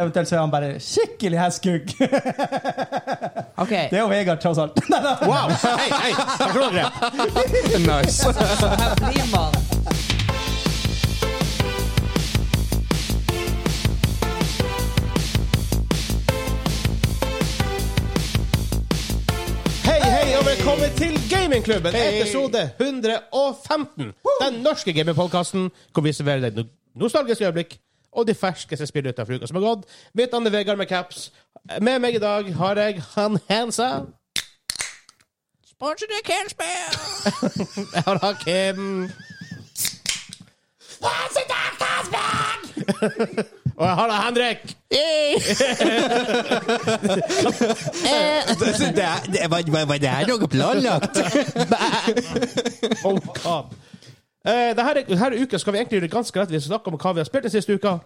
Eventuelt så er han bare skikkelig hestkuk. Ok, Det er jo Vegard, tross alt. Nei, nei. Wow! Hei, hei! Takk for dere. Nice. her blir man Hei, hei, og velkommen til Gamingklubben, episode 115. Den norske gamingpodkasten hvor vi serverer deg no- nostalgiske øyeblikk og de ferskeste spillene utenfor uka som har gått. Mitt navn er Vegard med caps. Med meg i dag har jeg han Hansa. Sponset av Kjelsberg! Jeg har han Kim. Og jeg har han Henrik. Eh, Det, Altså, det, det, var, var, var det her noe planlagt? Oh, God. Eh, denne, denne uka skal vi egentlig gjøre det ganske rett. Vi skal snakke om hva vi har spilt den siste uka.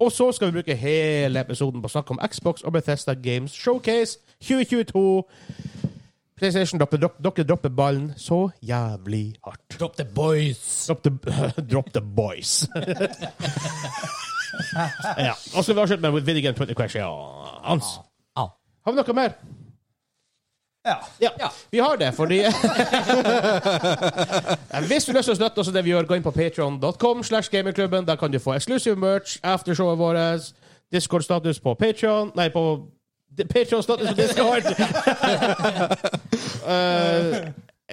Og så skal vi bruke hele episoden på å snakke om Xbox og Bethesda Games Showcase 2022. PlayStation dropper, dropp, dere dropper ballen så jævlig hardt. Drop the boys. Drop the, drop the boys. ja. Og så skal vi avslutte med Video Game 20 Ah, Questions. Au. Har vi noe mer? Ja. Ja, vi har det, fordi Hvis du har lyst til å støtte oss i det vi gjør, gå inn på patreon.com slash gamingklubben. Der kan du få exclusive merch, aftershowet vårt, Discord-status på Patreon Nei, på Patreon-status på Discord! Eh,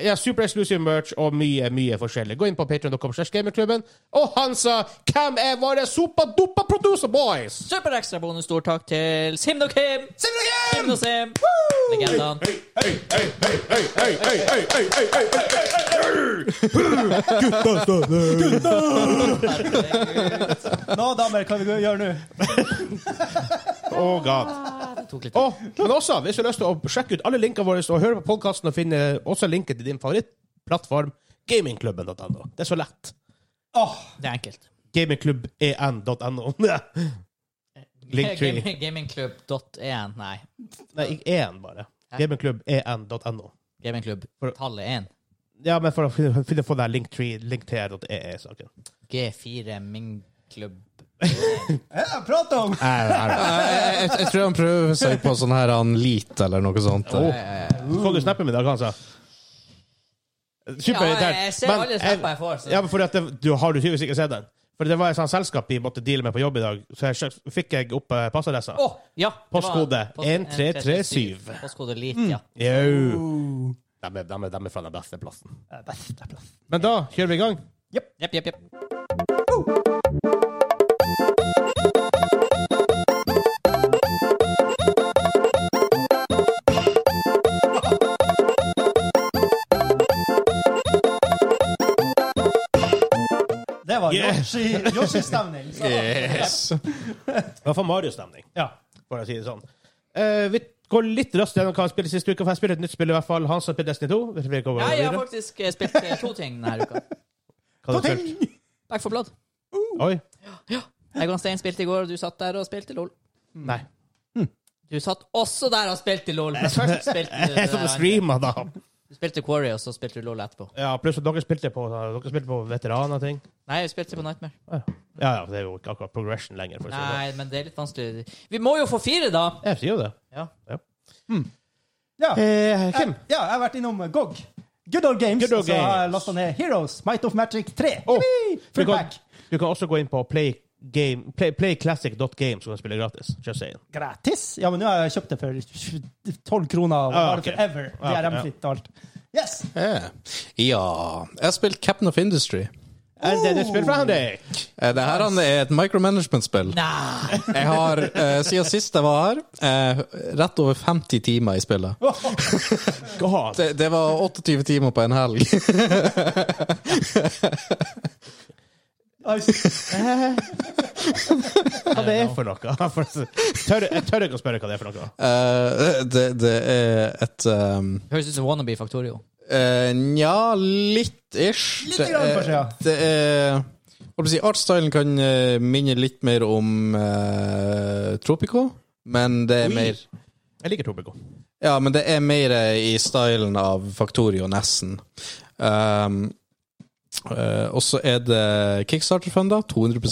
ja, super exclusive merch og mye, mye forskjellig. Gå inn på patreon.com slash gamingklubben. Og Hansa, hvem er våre sopa-dupa producer boys? Super ekstra bonus, stor takk til Simno Kim! Simno Kim! Simno Sim! Legendaen. Nå, damer, hva vi gjør nå? Oh god. Og, men også, hvis du har lyst til å sjekke ut alle linkene våre og høre på podkasten og finne også linken til din favorittplattform, gamingklubben.no. Det er så lett. E Åh, Det er enkelt. Gamingklubben.no. Linktree. Eh, Gaming- Gamingklubb.1. Nei, Nei, ikke én, bare. E Gamingklubben.no. gamingklubb. For- Tallet 1. Ja, men for å finne, finne få den linktree, E linktr.ee-saken. G4 min klubb. ja, prat om! Jeg, jeg, jeg tror han prøver seg på sånn her han lit eller noe sånt. Oh. Så Mm. du snappen min i dag, Hansa? Superirritert. Ja, jeg ser Men alle snapper jeg får, så- Ja, men fordi at det, du har du tydeligvis ikke sett den. For det var et sånt selskap vi måtte deale med på jobb i dag, så jeg, sjekk- fikk jeg opp eh, passadressa. Å, ja! det var- Postkode post- 1337. Postkode lit, Mm. ja. Jau. De er, de, er, de er fra den beste plassen. Ja, best, det er plass. Men da kjører vi i gang. Jepp, jepp, jepp. Det var Yeah. Yoshi- Yoshi-stemning. Eh, Yes. I hvert fall Mario-stemning, Ja. for å si det sånn. Eh, vi går litt raskt gjennom hva jeg spilte sist uke, for jeg spiller et nytt spill i hvert fall. Hans har spilt Destiny 2. Vet du hva jeg kommer Ja, jeg har videre? faktisk eh, spilt eh, to ting denne uka. Hva har du spilt? Back for blood. Oi. Jeg og Stein spilte i går, og du satt der og spilte LOL. Mm. Nei. Du satt også der og spilte LOL. Men først spilte du, Jeg er som det streamer, da. andre. du spilte Quarry, og så spilte du LOL etterpå. Ja, pluss at dere spilte på, dere spilte på veteraner og ting. Nei, vi spilte på Nightmare. Ja, ja, det er jo ikke akkurat progression lenger. For å si det. sånn. Nei, men det er litt vanskelig. Vi må jo få fire, da! Jeg sier jo det. Ja. Ja. Eh, Jeg, Kim? ja, jeg har vært innom GOG. Good Old Games. Good Old og så har jeg Games. lasta ned Heroes, Might of Magic 3. Å, Yippee! du, Full kan, pack. du kan også gå inn på play game- play- playclassic.game, så kan du spille gratis. Just saying. Gratis? Ja, men nå har jeg kjøpt det for 12 kroner. Ah, Bare ok. forever. Ah, ok, DRM-fritt og alt. Yes! Eh, Ja. Jeg har spilt Captain of Industry. Oh. Er det du spiller fra, Henrik? Eh, Det her han er et micromanagement-spill. Nei! Jeg har, eh, siden sist jeg var her, eh, rett over 50 timer i spillet. God. Det, det var 28 timer på en helg. Eh. Hva det er for noe? For- Tør, jeg tør ikke å spørre hva det er for noe. Eh, det, det er et um, Høres ut som Wannabe Factorio. Eh, Nja, litt ish. Litt Det grann, er- kanskje, ja. Det er hva skal jeg si, Artstylen kan eh, minne litt mer om eh, Tropico, men det er Oi. mer Jeg liker Tobico. Ja, men det er mer eh, i stylen av Factorio Nessen. Um, eh, og så er det Kickstarter-funda, 200 Og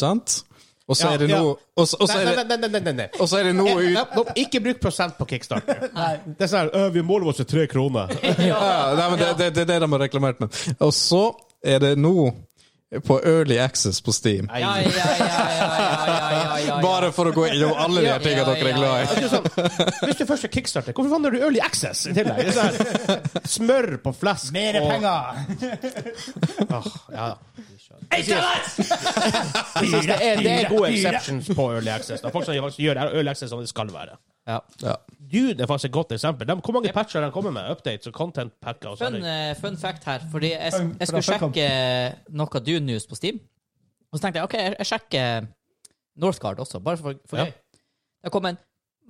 så Ja, er det ja. nå Og så og så Nei, er nei, det- nei, nei, nei, nei, nei. og så er det nå Eh, ut nei, nå, ikke bruk prosent på kickstarter. Det er sånn her, «Øh, Vi måler oss til tre kroner. Ja, nei, men det, det, det er det de har reklamert med. Og så er det nå på Early Access på Steam. Ja, ja, ja, ja, ja, ja, ja, ja. Bare for å gå innom alle de her tingene Ja, dere er ja, glad i. Det er sånn, hvis du først er kickstarter, hvorfor faen har du early access i tillegg? Det er sånn her, Smør på flesk. Mere og- penger! Åh, ja, ja. Jeg synes Det er, det er gode exceptions på early access. Da. Folk som faktisk gjør early access som det skal være. Ja. Ja. Dude er faktisk et godt eksempel. De, hvor mange patcher de kommer med? Updates og content packer? Og Fun, sånne. eh, fun fact her, fordi jeg, Fun- jeg skulle fra Funcom. sjekke eh, noe Dune News på Steam. Og så tenkte jeg OK, jeg, jeg sjekker Northgard også, bare for, for Ja. gøy. Det kom en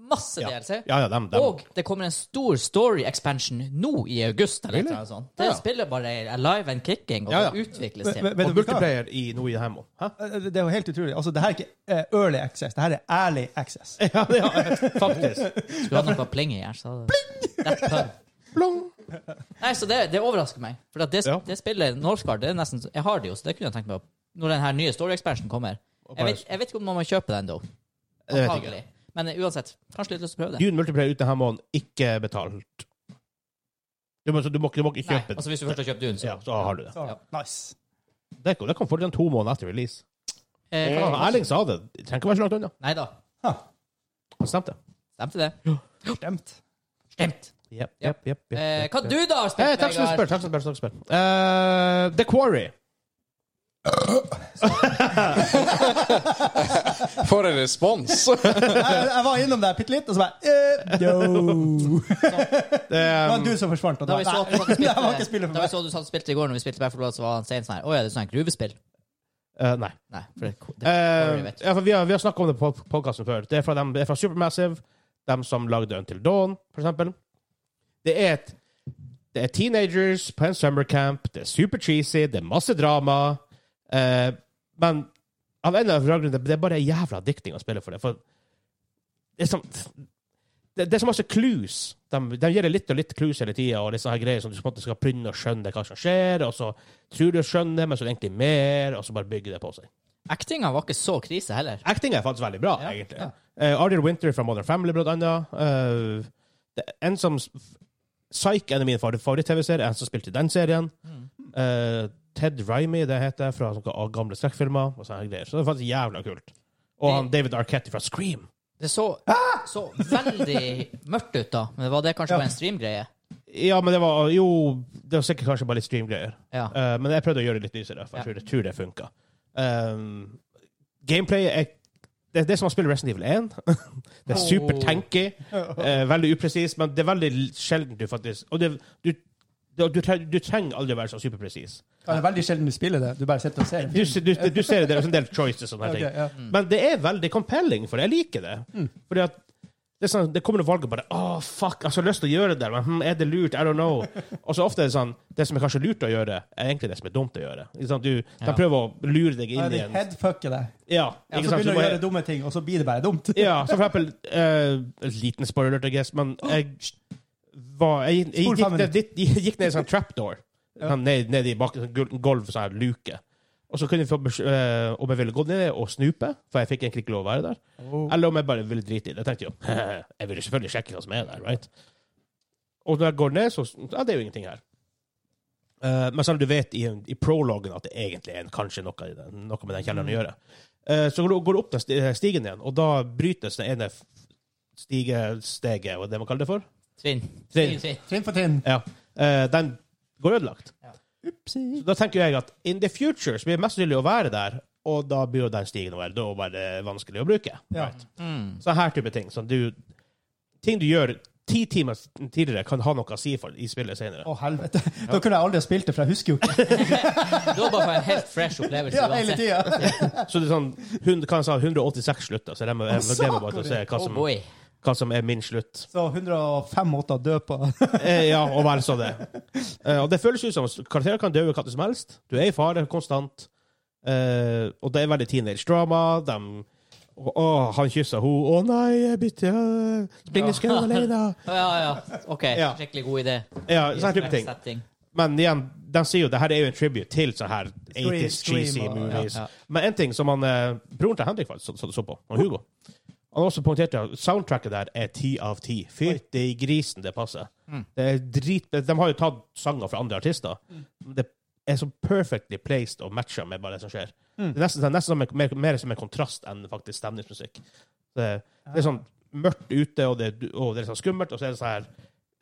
masse Ja. eh, DLC. Ja, ja, dem, dem. Og det kommer en stor story expansion nå i august. eller Really? noe sånt. Det Ja. spillet bare er alive and kicking, og Ja, ja. det utvikles Vet til. vet- vet Og du hva? multiplayer i noe i Hemmo. Hæ? Eh, Det er jo helt utrolig. Altså, det her er ikke eh, early access, det her er ærlig access. Ja, ja, faktisk. Skulle ha noe pling i her, så That pun. Plong. Nei, så det, det overrasker meg. For at det, Ja. det spillet Northgard, det er nesten Jeg har det jo, så det kunne jeg tenkt meg å- Når den her nye story expansion kommer. Jeg vet, jeg vet ikke om man må kjøpe den, da. Jeg vet ikke. Antagelig. Men eh, uansett, kanskje litt lyst til å prøve det. Dune multiplayer uten Hemmon, ikke betalt. Du må, så du må, ikke- du må ikke Nei, kjøpe altså Hvis du først har kjøpt Dune, så Ja, så har du det. Så, nice. Det, kom- det kom fortsatt to måneder etter release. eh, kan Ja, man- Erling sa det. Det trenger ikke være så langt unna. Nei da. Han stemte. Stemte det? Stemt. Stemt. Jepp, Jepp. jepp, jepp. Eh, hva du da har Hei, spilt, takk som du spør. Takk som du spør. Takk som du spør. Eh, The Quarry. For en respons! Jeg, jeg var innom der bitte litt, og så bare eh, Yo! Det Um, var du som forsvant. Og Da da, vi så at du satt og nei, det var ikke spilte, spillet da for vi meg. så at du satt og spilte i går, når vi spilte Battlefield, så var han sen sånn her Å ja, det er sånn her gruvespill? Eh, nei. Nei. For det, det, Eh, vet. ja, for vi har, vi har snakket om det på podkasten før. Det er fra, dem, det er fra Supermassive, dem som lagde Until Dawn, for eksempel. Det er, et, det er teenagers på en summercamp. Det er super cheesy, det er masse drama. Eh, men av en eller annen grunn, det det er bare en jævla dikting å spille for det. For det er sånn det, det er så masse clues. De, de gir deg litt og litt clues hele tida, og litt sånne her greier som du på en måte skal prøve å skjønne hva som skjer, og så tror du du skjønner, men så er det egentlig mer, og så bare bygger det på seg. Actinga var ikke så krise heller. Acting er faktisk veldig bra, Ja, egentlig. ja. Eh, Ariel Winter fra Modern Family, blant annet. Eh, det, er en som Psych er en av mine favor- favoritt-TV-serier, en som spilte i den serien. Mm. Eh, Ted Rimey, det heter, fra sånne gamle skrekkfilmer. og sånne greier. Så det er faktisk jævla kult. Og han David Arquette fra Scream. Det så, så veldig mørkt ut da, men var det kanskje bare en streamgreie? Ja, men det var jo Det var sikkert kanskje bare litt streamgreier. Ja. Eh, men jeg prøvde å gjøre det litt lysere, for jeg Ja. tror, det- tror det funka. Um, gameplay er det, er det som å spille Resident Evil 1. det er super tanky. eh, veldig upresis, men det er veldig sjelden du faktisk Og det, du, du, du, tre- du trenger aldri å være så superpresis. Ja, det er veldig sjelden du spiller det. Du bare sitter og ser. Du, du, du ser det, det er en del choices og sånne Ok, ting. ja. Mm. Men det er veldig compelling, for jeg liker det. Mm. Fordi at det, er sånn, det kommer noen valg og bare Å, fuck, jeg har så lyst til å gjøre det, der, men hm, er det lurt? I don't know. og så ofte er det sånn Det som er kanskje lurt å gjøre, er egentlig det som er dumt å gjøre. Ikke sant? Du, Ja. De prøver å lure deg Ja, inn de i en headfucker deg. Ja, Ja, så ikke sant? Så begynner du du å bare- gjøre dumme ting, og så blir det bare dumt. ja, så for eksempel eh, Liten spoiler, I guess, men jeg var Jeg, jeg, Spol gikk, fem ned, dit, jeg gikk ned i sånn trapdoor. Sånn Ned, ned i bak, sånn gul- gulv, sånn her luke. Og så kunne jeg få besk- eh, om jeg ville gå ned og snupe, for jeg fikk egentlig ikke lov å være der. Oh. Eller om jeg bare ville drite i det. Jeg tenkte jo Jeg ville selvfølgelig sjekke hva som er der, right? Og når jeg går ned, så Ja, det er jo ingenting her. Eh, men selv om du vet i, i prologen at det egentlig er en, kanskje noe, i den- noe med den kjelleren å gjøre, Eh, så går du, går du opp den sti- stigen igjen, og da brytes det ene f- stigesteget, hva er det man kaller det for? Trinn. Trinn. Trinn. Trinn for trinn. Ja. Eh, den går ødelagt. Upsi. Så da tenker jeg at in the future så blir det mest sannsynlig å være der, og da blir jo den stigen å være da var det vanskelig å bruke. Ja. Mm. Så her type ting. Sånn du, ting du gjør ti timer tidligere, kan ha noe å si for, i spillet senere. Å, helvete. Da kunne jeg aldri ha spilt det, for jeg husker jo ikke Du har bare fått en helt fresh opplevelse ja, hele uansett. tida. Så det er sånn hun- hva jeg sa, 186 slutter, så de må- jeg glemmer bare til å se hva Oh som, boy. hva som er min slutt. Så 105 måter å dø på. Eh, ja, og være sånn det. Eh, og det føles ut som karakterer kan dø hva som helst. Du er i fare konstant. Eh, og det er veldig teenage-drama. De Å, han kyssa henne. Å nei, jeg bytter øh, Spring i skauen alene. Ja, ja. OK. Ja. Skikkelig god idé. Ja, sånn type ting. Setting. Men igjen, de sier jo det her er jo en tribute til sånne her 80s Scream cheesy og- movies. ja, ja. Men en ting som han, eh, broren til Henrik faktisk så, så, så på, han Hugo, han også poengterte at soundtracket der er ti av ti. Fytti grisen, det passer. Mm. Det er drit, de har jo tatt sanger fra andre artister. Det er så perfectly placed og matcha med bare det som skjer. Mm. Det er nesten, det er nesten som en, mer, mer som en kontrast enn faktisk stemningsmusikk. Det, Ah. det er sånn mørkt ute, og det, og det er sånn skummelt, og så er det sånn her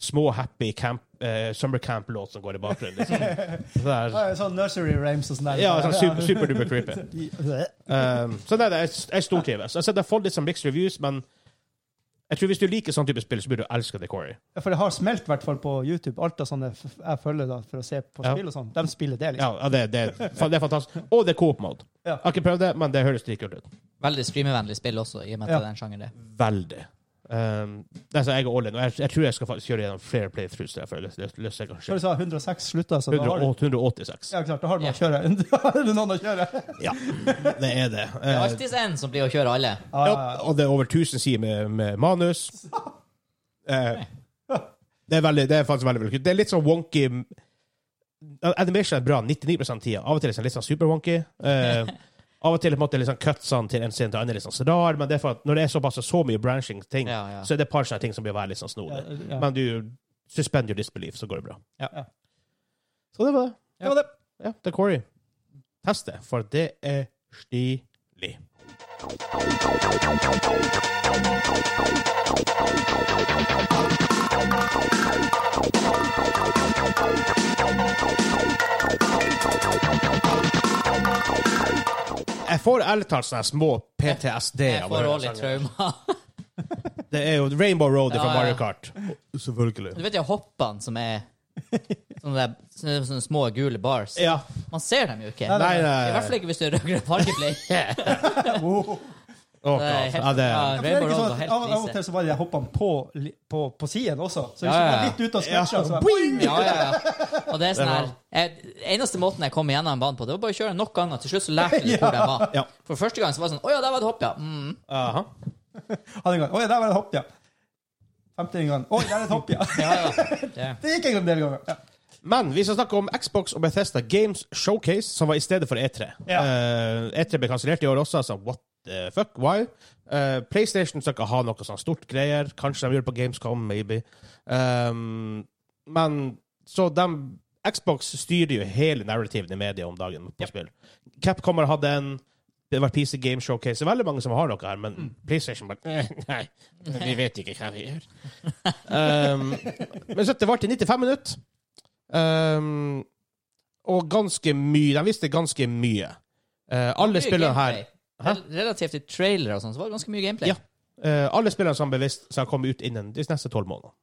små happy camp, eh, summer camp-låt som går i bakgrunnen. Liksom. Så det er, Ja, Sånn nursery rhymes og sånn der. ja, sånn super, superduper creepy. Um, så nei, det er, jeg stortrives. Jeg har fått litt sånn mixed reviews, men jeg tror hvis du liker sånn type spill, så burde du elske The Quarry. Ja, For det har smelt i hvert fall på YouTube. Alt av sånne f- jeg følger da for å se på Ja. spill og sånn. De spiller det, liksom. Ja, ja, det, det, er fa- det er fantastisk. Og det er coop-mode. Ja. Jeg har ikke prøvd det, men det høres dritkult ut. Veldig streamevennlig spill også, i og med at Ja. det er en sjanger, det. Veldig. Um, det er så jeg er all in, og jeg, jeg tror jeg skal faktisk kjøre gjennom flere playthroughs. Der, for jeg løs, løs, jeg Før kanskje. du sa 106 slutta, så da har du 108, 186. Ja, klart, da har du noe å kjøre. Da har du noen å kjøre. Ja, det er det. Det er Uh, alltid en som blir å kjøre alle. Ja, ja, ja, ja. og det er over 1000 sider med, med manus. Eh, det, er veldig, det er faktisk veldig veldig kult. Det er litt sånn wonky Animation er bra 99 av tida. Av og til er det sånn litt sånn super-wonky. Eh, av og til på en måte litt sånn cutsene til en scene til en annen litt sånn rar, men det er for at når det er såpass så mye branching ting, Ja, ja. så er det et par sånne ting som blir å være litt sånn snodig. Ja, ja. Men du suspend your disbelief, så går det bra. Ja. Så det var det. Ja. Det var det. Ja, det er Corey. Test det, for det er stilig. Jeg får ærlig talt sånne små PTSD. Jeg av å får høre årlig sangen. traumer. Det er jo Rainbow Road fra Ja, ja. Mario Kart. Selvfølgelig. Du vet de hoppene som er sånne, der, sånne, sånne små gule bars? Ja. Man ser dem jo ikke. Nei, I nei, hvert nei. fall ikke hvis du er rød-grønn partyplay. Å, Det er God. helt- Ja, det For det ja, er er Rainbow ikke Road sånn var at helt Av av og krise. til så var jeg hoppa på, li- på, på siden også. Så hvis Ja, ja, du ja. var litt ute og scratcha, Ja. så var Boing! altså. Ja, ja, ja. Og det er sånn her jeg, Eneste måten jeg kom gjennom banen på, det var bare å kjøre nok ganger. Til slutt så lærte du hvor den var. Ja. For første gang så var det sånn Å ja, der var det hopp, ja. Mm. Aha. jeg hadde en gang Oi, der var det et hopp, ja. Femte gang. Oi, der er et hopp, ja. ja, ja. Det. Det gikk jeg en del ganger. Ja. Men vi skal snakke om Xbox og Bethesda Games Showcase, som var i stedet for E3. Ja. Eh, E3 ble kansellert i år også, altså what the fuck, why? Eh, PlayStation skal ikke ha noe sånn stort greier. Kanskje de gjør det på Gamescom, maybe. Um, men så dem Xbox styrer jo hele narrativen i media om dagen på spill. Capcom har hatt en det har vært PC Game Showcase. Det er veldig mange som har noe her, men PlayStation bare eh, Nei, vi vet ikke hva vi gjør. um, men så det varte i 95 minutter. Um, og ganske mye. De visste ganske mye. Eh, alle Mye spillene her gameplay. Rel- Relativt til trailere og sånn, så var det ganske mye gameplay. Ja. eh, Alle spillene som er bevisst skal komme ut innen de neste tolv månedene.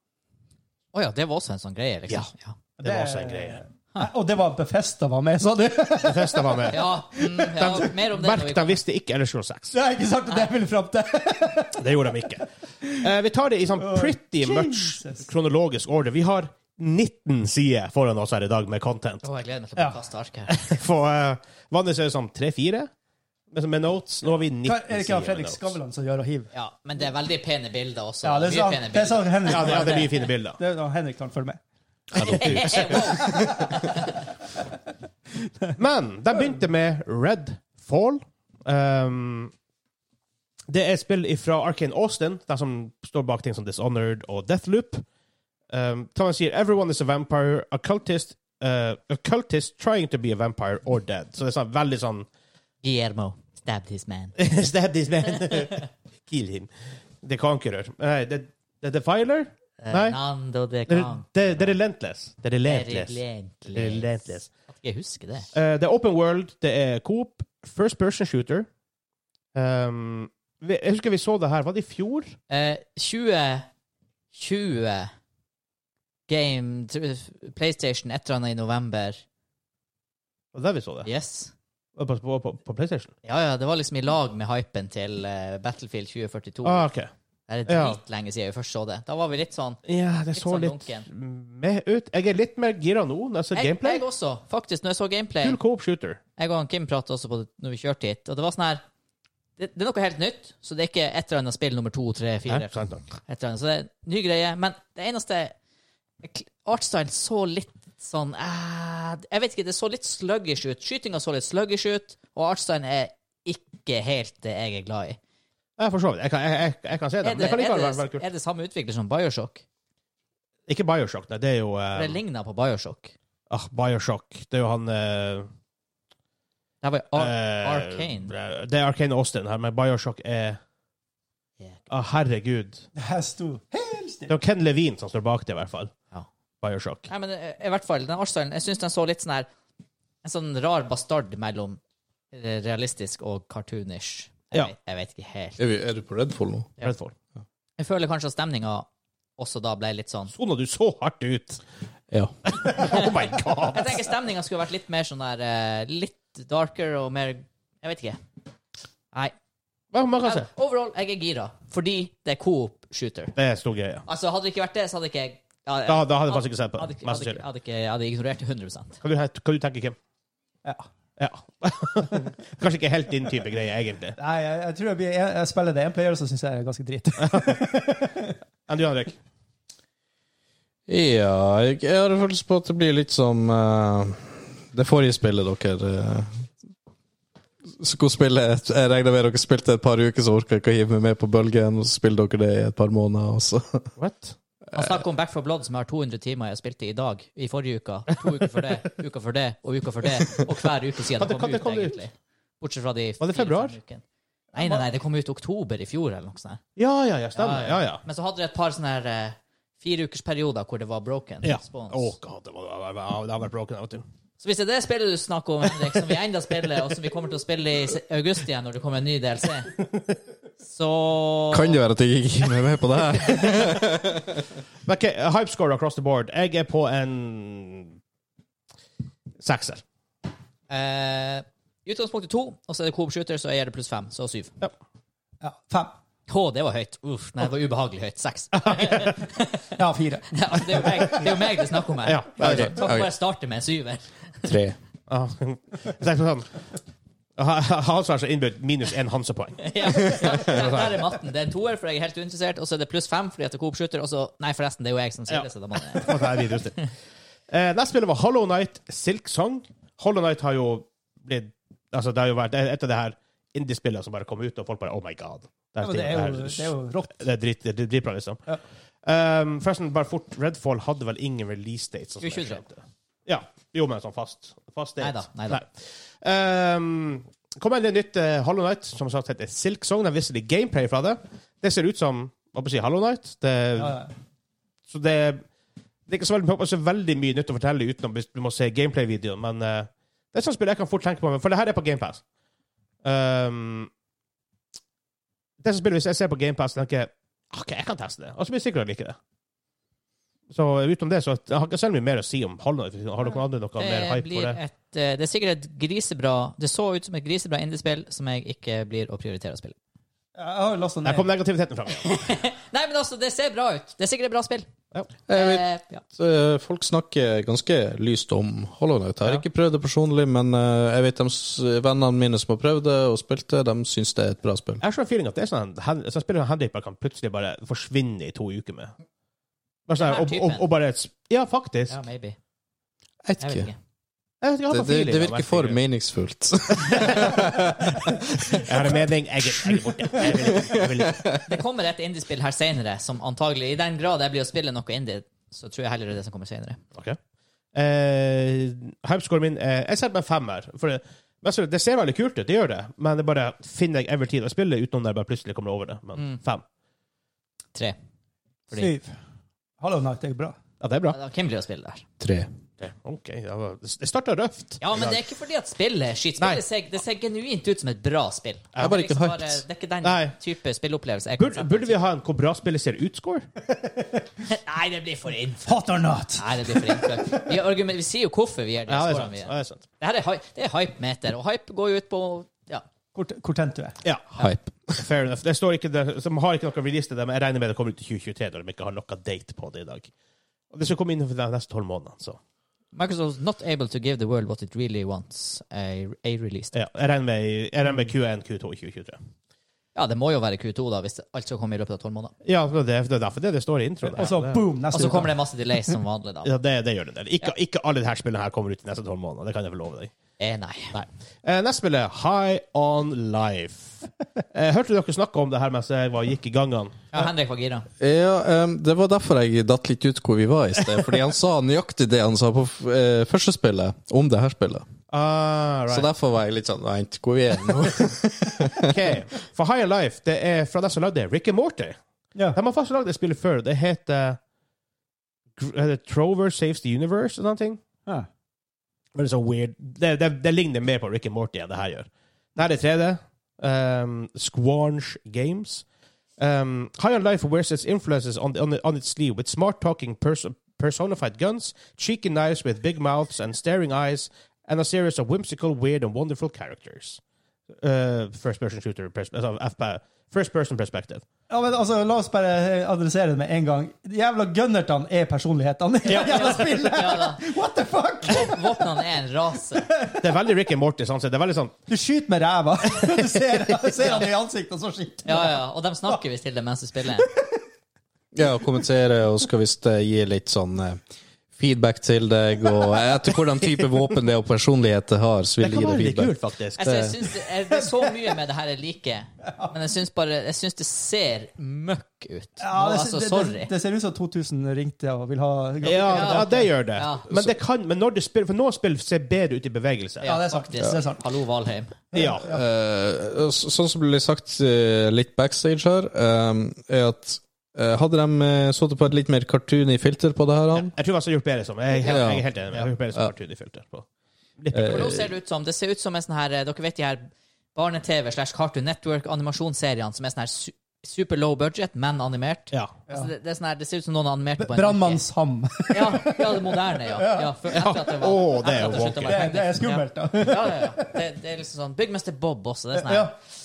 Å ja, det var også en sånn greie, liksom. Ja. Det var også en greie. Nei, Og det var Befesta var med, sa du? Bethesda var med. Ja, mm, ja mer om det når Merk, vi de visste ikke Ellers Scrolls 6. Det er ikke sant at det jeg ville fram til. Det gjorde de ikke. Eh, vi tar det i sånn pretty much Jesus. kronologisk order. Vi har 19 sider foran oss her i dag med content. Å, jeg gleder meg til å Ja. kaste ark her. For eh, vanligvis er det sånn tre-fire med, med notes. Nå har vi 19 Hva er det ikke sider han Fredrik med notes. Skavlan som gjør og hiver? Ja, men det er veldig pene bilder også. Ja, det Mye sa, pene det sa bilder. Henrik. Ja, det, ja, det er mye fine bilder. Det er da Henrik kan følge med. Wow. Men de begynte med Red Fall. Um, det er et spill fra Arkane Austin, de som står bak ting som Dishonored og Deathloop. Um, Thomas sier 'Everyone is a vampire, a cultist, uh, a cultist trying to be a vampire or dead'. Så det er sånn, veldig sånn Guillermo stabbed his man. Stab this man. Kill him. The Conqueror. Nei, The, the Defiler? Eh, Nei. Nando de The, Kang. the, the Relentless. The Relentless. Relentless. At ikke jeg husker det. Eh, det er open world, det er coop, first person shooter. Um, vi, jeg husker vi så det her, var det i fjor? Eh, 20 20 Game tr- PlayStation et eller annet i november. Var det der vi så det? Yes. På, på, på, på PlayStation? Ja, ja, det var liksom i lag med hypen til eh, Battlefield 2042. Ah, ok. Det er ja. dritlenge siden vi først så det. Da var vi litt sånn Ja, det så sånn litt med ut. Jeg er litt mer gira nå når jeg ser Jeg, gameplay. jeg også, faktisk, når jeg så gameplay. Kul coop shooter. Jeg og han Kim pratet også på det når vi kjørte hit, og det var sånn her det, det er noe helt nytt, så det er ikke et eller annet spill nummer to, tre, fire. Hæ? Sant nok. et eller annet. Så det er en ny greie. Men det eneste Artstyle så litt sånn eh, Jeg vet ikke, det så litt sluggish ut. Skytinga så litt sluggish ut, og artstylen er ikke helt det jeg er glad i. Jeg for så vidt. Jeg kan, jeg, jeg, jeg kan se det. Er men det, det kan er likevel være, være det, kult. er det samme utvikler som Bioshock? Ikke Bioshock, nei. Det er jo For det eh, ligner på Bioshock. ah, Bioshock. Det er jo han eh, Det var jo Ar eh, Arcane. Det er Arcane Austin her, men Bioshock er Yeah. ah, Herregud. Det her sto helt Det er stille. jo Ken Levine som står bak det, i hvert fall. Ja. Bioshock. Nei, men eh, i hvert fall, den artstylen Jeg syns den så litt sånn her En sånn rar bastard mellom eh, realistisk og cartoonish. Jeg, Ja. vet, jeg vet ikke helt. Er, vi, er du på Redfall nå? Ja. Redfall. Jeg føler kanskje at stemninga også da ble litt sånn Sona, du så hardt ut! Ja. Oh my god! Jeg tenker stemninga skulle vært litt mer sånn der eh, Litt darker og mer Jeg vet ikke. Nei. Hva man kan se? Jeg, overall, jeg er gira. Fordi det er coop shooter. Det er stor greie. Altså, hadde det ikke vært det, så hadde ikke jeg ja, jeg- Da, da hadde jeg faktisk ikke sett på hadde, det. ikke- hadde, ikke- Mest sannsynlig. hadde, ikke- jeg hadde ignorert det 100 Kan du, kan du tenke, Kim? Ja. Ja. Kanskje ikke helt din type greie, egentlig. Nei, jeg, jeg tror jeg, blir, jeg, jeg spiller det en player, så syns jeg det er ganske drit. Enn du, Henrik? Ja, jeg, jeg har en følelse på at det blir litt som eh, det forrige spillet dere eh, skulle spille. et- Jeg regner med dere spilte et par uker, så orker jeg ikke å hive meg med på bølgen, og så spiller dere det i et par måneder, og så What? Han snakker om Back for Blood, som jeg har 200 timer jeg spilte i dag. I forrige uke. To uker for det, uka for det, og uka for det. Og hver uke siden det kom ut, Kan det- kan det komme ut? egentlig. Bortsett fra de Var det fire-fem februar? ukene. Nei, nei, nei, det kom ut i oktober i fjor, eller noe sånt. her. Ja, ja, ja. Stemmer. Ja, ja. Men så hadde det et par sånne her eh, fireukersperioder hvor det var broken Ja. respons. Å, god, det, var, det, var, det har vært broken av og til. Så hvis det er det spillet du snakker om, Henrik, som vi enda spiller, og som vi kommer til å spille i se- august igjen når det kommer en ny DLC, så kan det være at jeg ikke hiver meg med på det her. Men ok, hype score across the board. Jeg er på en sekser. eh, I utgangspunktet to, og så er det Coop Shooter, så jeg gir det pluss fem, så syv. Ja. Ja, fem. Å, det var høyt. Uff, nei, det var ubehagelig høyt. Seks. Ja, fire. Ja, det, er jo meg, det er jo meg det er snakk om her. Ja, det er sant. Kan Ok. ikke bare starte med en syver. Tre. Ah, så jeg skal sånn. Hans har så innbudt minus én Hansepoeng. Ja, ja, der er matten. Det er en toer, for jeg er helt uinteressert. Og så er det pluss fem fordi at det er Coop Shooter. Og så Nei, forresten, det er jo jeg som sier det, så da må det Og det er videre til. Eh, neste spillet var Hollow Night Silk Song. Hollow Night har jo blitt Altså, det har jo vært et av de her indie-spillene som bare kom ut, og folk bare Oh my god. Det Ja, men det er jo, det er jo rått. det er drit- det er dritbra, liksom. Ja. Um, forresten, bare fort Redfall hadde vel ingen release dates. sånn som 2023. jeg skjønte. Ja. Jo, men sånn fast, fast date. Neida, neida. Nei. Um, kom med et nytt eh, Hollow Night, som sagt heter Silk Song. De viste litt gameplay fra det. Det ser ut som hva skal jeg si, Hollow Night. Det, Ja, ja. Så det, det er ikke så veldig, altså, veldig mye nytt å fortelle utenom hvis du må se gameplay-videoen, men eh, det er sånn spill jeg kan fort tenke på, for det her er på GamePass. Um, det som spiller, hvis jeg ser på GamePass, tenker jeg OK, jeg kan teste det. Og så blir jeg sikker på at jeg liker det. Så utenom det, så at- jeg har ikke så mye mer å si om Hollow Knight. Har dere andre noe mer Det hype på blir det? et eh, Det er sikkert et grisebra Det så ut som et grisebra indiespill som jeg ikke blir å prioritere å spille. Jeg har jo lasta Der ned. kom negativiteten fram. igjen. Nei, men altså, det ser bra ut. Det er sikkert et bra spill. Ja. Jeg vet Eh, ja. Eh, Folk snakker ganske lyst om Hollow Knight. Jeg har Ja. ikke prøvd det personlig, men eh, jeg vet de s- vennene mine som har prøvd det og spilt det, de syns det er et bra spill. Jeg har sånn feeling at det er sånn hen- sånn spiller Henrik bare kan plutselig bare forsvinne i to uker med. Bare Den sånn, og, her og, typen. og bare sp- Ja, faktisk. ja, maybe. Jeg vet Jeg vet ikke. ikke. Jeg vet ikke, jeg har Det, sånn det, feeling det av at virker for jeg- meningsfullt. Jeg har en mening. Jeg er, jeg er borte. Jeg vil ikke. Jeg vil ikke. Det kommer et indiespill her senere som antagelig I den grad jeg blir å spille noe indie, så tror jeg heller det er det som kommer senere. Okay. Eh, Hypescoren min eh, Jeg setter meg en femmer. For det, men så- det ser veldig kult ut, det gjør det, men det bare finner jeg ever tid å spille utenom når jeg bare plutselig kommer over det. Men Mm. fem. Tre. Fordi Syv. Hollow Night er bra. Ja, det er bra. ja, da, Hvem blir å spille der? Tre. Det- OK. det var- Det starta røft. Ja, men det er ikke fordi at spillet er skitt. Nei. Spillet ser, det ser genuint ut som et bra spill. Jeg er bare ikke liksom hyped. det er ikke den Nei. type spillopplevelse jeg kan Burde, burde vi ha en hvor bra spillet ser ut-score? sette- Nei, det blir for innfløkt. Hot or not! Nei, det blir for innfløkt. Vi, argument- vi sier jo hvorfor vi gjør det. Ja, det er scorene sant. vi Ja, gjør. det er sant. Det her er, hy- det er hype-meter, og hype går jo ut på ja. Hvor, hvor tent du er. Ja, Hype. fair enough. Det står ikke det, som har ikke noe release til det, men jeg regner med det kommer ut i 2023, når de ikke har noe date på det i dag. Og det skal komme innenfor de neste tolv månedene, så Microsoft is not able to give the world what it really wants. A, a release. Ja, jeg regner med, jeg regner med Q1, Q2 i 2023. Ja, det må jo være Q2, da, hvis alt skal komme i løpet av tolv måneder. Ja, det, det er derfor det, det står i introen. Og så Det- boom, Og neste så kommer uke. det masse delays som vanlig, da. Ja, det, det gjør det. Ikke, ikke alle de her spillene her kommer ut de neste tolv måneder. Det kan jeg vel love deg. Eh, nei. Eh, neste spill er High On Life. Eh, hørte dere snakke om det her mens jeg var, gikk i gangene? Ja, Henrik var gira. Ja, em, det var derfor jeg datt litt ut hvor vi var i sted. Fordi han sa nøyaktig det han sa på f- eh, første spillet, om det her spillet. Ah, Så derfor var jeg litt sånn Vent, hvor vi er nå? Ok, For High On Life det er fra dem som lagde Rick and Morty. Ja. De har faktisk lagd det spillet før. Det heter Gr- eh, Trover Saves the Universe eller noe. sånt. Ja. Men Det, er så weird. Det, det, det ligner mer på Rick and Morty enn det her gjør. Det her er 3D. Um, Squanch Games. Um, High on life wears its influences on, on, on its sleeve with smart talking pers personified guns, cheeky knives with big mouths and staring eyes, and a series of whimsical, weird, and wonderful characters. Uh, first person shooter, pers altså FP, first person perspective. Ja, men altså, La oss bare adressere det med en gang. De Jævla gunnertene er personlighetene i jævla spillet! Ja, da. What the fuck?! Våpnene er en rase. Det er veldig Rick and Morty. Sånn, sett. det er veldig sånn Du skyter med ræva. Du ser, du ser han i ansiktet, og så skyter du. Ja, ja. Og de snakker visst til det mens du spiller. Ja, og kommentere og skal visst eh, gi litt sånn eh, feedback til deg, og eh, etter hvordan type våpen det og personlighet det har, så Det vil kan de gi være deg litt kult, feedback. faktisk. Altså, jeg synes det, er, det er så mye med det her jeg liker, men jeg syns bare Jeg syns det ser møkk ut. Nå, Ja, det, altså, det, sorry. det, det ser ut som 2000 ringte og vil ha Ja, ja, det gjør det. Ja. Men, det kan, men når du spiller, for noen spill ser bedre ut i bevegelse. Ja, det er sant. faktisk. Det er sant. Hallo, Valheim. Ja. Eh, så- sånn som ble sagt eh, litt backstage her, eh, er at eh, hadde de eh, sittet på et litt mer cartoony filter på det her, han, Jeg tror jeg har gjort bedre som Jeg er helt, Ja. jeg er helt enig med jeg har gjort bedre som cartoonifilter på. Litt bedre. For Eh, nå ser det ut som Det ser ut som en sånn her eh, Dere vet de her barne-TV slash Cartoon Network-animasjonsseriene som er sånn her su super low budget, men animert. Ja. Altså, det, det, er sånn her, det ser ut som noen har animert det på en Brannmannsham. uke. Ja, ja, det moderne, ja. ja, for, etter at det var, Åh, det er etter at jo sluttet å wonky. Det, være det er pengefisk. skummelt, da. Ja, ja, ja. Det, det er liksom sånn Byggmester Bob også. Det er sånn her. Ja.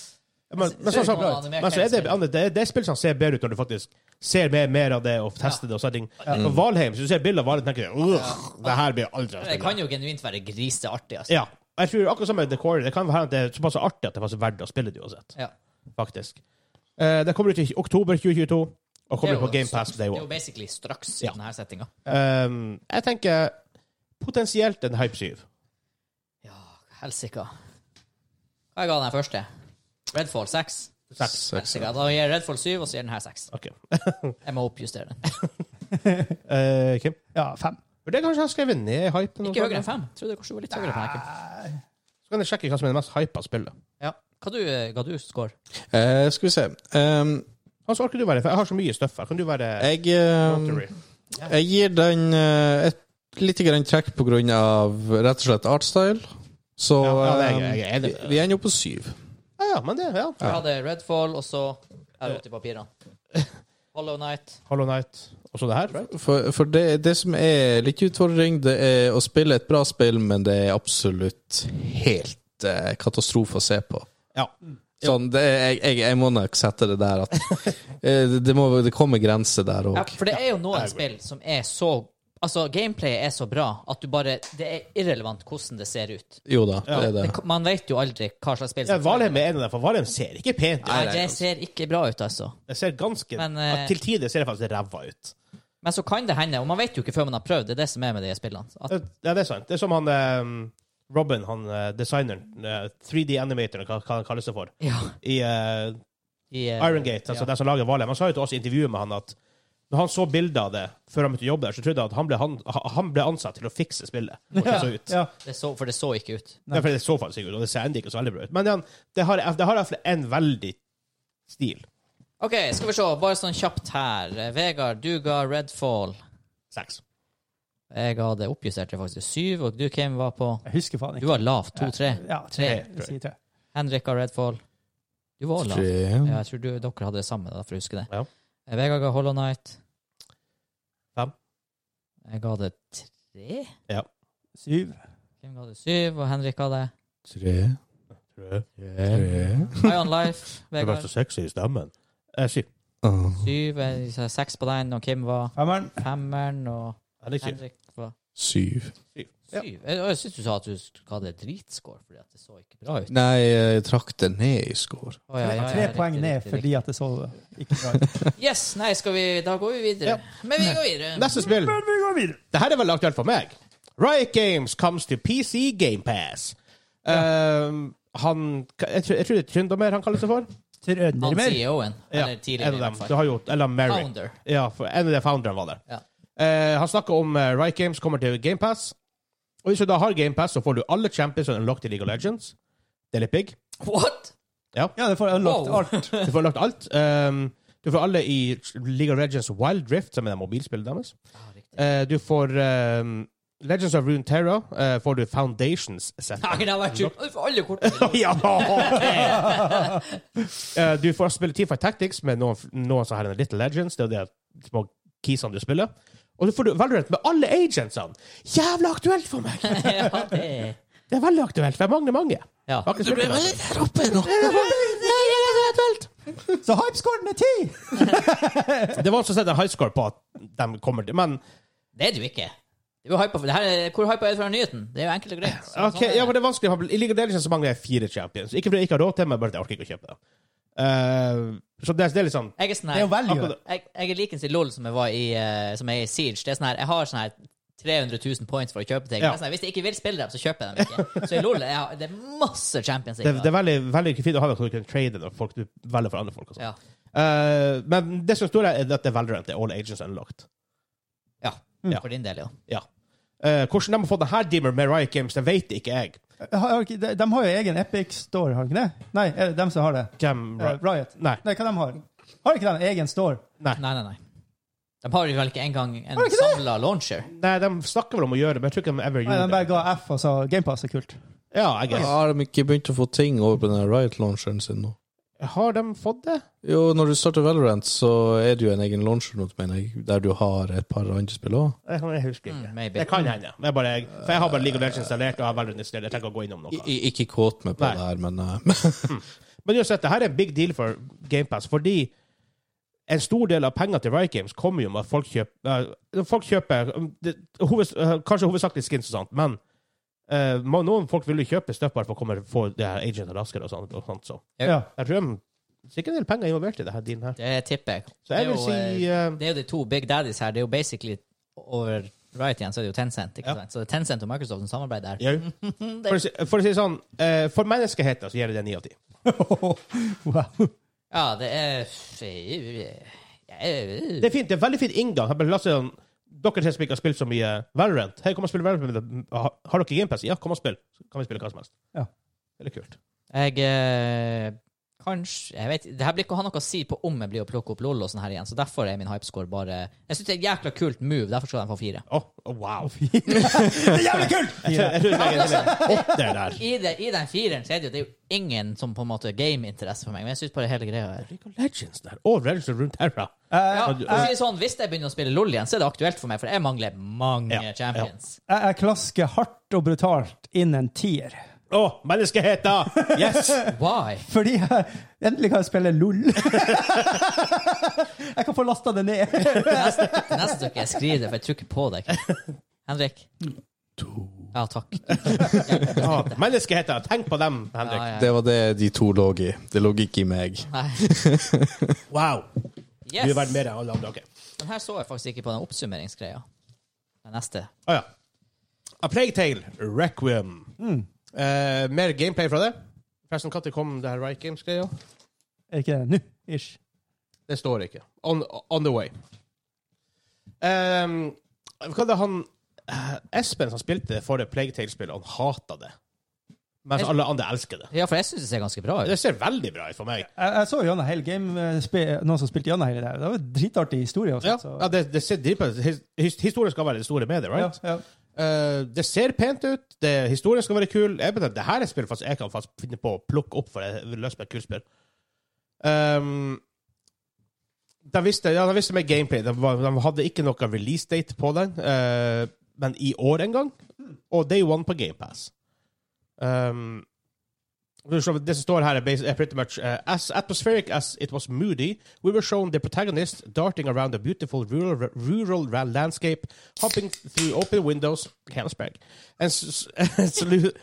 Men, men, sånn som- Ser ut som noen men så er det, andre- det, er- det er spill som ser bedre ut når du faktisk ser mer, mer av det og tester det. Og sånne ting. På Valheim, så du ser bilder av Valheim, tenker du «Ugh, det her blir aldri å Det spille. kan jo genuint være griseartig. Altså. Ja. Jeg tror akkurat som med The Quarry, det kan være at det er såpass artig at det er faktisk verdt å spille det uansett. Ja. Faktisk. Eh, det kommer ut i oktober 2022, og Det er kommer jo på GamePass straks- Det Day er jo One. basically straks Ja. i denne settinga. Um, jeg tenker potensielt en Hype 7. Ja, helsika. Hva jeg ga den her første? Redfall 6. Seks. Helsika. Da gir jeg Redfall 7, og så gir den her 6. Ok. Jeg må oppjustere den. Eh, Kim? Ja, fem. Burde jeg kanskje ha skrevet ned hypen? Ikke høyere enn 5. Trodde kanskje det var litt høyere på den. her. Så kan jeg sjekke hva som er det mest hypa spillet. Ja. Hva du, ga du score? Eh, Skal vi se. Eh, Hans, orker du være? For jeg har så mye støff her. Kan du være jeg eh, Rotary? Jeg gir den eh, et lite grann trekk på grunn av rett og slett artstyle. Så Ja, ja, det er jeg- eh, jeg er enig med vi, vi ender jo på syv. Ja, ja, men det, ja. Du hadde Redfall, og så Jeg roter i papirene. Hollow Night. Hollow Night. Og så det her, right? For, for det, det som er litt utfordring, det er å spille et bra spill, men det er absolutt helt eh, katastrofe å se på. Ja. Sånn, det, er- jeg, jeg, jeg må nok sette det der at eh, det- Det, må, det kommer grenser der Ja, òg. for det er jo noen spill som er så Altså, gameplayet er så bra at du bare Det er irrelevant hvordan det ser ut. Jo da, det er det. Det- Man vet jo aldri hva slags spill ja Valheim er en av dem, for Valheim ser ikke pent ut. Nei, det ser ikke bra ut, altså. Det ser ganske Men, eh, Til tider ser det faktisk ræva ut. Men så kan det hende, og man vet jo ikke før man har prøvd, det er det som er med de spillene. At, Ja, det er sant. Det er som han eh, Robin, han eh, designeren, eh, 3D-animatoren, hva, hva han kalles det for, ja, i eh, i, eh, Iron Gate, altså ja. den som lager Valheim, han sa jo til oss i intervjuet med han at når han så bilder av det før han begynte å jobbe der, så trodde han at han ble, han, han ble ansatt til å fikse spillet. Og det så ut. Ja. Det så, for det så ikke ut. Nei. for det så faktisk ikke ut, og det ser enda ikke så veldig bra ut. Men det, det har det har i hvert fall en veldig stil. OK, skal vi se, bare sånn kjapt her. Eh, Vegard, du ga Redfall. Seks. Jeg ga det oppjustert til faktisk syv, og du, Kim, var på Jeg husker faen Du ikke. var lav, to-tre. Ja, tre. Jeg sier tre. Henrik ga Redfall. Du var også lav. Tre. Ja, jeg tror du, dere hadde det samme, da, for å huske det. Ja. Eh, Vegard ga Hollow Night. Fem. Jeg ga det tre. Syv. Kim ga det syv, og Henrik ga det Tre. Tre. High on Life. Det Vegard sexy i stemmen. Eh, syv. Ah. syv, eh, seks på den, og Kim var Femmeren. femmeren, og Henrik syv. Henrik var Syv. Ja. Syv. Jeg, jeg syns du sa at du sk- hadde dritscore, fordi at det så ikke bra ut. Nei, jeg trakk det ned i score. Å, ja, ja, ja, Tre riktig, poeng ned riktig, fordi at det så ikke bra ut. riktig. Yes! Nei, skal vi Da går vi videre. Men vi går videre. Neste spill. Men vi går videre. Det her er veldig aktuelt for meg. Riot Games comes to PC GamePass. Ehm, han Jeg tror, jeg tror det er Tryndamer han kaller seg for. Han Trøndermer. CEO-en. Ja, Eller en tidligere, av i dem. hvert Du fall. har jo, eller Merrick. Founder. Ja, for en av de founderne var der. Ja. Eh, han snakker om uh, Riot Games kommer til GamePass. Og hvis du da har GamePass, så får du alle champions som er unlocked i League of Legends. Det er litt big. What?! Ja, det får unlocked Wow. alt. Du får unlocked alt. Eh, du får alle i League of Legends Wild Rift, som er det mobilspillet deres. Ah, riktig. Eh, du får eh, Legends of Rune Terra. eh, får du Foundations-settet. Nei, det har vært sjukt. Du får alle kortene. ja, ok. Eh, du får spille Teamfight Tactics med noen, noen som har en Little Legends. Det er jo de små keysene du spiller. Og så får du Valorant med alle agentsene. Jævla aktuelt for meg! ja, det er Det er veldig aktuelt, for jeg mangler mange. ja. Jeg har ikke spilt det før. Der oppe nå! Så hypescoren er ti! Det var også sett en high score på at de kommer til Men Det er du ikke. Du er hypa for det her, er- hvor hypa er du for nyheten? Det er jo enkelt og greit. Så- ok, sånn er ja, men det er vanskelig. for I League of Legends så mangler jeg fire champions. Ikke fordi jeg ikke har råd til, men bare at jeg orker ikke å kjøpe det. Eh, så det, det er litt sånn Jeg er sånn Det er jo her value. Akkurat- jeg, jeg er likens i LOL som jeg var i, eh, som jeg er i Siege. Det er sånn her, jeg har sånn her 300 000 points for å kjøpe ting. Det Ja. er Sånn her, hvis jeg ikke vil spille dem, så kjøper jeg dem ikke. Så i LOL jeg har, det er masse champions. Det, jeg det har. er veldig, veldig fint å ha det, så du kan trade det, og folk du velger for andre folk. Og ja. sånn. Eh, men det som står her, er at det er Valorant. Det er All Agents Unlocked. Ja. Ja. for din del, jo. Ja. Eh, hvordan de har fått denne dimmer med Riot Games, det vet ikke jeg. Har ikke- De de har jo egen Epic Store, har de ikke det? Nei, er det dem som har det? Hvem Eh, Riot? Riot. Nei. Nei, hva de har? Har ikke de egen store? Nei, nei, nei. De har jo vel ikke engang en det ikke det? samla launcher. Nei, de snakker vel om å gjøre det, men jeg tror ikke de ever Nei, de gjorde bare det. ga F og sa GamePass er kult. Ja, I guess. Har de ikke begynt å få ting over på den Riot-launcheren sin nå? Har de fått det? Jo, når du starter Valorant, så er det jo en egen launcher nå, mener jeg, der du har et par andre spill òg. Jeg kan- Jeg husker ikke. Mm, maybe. det kan hende. Men jeg bare, jeg, for jeg har bare League of Legends installert, og jeg har Valorant installert. Jeg trenger ikke å gå innom noe. Ikke kåt meg på Nei. det her, men eh, Men uansett, det her er en big deal for GamePass, fordi en stor del av pengene til Riot Games kommer jo med at folk kjøper, eh, folk kjøper um, det, hoveds, eh, Kanskje hovedsakelig skins og sånt, men eh, må- noen folk vil jo kjøpe stuff bare for å komme få det her agenten raskere og sånt. Og sånt så. Ja. Ja. Jeg tror de- sikkert en del penger er involvert i det her dealen her. Det tipper jeg. Så Det jeg er vil jo, si eh, eh, Det er jo de to big daddies her. Det er jo basically over right igjen, så er det jo Tencent. ikke Ja. sant? Så det er Tencent og Microsoft som samarbeider her. ja. for, å si, for å si det sånn, eh, for menneskeheten så gir det det ni av ti. wow. Ja, det er Jeg- øh. Det er fint, det er veldig fin inngang. Jeg bare la oss si sånn, Dere tre som ikke har spilt så mye Valorant Hei, kom og spill Valorant med det. Har har dere GamePass? Ja, kom og spill. Så kan vi spille hva som helst. Ja. Veldig kult. Jeg eh, Kanskje jeg vet, Det her blir ikke å ha noe å si på om jeg blir å plukke opp LOL og sånn her igjen, så derfor er min hypescore bare Jeg syns det er et jækla kult move, derfor skal de få fire. Åh, åh, wow. Det er jævlig kult! Jeg tror- jeg tror jeg legger til en åtter der. I, det, I den fireren så er det jo, det er jo ingen som på en måte er gameinteresse for meg, men jeg syns bare hele greia er League of Legends der. Og Legends of Runeterra. Jeg, ja, Og du- for å si det sånn, Hvis jeg begynner å spille LOL igjen, så er det aktuelt for meg, for jeg mangler mange Ja, champions. jeg, jeg klasker hardt og brutalt inn en tier. Åh, menneskeheten! Yes! Why? Fordi jeg endelig kan jeg spille LOL. jeg kan få lasta det ned. Neste, neste uke jeg skriver det, for jeg tror ikke på deg. Henrik? Ja, takk. Åh, menneskeheten. Tenk på dem, Henrik. Ja, ja. det var det de to lå i. Det lå ikke i meg. Nei. Wow. Du er verdt Yes. mer enn alle andre. Ok. Den her så jeg faktisk ikke på den oppsummeringsgreia. Den neste. Åh, ja. A Plague Tale Requiem. Mm. Eh, mer gameplay fra det. Forresten, når kom det her Riot Games-greia? Er ikke det nå? Ish. Det står ikke. On, on the way. Ehm, hva er det han eh, Espen som spilte det forrige Plague Tale-spillet, han hata det. Mens Espen- alle andre elsker det. Ja, for jeg syns det ser ganske bra ut. Det ser veldig bra ut for meg. Jeg, jeg så gjennom hele game, eh, spe- noen som spilte gjennom hele det. her. Det var en dritartig historie. altså. Også, Ja, så- ja det, det ser dritbra ut. His- his- Historien skal være det store med det, right? Ja, ja. Eh, det ser pent ut, det, historien skal være kul. Jeg mener, det her er spill faktisk jeg kan faktisk finne på å plukke opp, for jeg vil løse med et kult spill. Ehm, de visste, ja, de visste med gameplay. De, var, de hadde ikke noe release date på den, eh, men i år en gang. Og Day One på GamePass. Um, For å slå- Det som står her, er bas- er pretty much uh, As atmospheric as it was moody, we were shown the protagonist darting around a beautiful rural, rural ra- landscape, hopping through open windows, Helmsberg, and s- s- slu-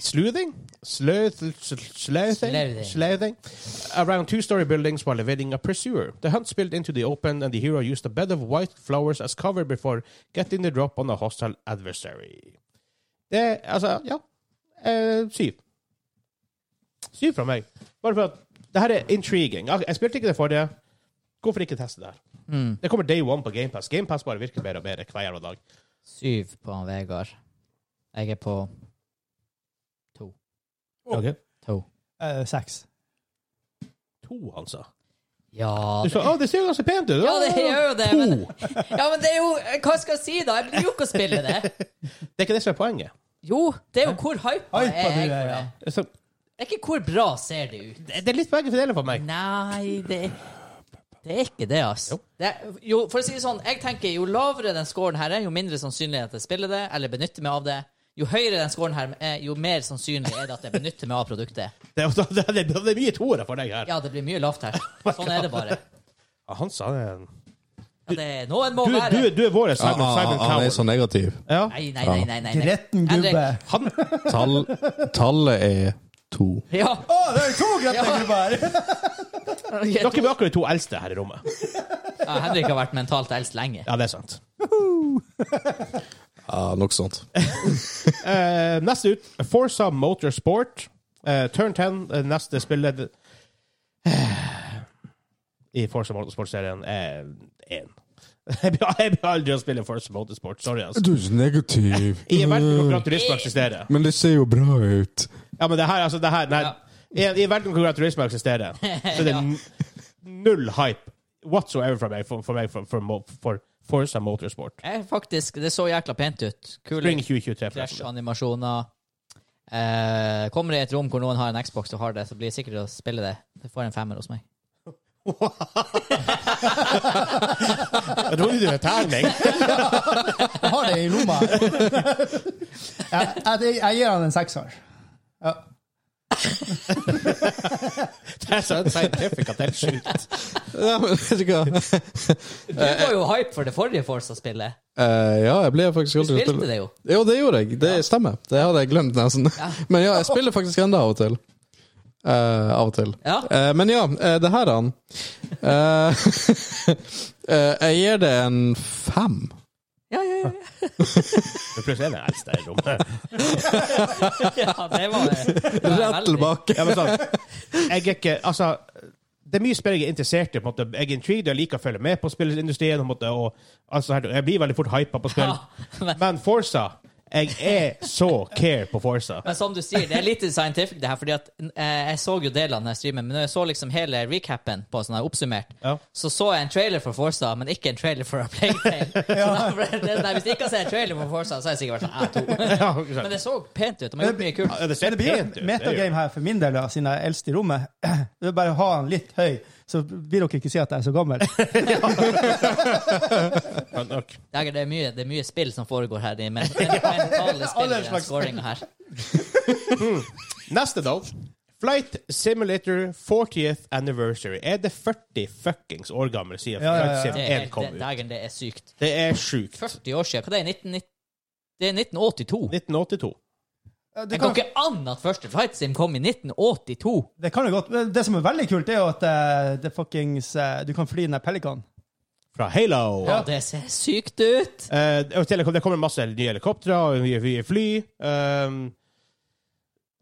sleuthing? Sleuth- Sleuthing? Sleuthing. Sleuthing? Around two story buildings while evading a pursuer. The hunt spilled into the open, and the hero used a bed of white flowers as cover before getting the drop on a hostile adversary. Det Altså, ja. Eh, syv. Syv fra meg. Bare for at det her er intriguing. Jeg jeg spilte ikke det forrige. Hvorfor ikke teste det her? Hmm. Det kommer day one på GamePass. GamePass bare virker bedre og bedre hver jævla dag. Syv på han Vegard. Jeg er på to. Okay. To. Eh, seks. To, altså. Ja Du sa, det, å, det ser jo ganske pent ut. ja, det gjør jo det, To. men, ja, men det er jo Hva skal jeg si, da? Jeg blir jo ikke å spille det. Det er ikke det som er poenget. Jo, det er jo hvor hypa Hypa er jeg du er, for ja. det. Så, Det er ikke hvor bra ser det ut. det det er litt begge deler for meg. Nei, det det er ikke det, altså. Det er, jo, for å si det sånn, jeg tenker jo lavere den scoren her er, jo mindre sannsynlig at jeg spiller det, eller benytter meg av det. Jo høyere den scoren her er, jo mer sannsynlig er det at jeg benytter meg av produktet. Det er, det er, det er mye toere for deg her. Ja, det blir mye lavt her. Sånn er det bare. Ja, han sa det. Du, Ja, det er, noen må du, være er- du er vår Simon, Ah, ah, Simon ah, han er Cowell. så negativ. Ja. Nei, nei, nei. nei, nei. Gretten gubbe. Henrik. Å, Tall, tallet er to. Ja. det er to gretten Ja. gubber her! Dere er akkurat de to eldste her i rommet. ja! Henrik har vært mentalt eldst lenge. Ja, det er sant. Ja, noe sånt. Eh, neste ut, Forza Motorsport. Eh, turn 10, eh, neste spiller i Forza Motorsport-serien er én. Jeg blir jeg blir aldri å spille Forza Motorsport, sorry. altså. Du er så negativ. I en verden hvor Gran Turismo eksisterer. Men det ser jo bra ut. Ja, men det her, altså, det her nei, I en- i en verden hvor Gran Turismo eksisterer, så er det n- null hype whatsoever for meg for, for, meg, for, for, mo- for Forza Motorsport. Jeg, faktisk, det så jækla pent ut. Kule Spring 2023. forresten. Crash-animasjoner. Eh, kommer det i et rom hvor noen har en Xbox og har det, så blir det sikkert å spille det. Det får en femmer hos meg. Jeg trodde du var terning. Jeg har det i lomma. Jeg, jeg, jeg gir han en sekser. Ja. Det er så scientific at det er sjukt. Ja, men vet du hva? Du var jo hype for det forrige Forza-spillet. Eh, ja, jeg ble faktisk Du aldri spilte det jo. Jo, det gjorde jeg. Det stemmer. Det hadde jeg glemt nesten. Men ja, jeg spiller faktisk enda av og til. Eh, av og til. Ja. Eh, men ja, eh, det her han Eh, eh, Jeg gir det en fem. Ja, ja, ja. Men plutselig er det en eldste i rommet. ja det var det. var Rett veldig- tilbake. Ja, men sånn, jeg er ikke, altså, det er mye spill jeg er interessert i. på en måte. Jeg er intrigued, jeg liker å følge med på spillindustrien. på en måte, og, altså, her- jeg blir veldig fort hypa på spill. Ja, men, Men Forsa Jeg er så care på Forsa. men som du sier, det er litt scientific, det her, fordi at eh, jeg så jo delene av den streamen, men når jeg så liksom hele recapen på sånn her oppsummert, Ja. så så jeg en trailer for Forza, men ikke en trailer for A Plague Tale. Så da ble det- Nei, hvis jeg ikke har sett en trailer for Forza, så har jeg sikkert vært sånn, jeg to. Ja, ikke sant? Men det så pent ut, de har gjort mye kult. Ja, det ser Det blir jo et pent ut. det gjør det. metagame her for min del, da, siden jeg er eldst i rommet. Det er bare å ha han litt høy, så vil dere ikke si at jeg er så gammel. Ja, nok. Det er, det, er mye, det er mye spill som foregår her, de men, men, mentale spill i den slags scoringa her. Neste, da. Flight Simulator 40th Anniversary. Er det 40 fuckings år gammel siden Ja, ja, ja. Flight Sim Det 1 er, kom det, ut? dagen det er sykt. Det er sjukt. 40 år siden. Hva det er 1990? Det er 1982. 1982. Det Det kan, går ikke an at første Flight Sim kom i 1982! det kan jo godt. Men det som er veldig kult, er jo at eh, det fuckings, eh, du kan fly den der pelikanen. Fra Halo. Ja, det ser sykt ut! Eh, og til helikop- det kommer masse nye helikoptre og nye, nye fly. Ehm,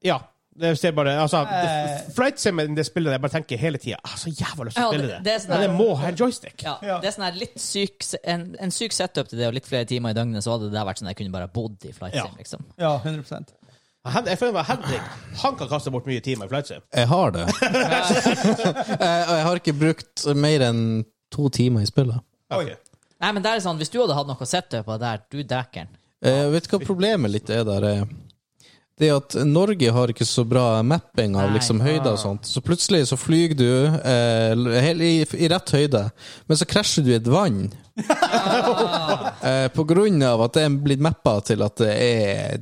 ja. Det ser bare altså, det, Eh. Flight Sim er det spillet jeg bare tenker hele tida ah, Så jævla lyst til å Ja, spille det- det. det er sånn Men der- det må ha en joystick. Ja, Ja. Det er sånn her litt syk, en, en syk setup til det, og litt flere timer i døgnet, så hadde det der vært sånn at jeg kunne bare bodd i Flight Sim, Ja. liksom. Ja, 100 Hen, jeg føler meg Henrik Han kan kaste bort mye timer i Flight Sim. Jeg har det. Eh, Og jeg har ikke brukt mer enn to timer i spillet. Ok. Nei, men det er sånn, hvis du hadde hatt noe setup av det der, du dækker'n. Eh, vet du hva problemet litt er der? eh? Det er at Norge har ikke så bra mapping av Nei. Ah. liksom høyder og sånt. Så plutselig så flyr du eh, hel- i, i rett høyde, men så krasjer du i et vann. Ah. eh, på grunn av at det er blitt mappa til at det er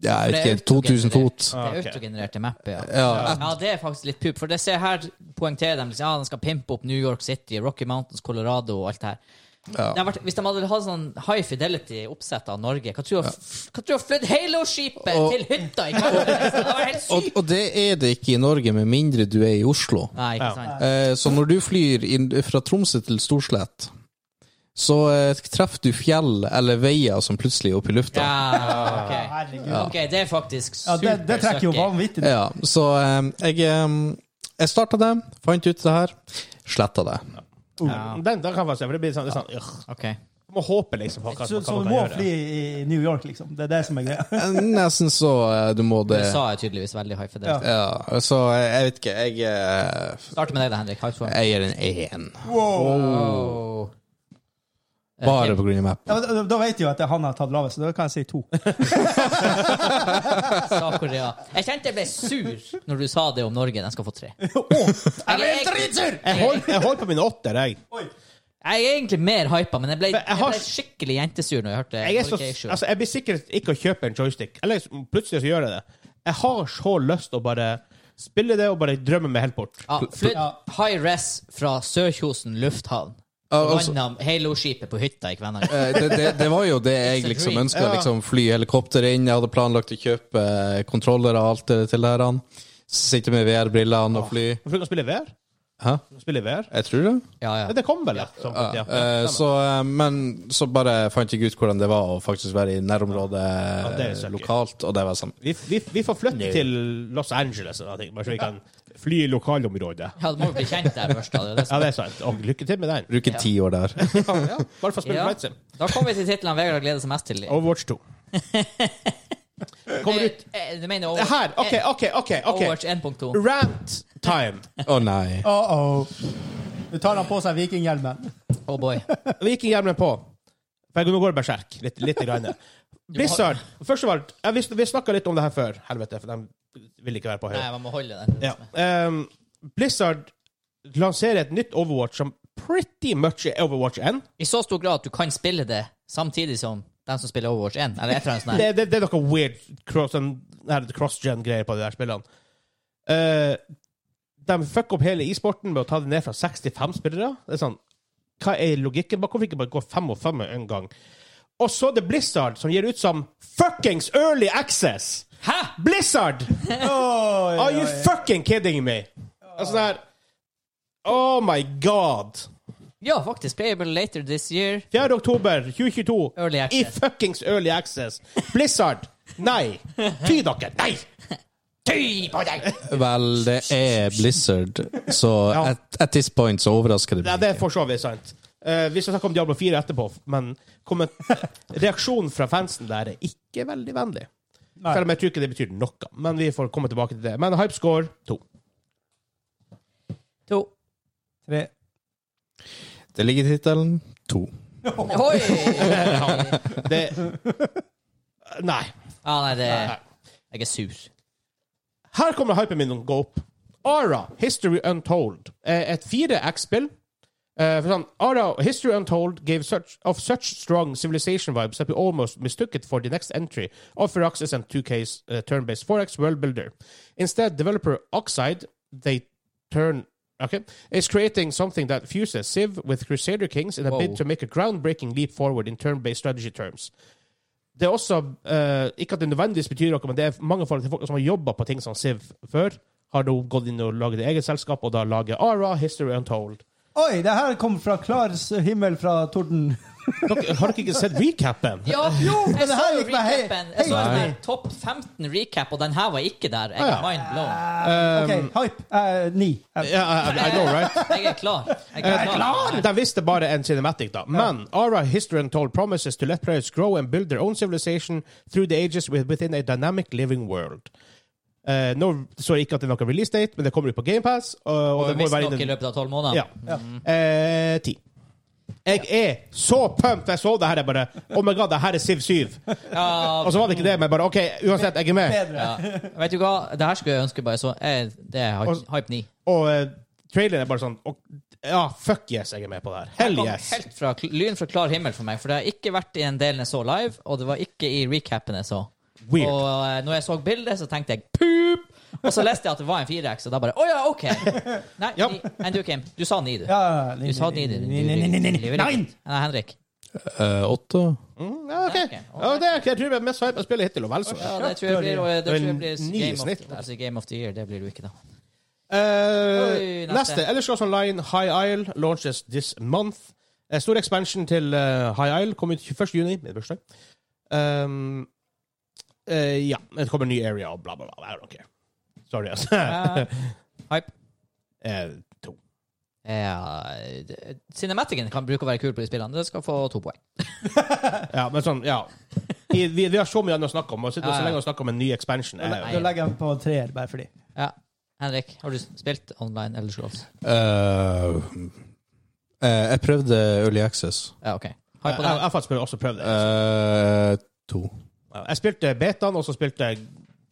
ja, jeg vet ikke, For det er 2000 fot. Det Ah, er ok. autogenererte mapper, ja. Ja, Ja, det er faktisk litt pup. For det ser her poengterer de liksom, ja, de skal pimpe opp New York City, Rocky Mountains, Colorado og alt det her. Det hadde vært, hvis de hadde hatt sånn high fidelity-oppsett av Norge, hva tror du hva tror du flydd Halo-skipet Og- til hytta i Canada? Det var helt og, sykt! og det er det ikke i Norge, med mindre du er i Oslo. Nei, ikke sant. Eh, Så når du flyr inn fra Tromsø til Storslett, så eh, treffer du fjell eller veier som plutselig er oppe i lufta. Ja, ok. Herregud. Ok, det er faktisk Ja, det, det trekker jo supersucky. vanvittig. Ja, så eh, jeg, eh, jeg starta det, fant ut det her, sletta det. Uh. Den, den kan man se, for det blir sånn, det er sånn ugh. Ok. Du må håpe liksom på hva, Så, hva så man du kan må gjøre. fly i New York, liksom. Det er det som er greia. Eh, Nesten så eh, du må det USA er tydeligvis veldig high fidelity. Ja, så jeg, jeg vet ikke, jeg eh, Start med deg, da, Henrik. High five. Jeg gir en én. Oh. Bare på grunn av map. Ja, men da, da vet jeg jo at det er han jeg har tatt lavest, så da kan jeg si to. Sa-Korea. Jeg kjente jeg ble sur når du sa det om Norge. Den skal få tre. Jeg er dritsur! Jeg holder jeg holder på min åtter, jeg. Jeg er egentlig mer hypa, men jeg ble, Men jeg jeg har- ble skikkelig jentesur når jeg hørte Jeg, er så, Norge er sju. altså, jeg blir sikkert ikke å kjøpe en joystick. Eller så- plutselig så gjør jeg det. Jeg har så lyst å bare spille det og bare drømme meg helt bort. ja, flytt high res fra Sørkjosen lufthavn. Ja, altså- Landa Halo-skipet på hytta i Kvænangen. Eh, Det, det, det var jo det jeg It's a liksom dream. ønska. Liksom, fly helikopter inn. Jeg hadde planlagt å kjøpe eh, kontrollere og alt det til det her. han. Sitte med VR-brillene og fly. For du kan spille i VR. Hæ? Du kan Spille i VR. Jeg tror det. Ja, Ja, ja. det kom vel? Ja. Sånn, ja. Eh, så, eh, men så bare fant jeg ut hvordan det var å faktisk være i nærområdet det er eh, så gøy. lokalt, og det var sånn vi, vi, vi får flytte til Los Angeles, og sånne ting, bare så vi kan fly i lokalområdet. Ja, du må jo bli kjent der først. Da, det er det Ja, som- det er sant. Og lykke til med den. Bruke ti år der. Ja, bare for å spille Ja. Flight Sim. da kommer vi til titlene Vegard gleder seg mest til. Overwatch 2. Kommer ut Eh, eh, Du mener Det Overwatch, her! OK, OK, OK. ok Overwatch 1.2. Rant time. Å nei. Uh -oh. Nå tar han på seg vikinghjelmen. Oh boy. Vikinghjelmen på. For jeg nå går det berserk. Litt, litt grann. Blizzard. Først av alt, ja, vi, vi snakka litt om det her før. Helvete, for de vil ikke være på Nei, høyre. man må holde den. Ja. Ehm, Blizzard lanserer et nytt Overwatch som pretty much er Overwatch 1. I så stor grad at du kan spille det samtidig som den som spiller Overwatch 1. Eller et eller annet sånt. der. Det, det, det er noe weird cross- sånn her cross-gen-greier på de der spillene. Eh, de fucker opp hele e-sporten med å ta det ned fra seks til fem spillere. Det er sånn, Hva er logikken? bak? Hvorfor ikke bare gå fem og fem med en gang? Og så det Blizzard, som gir ut som fuckings early access! Hæ?! Blizzard! Oi, Are oi, you oi. fucking kidding me? Altså det her Oh my god! Ja, faktisk. Playable later this year. 4. oktober 2022. Early I access. fuckings early access. Blizzard! Nei! Fy dere! Nei! Fy på deg! Vel, det er Blizzard, så Ja. at, at this point så overrasker det Ja, meg. det er for så vidt sant. Eh, vi skal snakke om Diablo 4 etterpå, men komment- reaksjonen fra fansen der er ikke veldig vennlig. Nei. Selv om jeg tror ikke det betyr noe. Men vi får komme tilbake til det. Men hypescore to. To. Tre. Det ligger i tittelen. To. Oi! Det Eh, Nei. Ja, nei, det Jeg er sur. Her kommer hypen min å gå opp. Ara, History Untold, er et 4X-spill. Eh, for sånn, Ara, History Untold gave such, of such strong civilization vibes that we almost mistook it for the next entry of Firaxis and 2K's uh, turn-based 4X world builder. Instead, developer Oxide, they turn Okay, is creating something that fuses Civ with Crusader Kings in a bid to make a groundbreaking leap forward in turn-based strategy terms. det er også eh, Ikke at det nødvendigvis betyr noe, men det er mange folk, folk som har jobba på ting som Siv før, har nå gått inn og laget eget selskap, og da lager Ara History Untold. Oi, det her kom fra klar s- himmel fra torden. Dere, har dere ikke sett recapen? Ja, jo! Jeg det så her jo gikk meg hei- recapen. Jeg så en hei- sånn her topp 15 recap, og den her var ikke der. Jeg er Ah, ja. mind OK, blown. hype. Eh, ni. Eh, Ja, I, I know, right? Jeg er klar. Jeg er klar. De visste bare en cinematic, da. Men Ara History Untold promises to let players grow and build their own civilization through the ages with- within a dynamic living world. Eh, nå står det ikke at det er noen release date, men det kommer ut på GamePass. Og, og det må jo være Visstnok i innen løpet av tolv måneder. Ja. Eh, ti. Jeg er så pumped da jeg så det her. Jeg bare Oh my god, det her er Siv 7. Ja, Og så var det ikke det, men bare OK, uansett, jeg er med. Bedre. vet du hva? Det her skulle jeg ønske bare så eh, Det er hype- hype 9. Og eh, traileren er bare sånn og, Ja, fuck yes, jeg er med på det her. Det Hell kom yes. Helt fra kl- lyn fra klar himmel for meg, for det har ikke vært i en delen jeg så live, og det var ikke i recapen jeg så. Weird. Og eh, når jeg så bildet, så tenkte jeg poop! Og så leste jeg at det var en 4X, og da bare Å ja, OK! Nei, Ja. ni, enn du, Kim. Du sa ni, du. Ja, Du sa ni, du. Du- du- Nei, nei, nei, nei, du- du- nei. Nei! Nei, Henrik. Eh, åtte? Mm, ja, ok. Ja, ok. Ja, det er, jeg tror vi er mest hypa spillet hittil, og vel så. Ja, det tror jeg blir, det tror jeg blir En ni i game, snitt. of, altså game of the Year. Det blir du ikke, da. Eh, Oi, neste. neste. Ellers Goes Online High Isle launches this month. Eh, stor expansion til eh, High Isle kom ut 21. juni, min bursdag. Um, eh, ja. Det kommer en ny area og bla, bla, bla. I don't care. Sorry, altså. Eh, hype. Eh, to. Ja, det- Cinematicen kan bruke å være kul på de spillene. Det skal få to poeng. Ja, men sånn, ja. Vi, vi, vi har så mye annet å snakke om. Og sitter Ja, ja. så lenge og snakker om en ny expansion. Eh, Da legger jeg på treer, bare fordi. Ja. Henrik, har du spilt online Elder Scrolls? Eh, eh, jeg prøvde Early Access. Ja, OK. Hype jeg, på jeg, den. jeg faktisk burde også prøvd det. Eh, to. Jeg spilte betaen, og så spilte jeg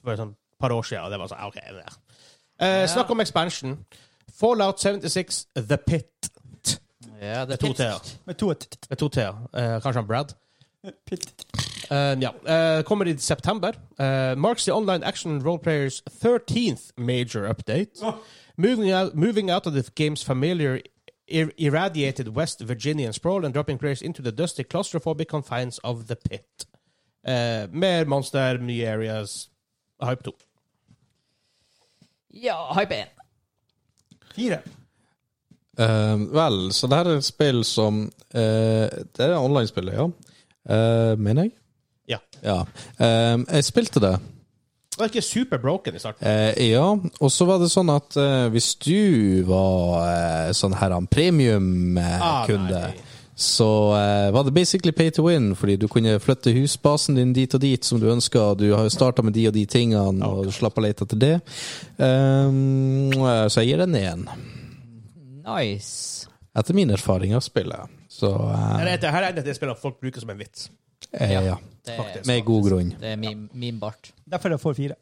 for et sånn par år siden, og det var sånn, ah, ok, det der. Eh, Snakk om expansion. Fallout 76, The Pit. Ja, det er To fint. T-er. Med to et Det er to T-er. Eh, kanskje han Brad. pitt. Eh, ja. Eh, kommer i september. Eh, marks the online action roleplayers 13th major update. Moving, out, moving out of the game's familiar ir- irradiated West Virginian sprawl and dropping players into the dusty claustrophobic confines of the pit. Eh, mer monster, nye areas. Hype 2. Ja, hype 1. Fire. Eh, vel, så det her er et spill som eh, Det er online-spillet, ja. Eh, mener jeg? Ja. Ja. Eh, jeg spilte det. Det var ikke super broken i starten. Eh, ja, og så var det sånn at eh, hvis du var eh, sånn her han Ah, premium-kunde, nei. så eh, var det basically pay to win, fordi du kunne flytte husbasen din dit og dit som du ønska. Du har jo starta med de og de tingene, og du slapp å lete etter det. Um, eh, så jeg gir den én, Nice. etter min erfaring av spillet. Så eh, Her er det- her er det det spillet folk bruker som en vits. eh, ja. Det, Faktisk. Med god grunn. det er min, min bart. Derfor jeg får fire.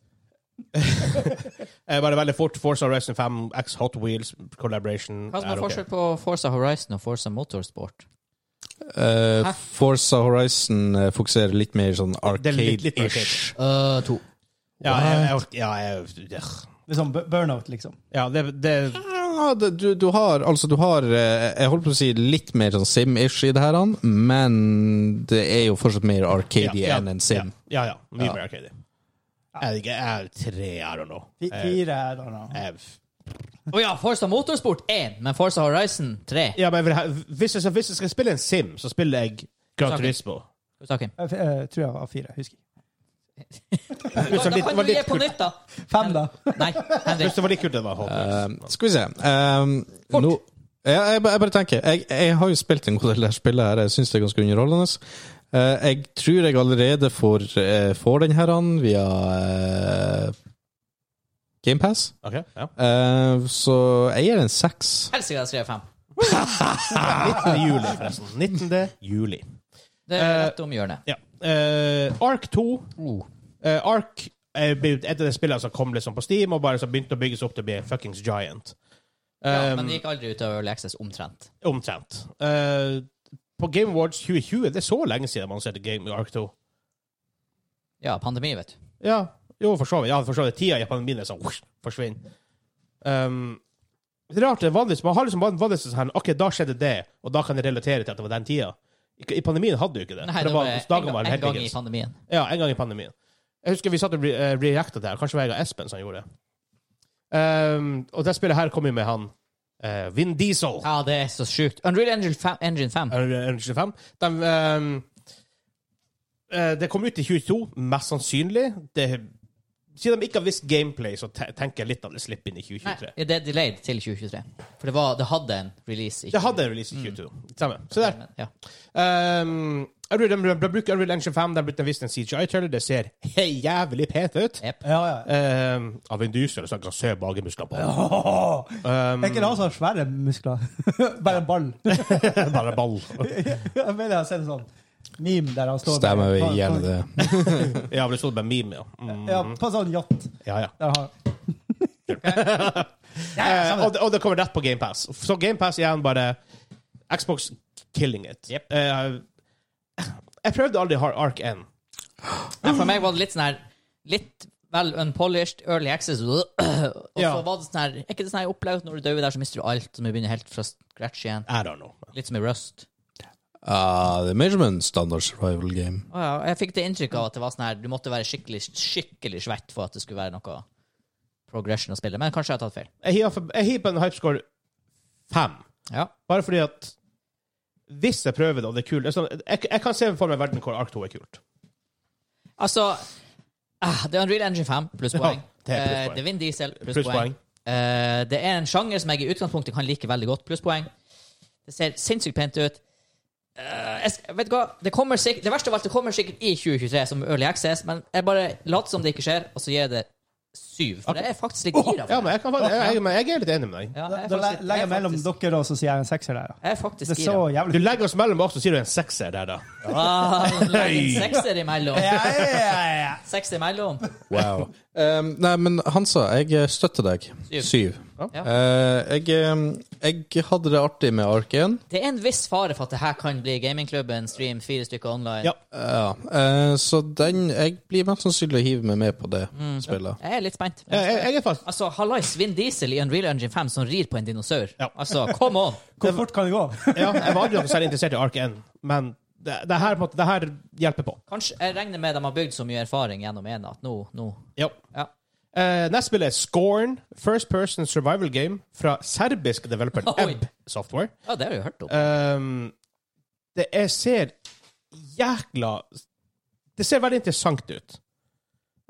Eh, bare veldig fort. Forza Horizon 5, X Hot Wheels, Collaboration. Hva som er er ok. forskjell på Forza Horizon og Forza Motorsport? Eh, Hæ? Forza Horizon eh, fokuserer litt mer sånn Det er litt- litt arcade-ish. Uh, to. Ja, jeg, jeg, ja, jeg, ja. Det er sånn bu- burnout, liksom. ja det, det Ja, det- du, du har altså du har eh, Jeg holdt på å si litt mer sånn sim-ish i det her, han, men det er jo fortsatt mer arcade enn en sim. Ja, ja. ja. Mye Ja. mer arcade. Jeg vet ikke, jeg er tre, I don't know. Fi- Eh. Jeg- Fire er da nå. jeg- Å ja, Forza Motorsport 1, men Forza Horizon 3. Ja, men hvis jeg, hvis jeg skal spille en sim, så spiller jeg Gran Saken. Turismo. Hva sa Kim? Jeg f- eh, tror jeg var fire. Husker ikke. Da Pluss det var da kan litt du gi kult. på nytt, da. Fem, da. Nei, Hvis Henrik. det var litt kult, det var Hot Wheels. Eh, skal vi se Ehm, nå, ja, jeg, ba- jeg bare tenker jeg, jeg har jo spilt en god del av spillet her, jeg syns det er ganske underholdende. Eh, jeg tror jeg allerede får, eh, får den her han via uh, GamePass. Ok, ja. Eh, så jeg gir en seks. Helsike, jeg skrev fem. 19. juli, forresten. 19. juli. Det er rett om hjørnet. Ja. Eh, Ark 2. Eh, Ark er blitt et av de spillene som kom liksom på Steam, og bare så begynte å bygges opp til å bli fuckings giant. Ja, Um, men det gikk aldri ut av Early Access omtrent. Omtrent. Eh, på Game Awards 2020 Det er så lenge siden man sette Game Ark 2. Ja, pandemi, vet du. Ja, jo, for så vidt. Ja, for så vidt. Tida i pandemien er sånn whoosh, forsvinner. Um, det er rart, det er vanligvis Man har liksom van- vanligvis sånn OK, da skjedde det, og da kan jeg relatere til at det var den tida. I, i pandemien hadde du ikke det. Nei, det for det var, var en, dagen gang- var en gang i heldigens. pandemien. Ja, en gang i pandemien. Jeg husker vi satt og re eh, reacta der. Kanskje det var jeg og Espen som gjorde det. Um, og det spillet her kom jo med han eh, Vin Diesel. Ja, det er så sjukt. Unreal Engine 5. Engine 5. Er det 25? De, ehm, eh, det kom ut i 22, mest sannsynlig. Det, siden de ikke har visst gameplay, så te tenker jeg litt at det slipper inn i Nei, 2023. det er delayed til 2023. For det, var, det hadde en release. i Det hadde en release i 22. Samme. Så der. 2023, men- Ja. Ehm, Unreal- de, de bruker Unreal Engine 5, de brukte visst en CGI-trailer. Det ser jævlig pent ut. Yep. Ja, ja. Ehm, av en dyser som kan se magemusklene på. Åh, er Um, ikke det han som har svære muskler? Bare en ball. Bare ball. Jeg mener jeg har sett en sånn meme der han står Stemmer på- på- gjerne det. ja, men det stod bare meme, ja. Mm, Ja, på en sånn yacht. ja, ja. Der har Eh, og, det- og det kommer rett på GamePass. Så GamePass igjen bare Xbox killing it. Eh, jeg prøvde aldri Har- Ark 1. Nei, For meg var det litt sånn her Litt vel unpolished, early access Og så Ja. var det sånn her Er ikke det sånn her opplevd når du dør der, så mister du alt, så må du begynne helt fra scratch igjen? I don't know. Litt som i Rust. Ah, det er mer som en standard survival game. Å ja, jeg fikk det inntrykk av at det var sånn her du måtte være skikkelig skikkelig svett for at det skulle være noe progression å spille. Men kanskje jeg har tatt feil. Jeg hiver for- jeg hiver på en hypescore fem. Ja. Bare fordi at hvis jeg prøver det, og det er kult det er sånn, jeg, jeg kan se for meg en verden hvor Ark 2 er kult. Altså ah, Det er Unreal Engine 5, plusspoeng. Ja, det er plusspoeng. Eh, det er Vin Diesel, plusspoeng. Plusspoeng. Eh, det er en sjanger som jeg i utgangspunktet kan like veldig godt. Plusspoeng. Det ser sinnssykt pent ut. Eh, jeg, sk- vet du hva? Det, kommer sikk- det verste av alt, det kommer sikkert i 2023 som Early Access, men jeg bare later som det ikke skjer, og så gir jeg det syv. For jeg er faktisk litt gira. Ja, for det. men jeg, kan, jeg, jeg, men jeg er litt enig med deg. Ja, Da, jeg er da faktisk- legger jeg mellom faktisk- dere, og så sier jeg en sekser der. da. Jeg er Det faktisk er så gira. Du jævlig legger oss mellom oss, og sier du en sekser der, da. Ah, legg en sekser imellom. ja, ja, ja, ja. Seks imellom. Wow. um, nei, men Hansa, jeg eh, støtter deg. Syv. Syv. Ja. Eh, jeg, um, jeg hadde det artig med Ark 1. Det er en viss fare for at det her kan bli gamingklubben, stream, fire stykker online. Ja. Ja, eh, så den Jeg blir mest sannsynlig å hive meg med på det Mm. spillet. Jeg er litt spent. Jeg, jeg, jeg er fast. Altså, Hallais Vin Diesel i Unreal Engine 5 som rir på en dinosaur. Ja. Altså, come on! Hvor fort kan det gå? Ja, jeg var aldri noe særlig interessert i Ark 1, men det, det, her, på en måte, det her hjelper på. Kanskje jeg regner med de har bygd så mye erfaring gjennom en at nå, nå Ja. ja. Eh, neste spill er Scorn, first person survival game fra serbisk developer Oi. Ebb Software. ja, det har jeg jo hørt om. Ehm, det jeg ser jækla Det ser veldig interessant ut.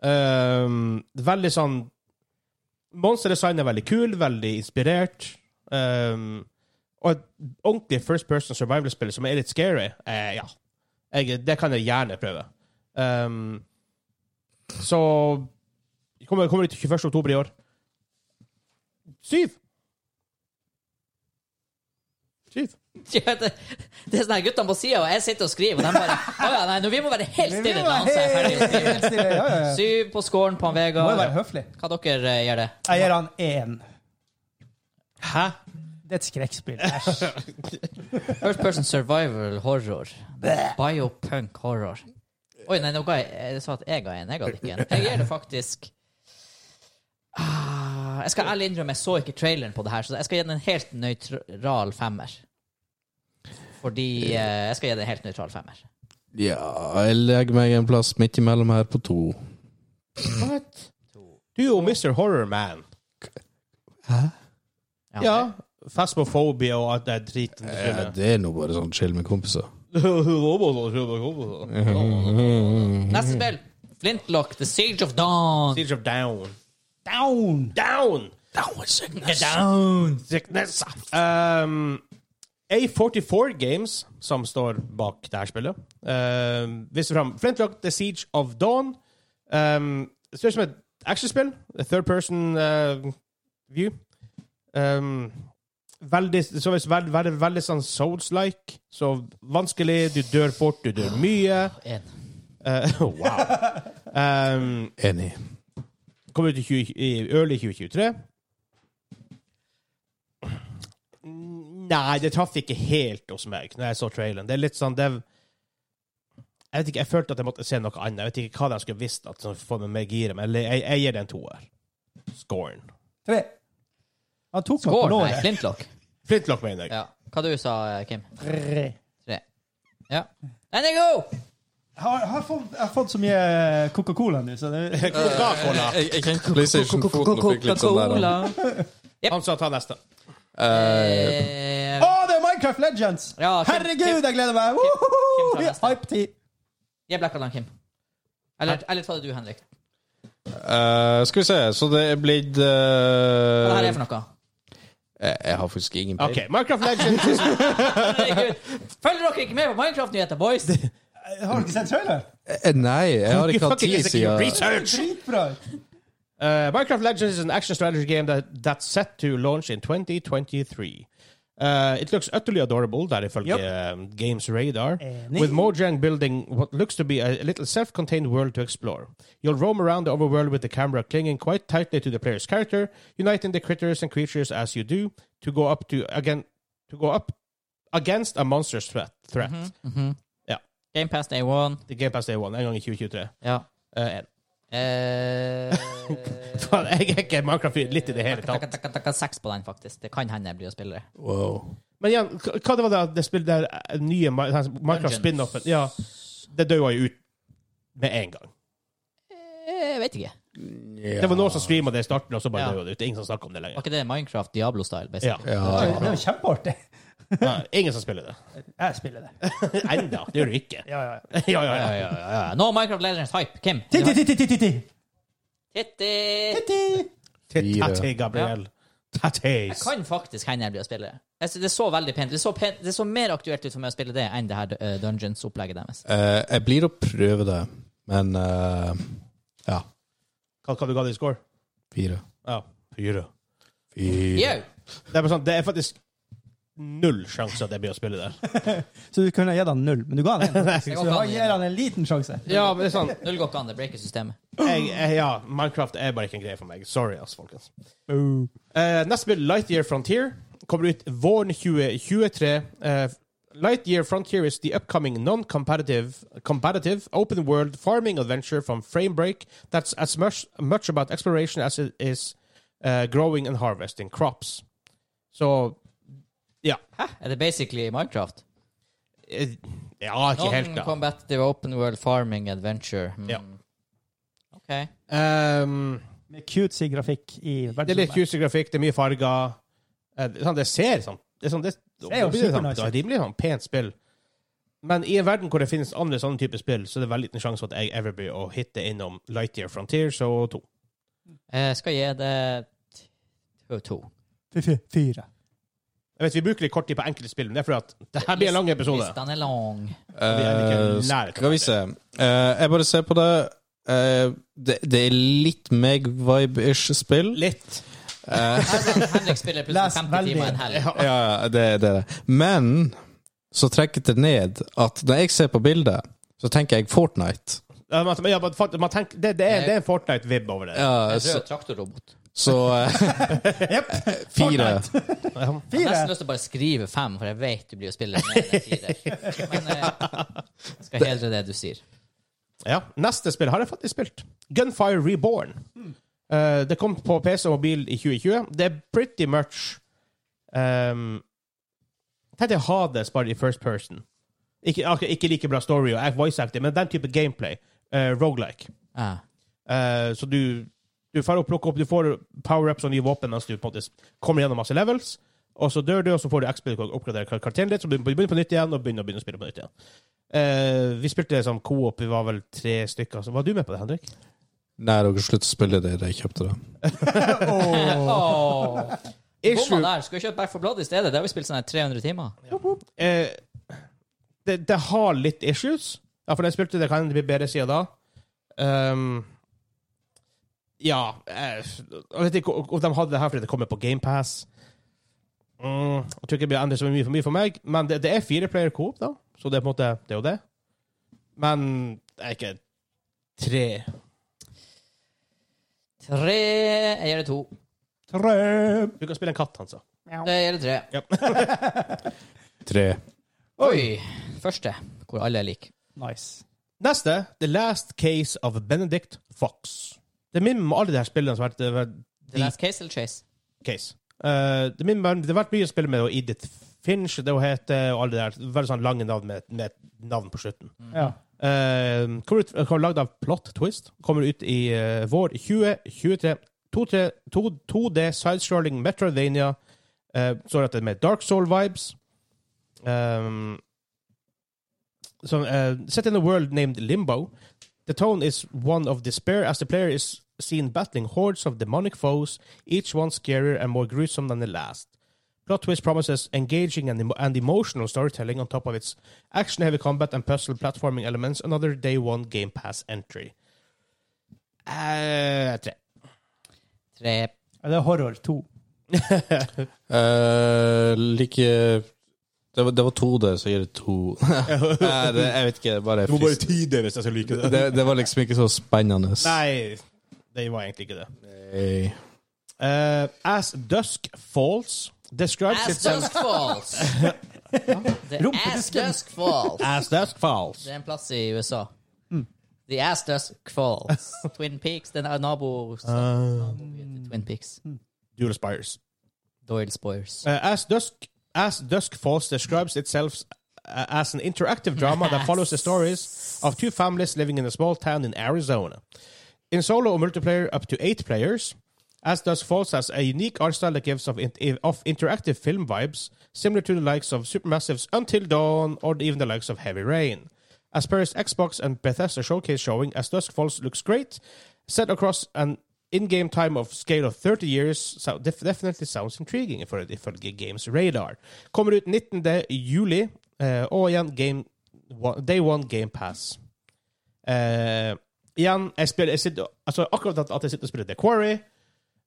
Ehm, veldig sånn Monsterdesign er veldig kul, veldig inspirert. Ehm, og et ordentlig first person survival-spill som er litt scary, eh, ja. Jeg, det kan jeg gjerne prøve. Ehm, så det kommer, kommer ut 21. oktober i år. Syv! Syv. Ja, det, det er sånn her guttene på sida, og jeg sitter og skriver, og de bare Å ja, nei, nå, vi må være helt stille når han er ferdig å skrive. Helt stille. Ja, ja, ja. Syv på scoren på han Må jo være Vegard. høflig. Hva dere eh, gjør det? Jeg gir han én. Hæ? Det er et skrekkspill. Æsj. First person survival horror. Biopunk horror. Oi, nei, nå ga jeg, jeg sa at jeg ga en. Jeg ga det ikke en. Jeg gir det faktisk ah, Jeg skal ærlig innrømme, jeg så ikke traileren på det her, så jeg skal gi den en helt nøytral femmer. Fordi eh, Jeg skal gi den en helt nøytral femmer. Ja, jeg legger meg en plass midt imellom her på to. What? Du er jo Mr. Horror Man. Ja. Ja. Fasmophobia og alt det driten. Eh, det er nå bare sånn chill med kompiser. Siege Neste spill. Flintlock, The Siege of Dawn. of Down. Down! Down! Down! Sickness! Um, A44 Games, som står bak det her spillet, um, viser fram Flintlock The Siege of Dawn. Um, det ser ut som et actionspill. a Third person uh, view. Um, veldig, så veld, veld, veldig, veldig sånn souls-like. Så vanskelig. Du dør fort, du dør mye. En. Uh, wow. Um, Enig. Kommer ut i, 20, i early 2023. Nei, det traff ikke helt hos meg når jeg så traileren. Det er litt sånn det, Jeg vet ikke, jeg følte at jeg måtte se noe annet. Jeg vet ikke hva de skulle visst at som får meg mer gira, men jeg, jeg, jeg gir det en toer. Scoren. Tre. Han tok meg på Gård, nei. låret. Flintlock. Flintlock, mener jeg. Ja. Hva du sa eh, Kim? Tre. Tre. Ja. And they go! Jeg har, har fått, jeg har fått så mye eh, Coca-Cola nå, så det Coca-Cola. Jeg kjente PlayStation-foten og fikk litt sånn der. Coca-Cola. Han sa ta neste. Eh, Eh, Å, det er Minecraft Legends! Ja, Kim- Herregud, jeg gleder meg! Kim tar neste. Hype-tid. Jeg blacka den, Kim. Eller, eller ta det du, Henrik. eh, skal vi se, så det er blitt Hva det eh, her er for noe? jeg, jeg har faktisk ingen OK. peiling. Minecraft Legends. Herregud. Følger dere ikke med på Minecraft-nyheter, boys? Har du ikke sett trailer? Eh, Nei, jeg har ikke hatt tid siden Research. Dritbra. Uh, Minecraft Legends is an action strategy game that, that's set to launch in 2023. Uh, it looks utterly adorable, that if Yep. um, Games Radar, Enig. with Mojang building what looks to be a little self contained world to explore. You'll roam around the overworld with the camera clinging quite tightly to the player's character, uniting the critters and creatures as you do to go up to again to go up against a monster's threat. threat. Yeah. GamePast Day One. Det er Game Pass Day One, en gang i 2023. Ja. Eh, en. Eh, Faen, jeg er ikke en Minecraft-fyr litt i det hele tatt. takka, takka, takka, Seks på den, faktisk. Det kan hende jeg blir å spille det. Wow. Men igjen, hva hva det var det, det spillet der eh, nye Mi- den Dungeons. Minecraft-spin-offen Ja, det døde jo ut med en gang. Eh, Jeg vet ikke. Det var noen som streama det i starten, og så bare Ja. døde det ut. Ingen som snakker om det lenger. Var ikke det Minecraft Diablo-style? Ja. basically? Det er Ja. jo kjempeartig. Nei, ingen som spiller det. Jeg spiller det. Enda. Det gjør du ikke. Ja, ja, ja. Ja, ja, ja. ja, ja, ja. No Minecraft Legends hype. Kim? Titti, titti, titti, titti. Titti. Titti. Tete, Gabriel. Jeg Tates. kan faktisk hende jeg blir å spille det. Jeg synes det så veldig pent. Det så, pent. det så mer aktuelt ut for meg å spille det enn det her eh, Dungeons-opplegget deres. Eh, jeg blir å prøve det, men eh, ja. Hva hva du ga det i score? Fire. Ja. Fire. Fire. Yo! Det er, bare sånn, det er faktisk null sjanse at jeg blir å spille der. Så du kunne gitt han null, men du ga han en. Så ga da han en. gir han en liten sjanse. Ja, men det er sånn Null går ikke an. Det breaker systemet. jeg, jeg, Ja, Minecraft er bare ikke en greie for meg. Sorry, ass, folkens. Boo. Eh, neste spill, Lightyear Frontier, kommer ut våren 2023. Eh, Lightyear Frontier is the upcoming non-competitive competitive open world farming adventure from Framebreak that's as much, much about exploration as it is eh, growing and harvesting crops. Så ja. Hæ? Er det basically Minecraft? Eh, Ja, ikke helt, da. Non-combative open world farming adventure. Mm. Ja. OK. Jeg Ehm, Med cutesy grafikk i det er litt verdensrommet. kusig grafikk, det er mye farger. Eh, det- Sånn, det ser sånn Det er sånn, det, det, Ser jo blir sånn, supernice det er ut. rimelig sånn pent spill. Men i en verden hvor det finnes andre sånne typer spill, så er det veldig liten sjanse for at jeg ever blir å hitte innom Lightyear Frontiers og to. Eh, skal gi det t- to. Fy- fy- Fire. Jeg vet Vi bruker litt kort tid på enkelte spill, men det er fordi at det her blir en lang episode. Listene er lang. er Eh, ikke nær til skal vi se. Eh, jeg bare ser på det. Eh, det, det er litt meg-vibe-ish spill. Eh, Litt. Her er sånn, Henrik spiller Les plutselig 50 veldig. timer en helg. Ja, ja, det er det. er det. Men så trekker det ned at når jeg ser på bildet, så tenker jeg Fortnite. Ja, man, ja, man, fant- man tenker, det, det, er, det er en Fortnite-vib over det. Ja, Jeg tror så, jeg er traktorrobot. så eh, Fire. Jeg har Fire. nesten lyst til å bare skrive fem, for jeg vet du blir å spille mer enn fire. Men eh, jeg skal hedre det du sier. Ja, Neste spill har jeg faktisk spilt. Gunfire Reborn. Eh, det kom på PC og mobil i 2020. Det er pretty much um, Tenk deg Hades bare i first person. Ikke, ak- ikke like bra story og act- voice acting, men den type gameplay. Uh, Rogelike. Ja. Eh, så du du får opp, plukke opp, du får power-ups og nye våpen mens du på en måte kommer gjennom masse levels. Og så dør du, og så får du XP og oppgradere kar- karakteren ditt, så du begynner på nytt igjen og begynner, begynner å spille på nytt igjen. Eh, vi spilte som co-op, vi var vel tre stykker. Så var du med på det, Henrik? Nei, dere slutter å spille det da jeg kjøpte det. Åh. Bomma Issue, der. Skal vi kjøpe Back for Blood i stedet? Det har vi spilt sånn her 300 timer. eh, det, det har litt issues. Ja, for den spilte, det kan bli bedre siden da. Ehm, ja eh, Jeg vet ikke om de hadde det her fordi det kommer på GamePass. Mm, jeg tror ikke det blir endret så mye for mye for meg, men det, det er fire player coop, da. Så det er på en måte det er jo det. Men det er ikke tre Tre Jeg gir det to. Tre. Du kan spille en katt, altså. han sa. Det gir det tre. Tre. Oi. Første, hvor alle er like. Nice. Neste, The Last Case of Benedict Fox. Det minner meg om alle de her spillene som har vært- det har vært The Last Case eller Chase? case. Eh, det, min, det har vært mye å spille med og Edith Finch det hun heter, og alle det der. Veldig sånn lange navn med, med et navn på slutten. Mm. Ja. Eh, kommer ut, kommer lagd av Plot Twist. Kommer ut i eh, vår 2023. 2D, 2D sidescrolling Metrovania. Uh, så er det med Dark Soul-vibes. Um, so, uh, set in a world named Limbo, the tone is one of despair as the player is seen battling hordes of demonic foes, each one scarier and more gruesome than the last. Plot Twist promises engaging and, emo- and emotional storytelling on top of its action heavy combat and puzzle platforming elements, another day one Game Pass entry. Eh, tre. Tre. Ja, Det er horror to. Eh, like det var, det var to det, så jeg gir det to. Nei, det, jeg vet ikke. det Bare frist. tide hvis jeg skal like det, det var liksom ikke så spennende. Nei, det var egentlig ikke det. Nei. Eh, As Dusk Falls describes As itself Dusk Falls. The Rumpetisken. Ass Dusk Falls. As Dusk Falls. Det er en plass i USA. Mm. The Ass Dusk Falls. Twin Peaks. Den er Ah. nabo... nabobyen til Twin Peaks. Dual Spires. Doyle Spoyers. Uh, as Dusk As Dusk Falls describes itself uh, as an interactive drama that follows the stories of two families living in a small town in Arizona. In solo or multiplayer, up to eight players. As Dusk Falls has a unique art style that gives off, in- off interactive film vibes, similar to the likes of Supermassive's Until Dawn or even the likes of Heavy Rain. As per its Xbox and Bethesda showcase showing, As Dusk Falls looks great, set across an in-game time of scale of 30 years, so def definitely sounds intriguing for ifølge Games Radar. Kommer ut 19. juli, eh, og igjen game, one, Day One Game Pass. Eh, igjen, jeg spiller, jeg sitter, altså akkurat at, at jeg sitter og spiller The Quarry, eh,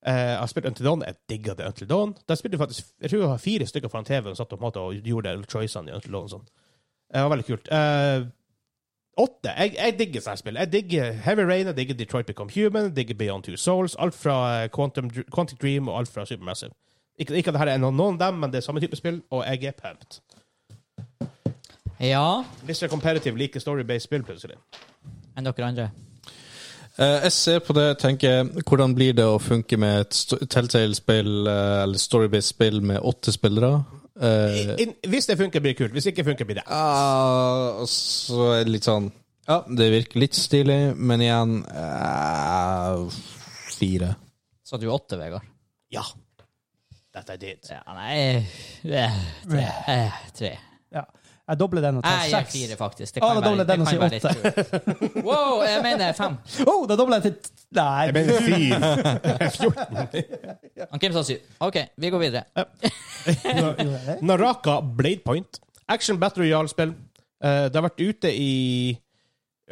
jeg har spilt Until Dawn, jeg digger det Until Dawn. Da spilte jeg faktisk, jeg tror jeg har fire stykker foran TV-en satt og, på en måte, og gjorde choicene i Until Dawn og sånn. Det var veldig kult. Eh, Åtte. Jeg, jeg digger sånne spill. Jeg digger Heavy Rain, jeg digger Detroit Become Human, jeg digger Beyond Two Souls, alt fra eh, Quantum, Dr- Quantic Dream og alt fra Supermassive. Ikke, ikke at dette er noen, noen av dem, men det er samme type spill, og jeg er pumped. Ja. Mr. Comparative liker story-based spill plutselig. Enn dere andre? Eh, Jeg ser på det og tenker hvordan blir det å funke med et sto- Telltale-spill eh, eller storybased spill med åtte spillere? I, Eh, in, hvis det funker, blir det kult. Hvis ikke funker, blir det ah, og så er det litt sånn Ja, det virker litt stilig, men igjen eh, Fire. Sa du åtte, Vegard? Ja. That I did. Ja, nei eh, Tre. eh, tre. Ja. Jeg dobler den og tar Nei, jeg er seks. fire, faktisk. Det Å, da kan være, dobler det den og kan sier være litt kult. Wow, jeg mener fem. Oh, da dobler jeg til Nei. Jeg mener syv. 14. Han Kim sa syv. OK, vi går videre. Jo, jo, eh. Naraka Blade Point. Action Battle Royale-spill. Eh, det har vært ute i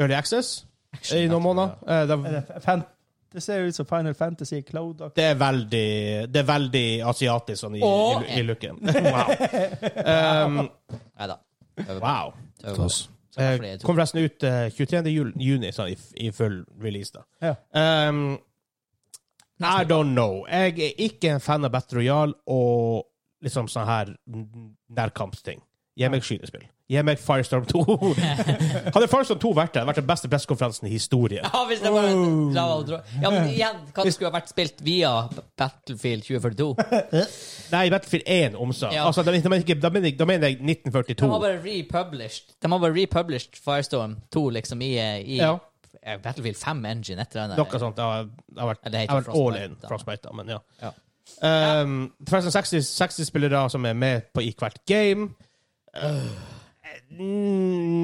Early Access i noen måneder. Eh, det, har- Er det fan- Det ser ut som Final Fantasy Cloud. Det er veldig, det er veldig asiatisk sånn i, Åh. i, i looken. Wow. Um, Nei da. wow. Klass. Eh, kom forresten ut eh, 23. jul- juni sånn, i, i full release. da. Ja. Um, I don't know. Jeg er ikke en fan av Battle Royale og liksom sånn her n- nærkampsting. Gi meg skytespill. Gi meg Firestorm 2. Hadde Firestorm 2 vært der, hadde det vært den beste pressekonferansen i historien. Ja, hvis det var en Lava Dro- Ja, men igjen, hva det skulle ha vært spilt via Battlefield 2042? Nei, Battlefield 1 omsa. Ja. Altså, da, da, mener jeg ikke- da, mener jeg- da mener jeg De har 1942. bare republished De har bare republished Firestorm 2 liksom i, i Ja. eh, Battlefield 5 Engine, et eller Noe annet. sånt. Det har, det har Ja, vært, det det heter har vært all Frostbite, in. da. Frostbite, da, men ja. Ja. Ehm, det er forresten 60, 60 spillere som er med på i hvert game. Øh,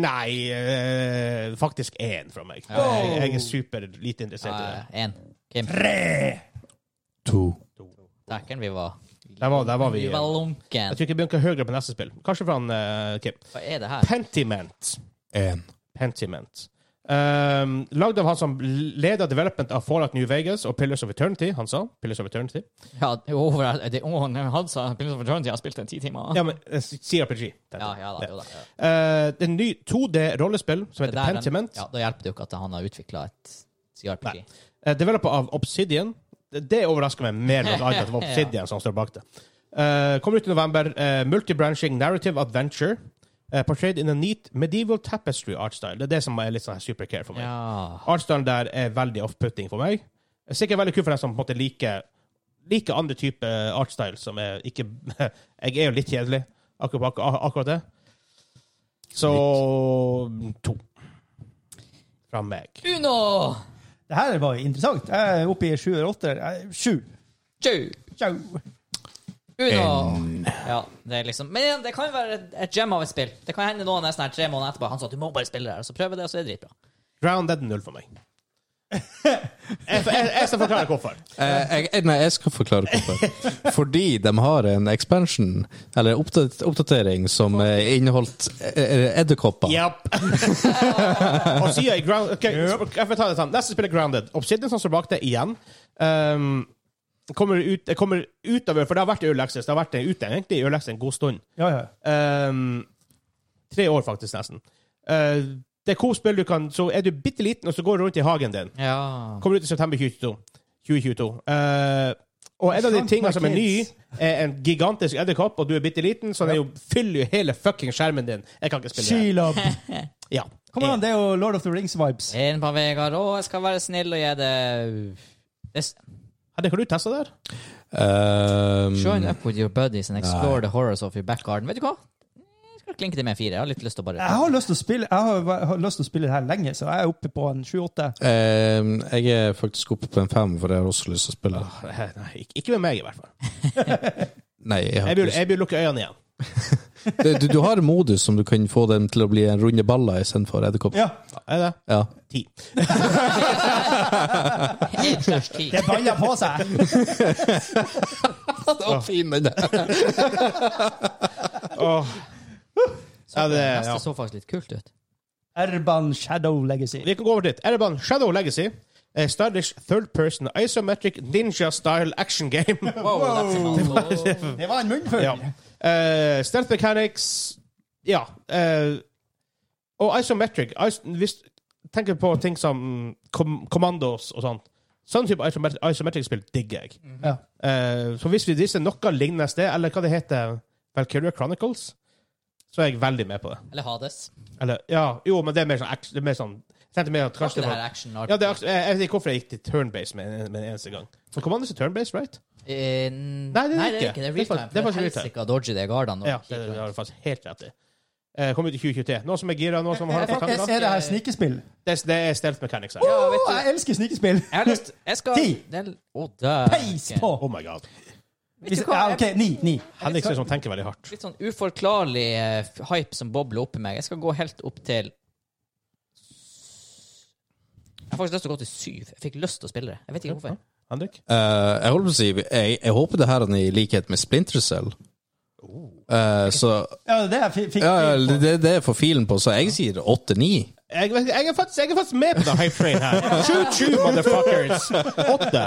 nei øh, Faktisk én fra meg. Jeg, jeg er super lite interessert i det. Én. Kim. To. Dæken, vi var Der var, der var vi. eh, Vi var lunken. Jeg tror ikke vi begynte høyere på neste spill. Kanskje fra han, eh, Kim. Hva er det her? Pentiment. Én. Pentiment. Um, lagd av han som leder development av Fallout New Vegas og Pillars of Eternity. Han sa Pillars of Eternity. Ja, over, det, å, nei, han sa Prince of Eternity har spilt en ti timer. Ja, men eh, CRPG. Ja, ja da, jo da. Ja. Eh, det er en ny 2D-rollespill som Det heter der, den- Pentiment. Ja, da hjelper det jo ikke at han har utvikla et CRPG. Nei. Eh, developer av Obsidian. Det, det overrasker meg mer enn at det var Obsidian som står bak det. Eh, kommer ut i november. Eh, Multibranching Narrative Adventure. eh, portrayed in a neat medieval tapestry art style. Det er det som er litt sånn her supercare for meg. Ja. Artstylen der er veldig off-putting for meg. Det er Sikkert veldig kult for dem som på en måte liker, liker andre typer artstyle, som er ikke Jeg er jo litt kjedelig akkurat, på akkur- akkurat det. Så to. Fra meg. Uno! Det her var interessant. Jeg er oppe i sju eller åtte. Eh, Sju. Tju! Tjau. Uno. Ja, det er liksom Men igjen, det kan jo være et- et gem av et spill. Det kan hende noen nesten her tre måneder etterpå Han sa at du må bare spille det her, og så prøver jeg det, og så er det dritbra. Ground Dead null for meg. Jeg, jeg, jeg skal forklare hvorfor. Eh, jeg, jeg- nei, jeg skal forklare hvorfor. Fordi de har en expansion, eller oppdat- oppdatering, som eh, inneholdt eh, edderkopper. Japp. og sier jeg ground... ok, jeg får ta det sånn. Neste spill er Grounded. Obsidian sånn som står bak det igjen. Um, kommer ut, det kommer utover, for det har vært i Early Access. Det har vært ute egentlig i Early Access en god stund. Ja, ja. Um, tre år, faktisk, nesten. Uh, det er co-spill du kan Så er du bitte liten, og så går du rundt i hagen din. Ja. Kommer ut i september 2022. 2022. Eh, Og en av de Skjønt tingene meg, som er ny, kids. er en gigantisk edderkopp, og du er bitte liten, så den jo fyller jo hele fucking skjermen din. Jeg kan ikke spille det. Shield up. her. Ja. Kom igjen, det er jo Lord of the Rings-vibes. En på Vegard. Å, jeg skal være snill og gi det This, Hadde ikke du testa det? her? Um, Join up with your buddies and explore the horrors of your back garden. Vet du hva? Jeg skal klinke til med fire. Jeg har litt lyst til å bare Jeg har lyst til å spille Jeg har, jeg har lyst til å spille det her lenge, så jeg er oppe på en 7-8. um, jeg er faktisk oppe på en fem, for jeg har også lyst til å spille. Nei, ikke- ikke med meg, i hvert fall. Nei, jeg Jeg blir, har ikke lyst. jeg blir lukke øynene igjen. Det- Du, du har en modus som du kan få dem til å bli en runde baller istedenfor edderkopp. Ja, Er det? Ja. Ti. En slash ti. det baller på seg! Det var fin, den der. Åh. Ja, det, ja. Neste så faktisk litt kult ut. Urban Shadow Legacy. Vi kan gå over dit. Ereban Shadow Legacy. eh, Stylish third person isometric ninja style action game. Wow, that's a Det var en munnfull. Ja. Eh, stealth mechanics Ja. eh, og isometric is Hvis du tenker på ting som kom Commandos og sånn Sånn type isometric, isometric spill digger jeg. Ja. Eh, så hvis vi viser noe lignende sted, eller hva det heter, Valkyria Chronicles, så er jeg veldig med på det. Eller Hades. Eller, ja, jo, men det er mer sånn, action- det er mer sånn jeg tenkte mer Var at ikke kanskje det det her var, action art? ja, det er, action- jeg, jeg vet ikke hvorfor jeg gikk til turn-base med, en- med en eneste gang. For Commandos er turn-base, right? Eh, Nei, det er det det ikke. er ikke. Det er Det er real faktisk- time. det for er faktisk real time. helsike av dodgy det er gardene. Ja, det, det har du faktisk helt rett i. Eh, kom ut i 2023. Noen som er gira? Noen som har Er, fått er, tanker? eh, er det her snikespill? Det, det er stealth mechanics her. Ja, Åh, vet du. jeg elsker snikespill! Jeg har lyst Jeg skal Ti. Å, dæven. Peis på! Oh my god. Hvis, ja, OK, ni. ni. Henrik ser ut som tenker veldig hardt. Litt sånn uforklarlig eh, f- hype som bobler oppi meg. Jeg skal gå helt opp til Jeg har faktisk lyst til å gå til syv. Jeg fikk lyst til å spille det. Jeg vet ikke hvorfor. Henrik? Eh, jeg holder på å si Jeg, jeg håper det her er i likhet med Splinter Cell. Eh, så Ja, det er fi- fikk ja, ja, vi på. det, det er for filen på, så jeg sier åtte-ni. Jeg, vet ikke, jeg, er faktisk, jeg er faktisk med på the hype train her. Choo-choo, motherfuckers! Åtte.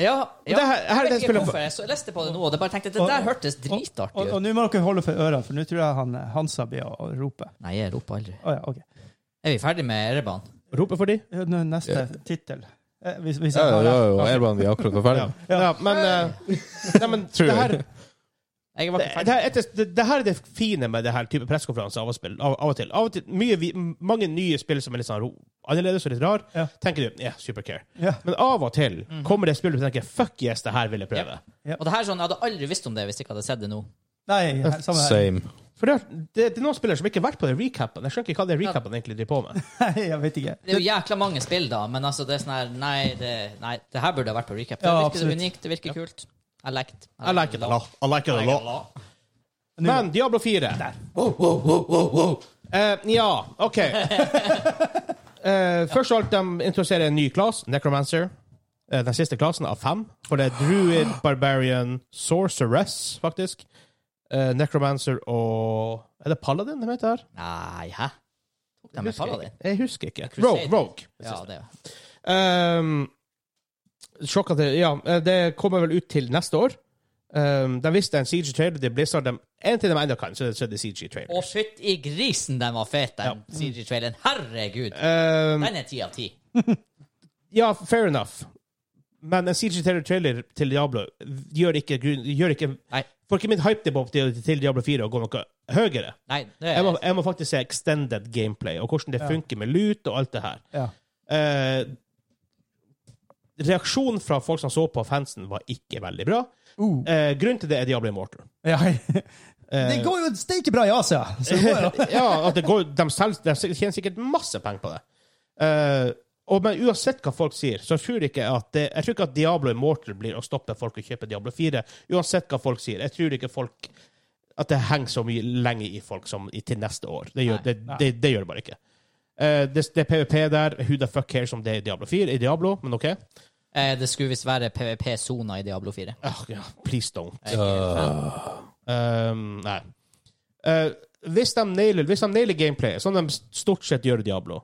Ja, ja. det her- her er jeg det vet ikke spillet- hvorfor. Jeg så- jeg leste på det nå, og jeg bare tenkte at det der hørtes dritartig Og, og ut. nå må dere holde for ørene, for nå tror jeg han, eh, Hansa blir å å rope. Nei, jeg roper aldri. Å ja, OK. Er vi ferdig med Ereban? Roper for de. Ja, nå Neste tittel. Eh, Hvis, hvis Ja, jeg har ja, rett. ja, Erban, vi er akkurat var ferdig. Ja, ja men, eh, nei, men det, her, det, Jeg var ikke det, ferdig. her, etter- det, det her er det fine med det her type pressekonferanser av, og spill- av, av og til. Av og til mye, vi- mange nye spill som er litt sånn ro- annerledes og litt rar, Ja. tenker du ja, supercare. Ja. Men av og til kommer det spill du tenker fuck yes, det her vil jeg prøve. Og det her sånn, Jeg hadde aldri visst om det hvis jeg ikke hadde sett det nå. Nei, her- samme her. Same. For det, er- det, det er noen spillere som ikke har vært på den recapen. Jeg skjønner ikke hva den recapen egentlig driver på med. Nei, jeg vet ikke. Det er jo jækla mange spill, da, men altså det er sånn her Nei, det, nei, det her burde ha vært på recap. Det Ja, virker absolutt. unikt, det virker kult. I liked. I like it a lot. I like it a lot. Men Diablo 4 Eh, Ja, OK. Eh, først og alt, de introduserer en ny klasse, Necromancer. Eh, den siste klassen av fem. For det er Druid, Barbarian, Sorceress, faktisk. Eh, Necromancer og Er det Paladin de heter her? Nei, hæ? Tok de med Husker jeg Paladin? ikke. Jeg husker ikke. Crusade. Rogue. Rogue. Ja, det er Um, sjokk at det, ja, eh, det kommer vel ut til neste år. Um, de visste en CG-trailer. Det blir snart de, en til de ennå kan, så, så er det CG-trailer. Å, fytti grisen, den var fet, den CG-traileren. Herregud. Um, Den er ti av ti. ja, fair enough. Men en CG-trailer til Diablo gjør ikke, grunn- gjør ikke Nei. Får ikke mitt hype-nivå til, til Diablo 4 å gå noe høyere. Nei, det Jeg er må, jeg må faktisk se extended gameplay, og hvordan det funker med lut og alt det her. Ja. Eh, reaksjonen fra folk som så på fansen, var ikke veldig bra. Uh. Eh, grunnen til det er Diablo Immortal. Ja. Det går jo steike bra i Asia! Så det går jo. ja, at det går, de, selv, de tjener sikkert masse penger på det. Eh, og, men uansett hva folk sier, så tror jeg ikke at det, jeg tror ikke at Diablo Immortal blir å stoppe folk å kjøpe Diablo 4. Uansett hva folk sier. Jeg tror ikke folk at det henger så mye lenge i folk som i, til neste år. Det gjør det, det, det, gjør det bare ikke. Eh, det, det er PVP der. Who the fuck cares om det er Diablo 4? I Diablo, men OK. Eh, Det skulle visst være PVP-sona i Diablo 4. Ah, ja, please don't. Jeg er ikke fan. Um, nei. Eh, hvis, de nailer, hvis de nailer gameplay, som de stort sett gjør i Diablo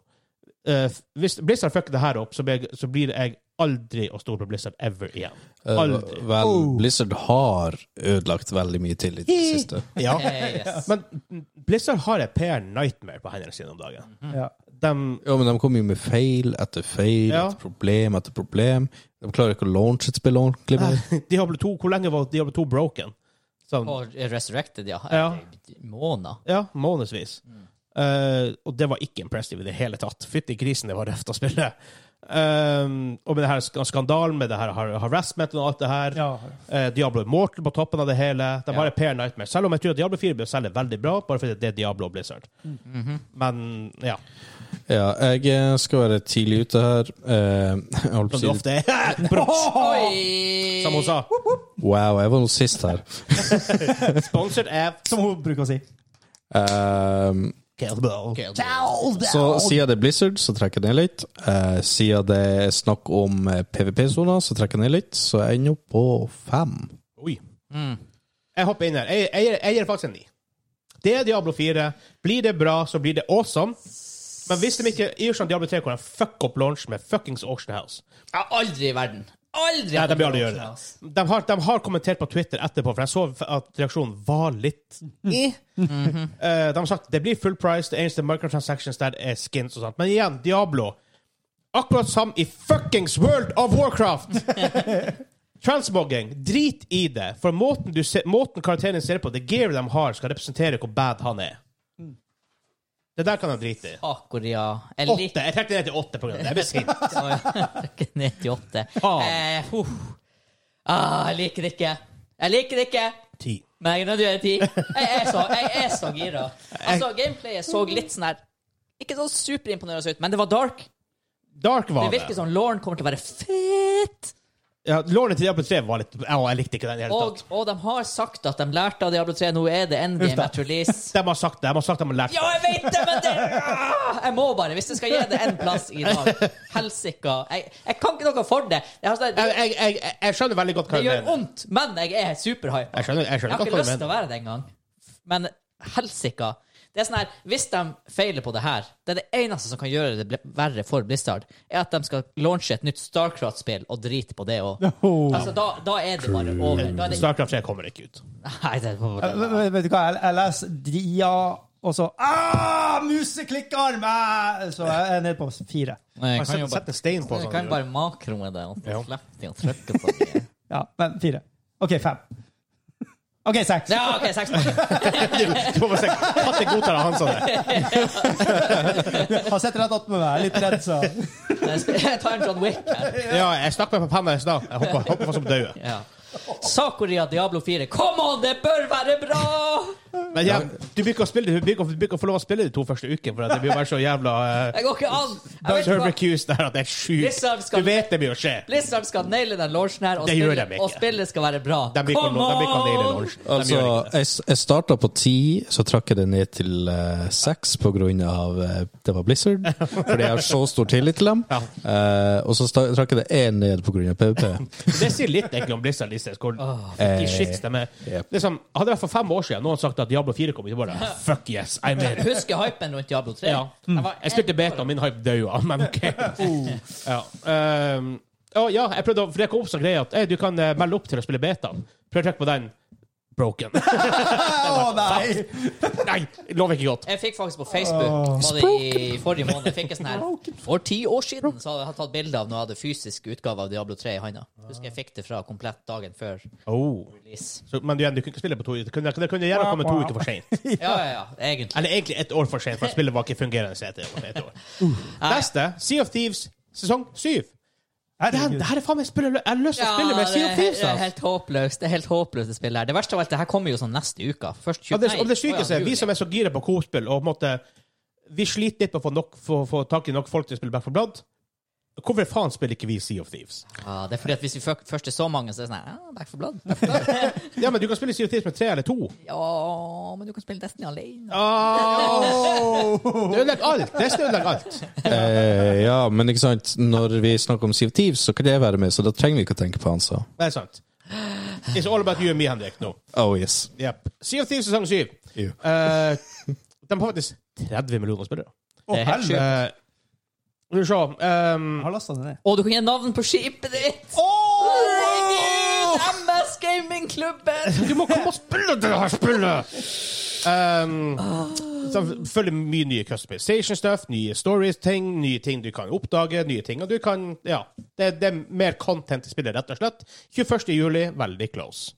eh, Hvis Blizzard fucker det her opp, så blir, jeg- så blir jeg aldri å stole på Blizzard ever igjen. Eh, Aldri. Vel, Blizzard har ødelagt veldig mye tillit i det siste. Ja. Eh, yes. Men Blizzard har et PR nightmare på hendene sine om dagen. Ja. de Ja, men de kommer jo med feil etter feil, Ja. etter problem etter problem. De klarer ikke å launche et spill ordentlig. mer. Diablo 2, Hvor lenge var Diablo 2 broken? Sånn, Og Resurrected, ja. Eh, Ja. Måneder. ja, månedsvis. Eh, og det var ikke impressive i det hele tatt. Fytti grisen, det var røft å spille. Um, og med det her sk- skandalen med det her har- harassment og alt det her Ja. eh, Diablo Immortal på toppen av det hele. De har et Per Nightmare. Selv om jeg tror at Diablo 4 blir selge veldig bra, bare fordi det er Diablo og Blizzard. Men ja, Ja, jeg eh, skal være tidlig ute her. Eh, jeg holdt på som å det si ofte er. Brått, Oi! som hun sa. Wow, jeg var nå sist her. Sponsored av Som hun bruker å si. Ehm, Kelbo. så siden det er Blizzard, så trekker jeg ned litt. Eh, siden det er snakk om eh, PVP-soner, så trekker jeg ned litt. Så jeg ender opp på fem. Oi. Jeg hopper inn her. Jeg, jeg, gir- jeg gir faktisk en ni. Det er Diablo 4. Blir det bra, så blir det awesome. Men hvis de ikke gjør sånn Diablo 3, hvor de fuck opp launch med fuckings Auction House Ja, aldri i verden. Aldri. Nei, de bør aldri gjøre det. De har, de har kommentert på Twitter etterpå, for jeg så at reaksjonen var litt Mm. eh. Mm-hmm. Eh, De har sagt det blir full price, det eneste microtransactions der er skins og sånt. Men igjen, Diablo. Akkurat som i fuckings World of Warcraft! Transmogging. Drit i det. For måten, du se, måten karakteren ser på, det gearet de har, skal representere hvor bad han er. Mm. Det der kan de drite i. Akoria. Jeg Åtte. liker Jeg trekker det ned til åtte. På grunn av det. Jeg ble sint. ikke ned til åtte. Faen. Eh, uff. ah, jeg liker det ikke. Jeg liker det ikke. Ti. Men jeg er nødt til å gjøre ti. Jeg er så, jeg er så gira. Altså, gameplayet så litt sånn her Ikke sånn superimponerende ut, men det var dark. Dark var Det det. virker som Lauren kommer til å være fett. Ja, Lånet til Diablo 3 var litt Å, jeg likte ikke den i det hele Og, tatt. og de har sagt at de lærte av Diablo 3. Nå er det endgame at release. De har sagt det. De har sagt de har lært Ja, jeg vet det, men det Ah, Jeg må bare, hvis jeg skal gi det en plass i dag Helsika. Jeg, jeg kan ikke noe for det. Jeg, har, Jeg, det, jeg, jeg, jeg- jeg skjønner veldig godt det hva du gjør mener. vondt, men jeg er superhypa. Jeg skjønner, jeg Jeg skjønner har godt ikke hva du lyst til å mener. være det engang. Men helsika. Det er sånn her, Hvis de feiler på det her, det er det eneste som kan gjøre det bl- verre for Blizzard, er at de skal launche et nytt Starcraft-spill og drite på det òg. Oh. Altså, da, da er det bare over. Da er det, Starcraft 3 kommer ikke ut. nei, det er Vet, vet- vet du hva, jeg, jeg leser Dia, og så ah, Museklikkarm! ah! Så jeg er nede på fire. Nei, jeg kan jo Altså, Sett, bare- sett en stein på jeg kan sånn. bare makroe det og så Ja. slippe de å trykke på det. Ja, men fire. OK, fem. OK, seks. Ja, OK, seks poeng. Du må bare se katte godtar av han sånn. der. Han sitter rett attmed meg. Jeg er litt redd, så Jeg tar en John Wick her. Ja, jeg stakk meg på panna i stad. Jeg håper, håper folk som døde. Ja. Sakuria Diablo 4. Come on, det bør være bra! Men ja, du blir ikke å spille det- du blir ikke- du blir ikke å få lov å spille de to første ukene, for at det blir bare så jævla eh, Det går ikke an. Jeg uh, vet ikke hva- Turbercuse der at det er Blizzard sjukt. skal- Du vet det blir å skje. Blizzard skal naile den launchen her, og, Det gjør de spillet, ikke. og spillet skal være bra. De blir ikke å Come nå- de blir ikke å naile on! launchen. De Altså, gjør ikke det. jeg, jeg starta på ti, så trakk jeg det ned til eh, seks på grunn av eh, det var Blizzard, fordi jeg har så stor tillit til dem. Ja. Eh, og så sta- trakk jeg det én ned på grunn av PVP. Det sier litt egentlig om Blizzard Lise Skål. De shits de er. Yep. Liksom, hadde det vært for fem år siden noen sagt at Diablo 4 kom, så bare fuck yes, I'm in. Husker hypen rundt Diablo 3? Ja. Den var Jeg spilte beta, og min hype daua, men OK. Ja. ehm, å, ja, jeg prøvde å For det kom opp sånn greie at «Ei, du kan eh, melde opp til å spille betaen. Prøv å trykke på den. Broken. Å nei! Nei, lover ikke godt. Jeg fikk faktisk på Ah. Facebook var det i forrige måned fikk jeg sånn her, For ti år siden så hadde jeg tatt bilde av når jeg hadde fysisk utgave av Diablo 3 i handa. Husker jeg fikk det fra komplett dagen før Oh. release. Så, men du, igjen, du kunne ikke spille på to uker. Det kunne, det kunne gjerne komme to uker for seint. Ja, ja, ja, egentlig. Eller egentlig et år for seint, for spillet var ikke fungerende etter et år. Neste, Sea of Thieves, sesong syv. Den, Herregud. det her er faen meg spillet jeg har lyst til Ja, å spille med. det, Sea er, of det Thieves, er ass. helt håpløst, det er helt håpløst det spillet her. Det verste av alt, det her kommer jo sånn neste uke. Først Og det, og 29. det sykeste er, vi juli. som er så gira på Coop-spill, og på en måte Vi sliter litt med å få, nok, få, få tak i nok folk til å spille Back for Blood. Hvorfor faen spiller ikke vi Sea of Thieves? Ja, det er fordi at hvis vi føk- først er så mange, så er det sånn her ah, Back for blood. Ja, men du kan spille Sea of Thieves med tre eller to. Ja, men du kan spille Destiny alene. Det ødelegger alt! Det ødelegger alt. Eh, ja, men ikke sant, når vi snakker om Siv Thieves, så kan det være med, så da trenger vi ikke å tenke på han, så. Det er sant. It's all about you and me, Henrik, nå. Oh yes. Yep. Sea of Thieves sesong syv. Jo. Eh, de har faktisk 30 millioner spillere. Å, Det er helt helvete. sjukt. Eh, Skal vi se ehm, Jeg har lasta den ned. Og du kan gi navn på skipet ditt! Herregud, MS Gamingklubben! Du må komme og spille det her spillet! Um, Selvfølgelig mye nye customization-stuff, nye stories-ting, nye ting du kan oppdage, nye ting og du kan Ja. Det, det er mer content i spillet, rett og slett. 21. juli, veldig close.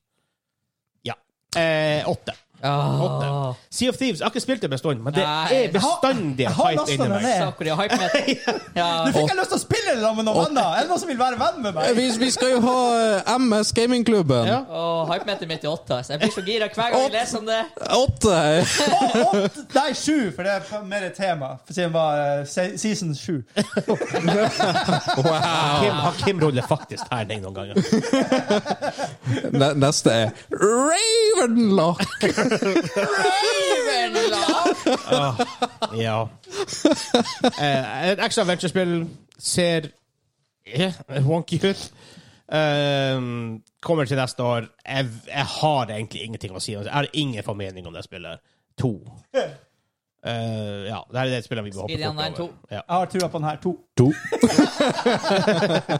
Ja. Eh, åtte. Ah, Sea of Thieves, jeg har ikke spilt det bestandig, men det Nei. er Jeg har- bestandig jeg en har fight lastet inni den meg. ned. Sakura, hype metal. Nå Ja. fikk jeg lyst til å spille det sammen med noen venner! Er det noen som vil være venn med meg? Eh, Vi, vi skal jo ha eh, MS Gamingklubben. Ja. Og hype metal midt i åtta. Så jeg blir så gira hver gang jeg leser om det. Åtte! Å, åtte, nei, sju, for det er mer et tema. For Siden det var eh, se- season sju. Wow. Kim, har Kim ruller faktisk terning noen ganger. Ne- Neste er Ravenlock. Ja. Eh, et ekstra adventure-spill ser eh, wonky ut. Ehm, kommer til neste år. Jeg, jeg har egentlig ingenting å si. Jeg har ingen formening om det spillet. To. Eh, ja, det her er det spillet vi må hoppe Speed Run fort 9-2. over. Ja. Jeg har trua på den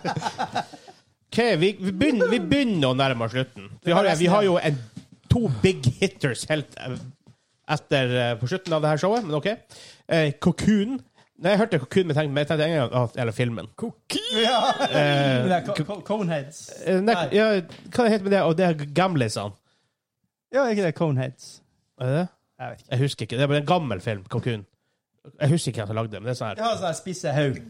her. To. OK, vi, vi, begynner, vi begynner å nærme oss slutten. Vi har, vi har jo en, to big hitters helt eh, etter eh, på slutten av det her showet, men OK. Eh, Cocoon. Nei, jeg hørte Cocoon, men tenkte, men jeg tenkte en gang at- eller filmen. Ja. Det er co- co- Coneheads. Eh, Nei, Nei. ja, hva heter det med det? Og det er gamlisene. Ja, er ikke det Coneheads? Er det det? Jeg vet ikke. Jeg husker ikke. Det er bare en gammel film, Cocoon. Jeg husker ikke hvem som lagde det, men det er sånn Jeg her. har sånn her spisse haug.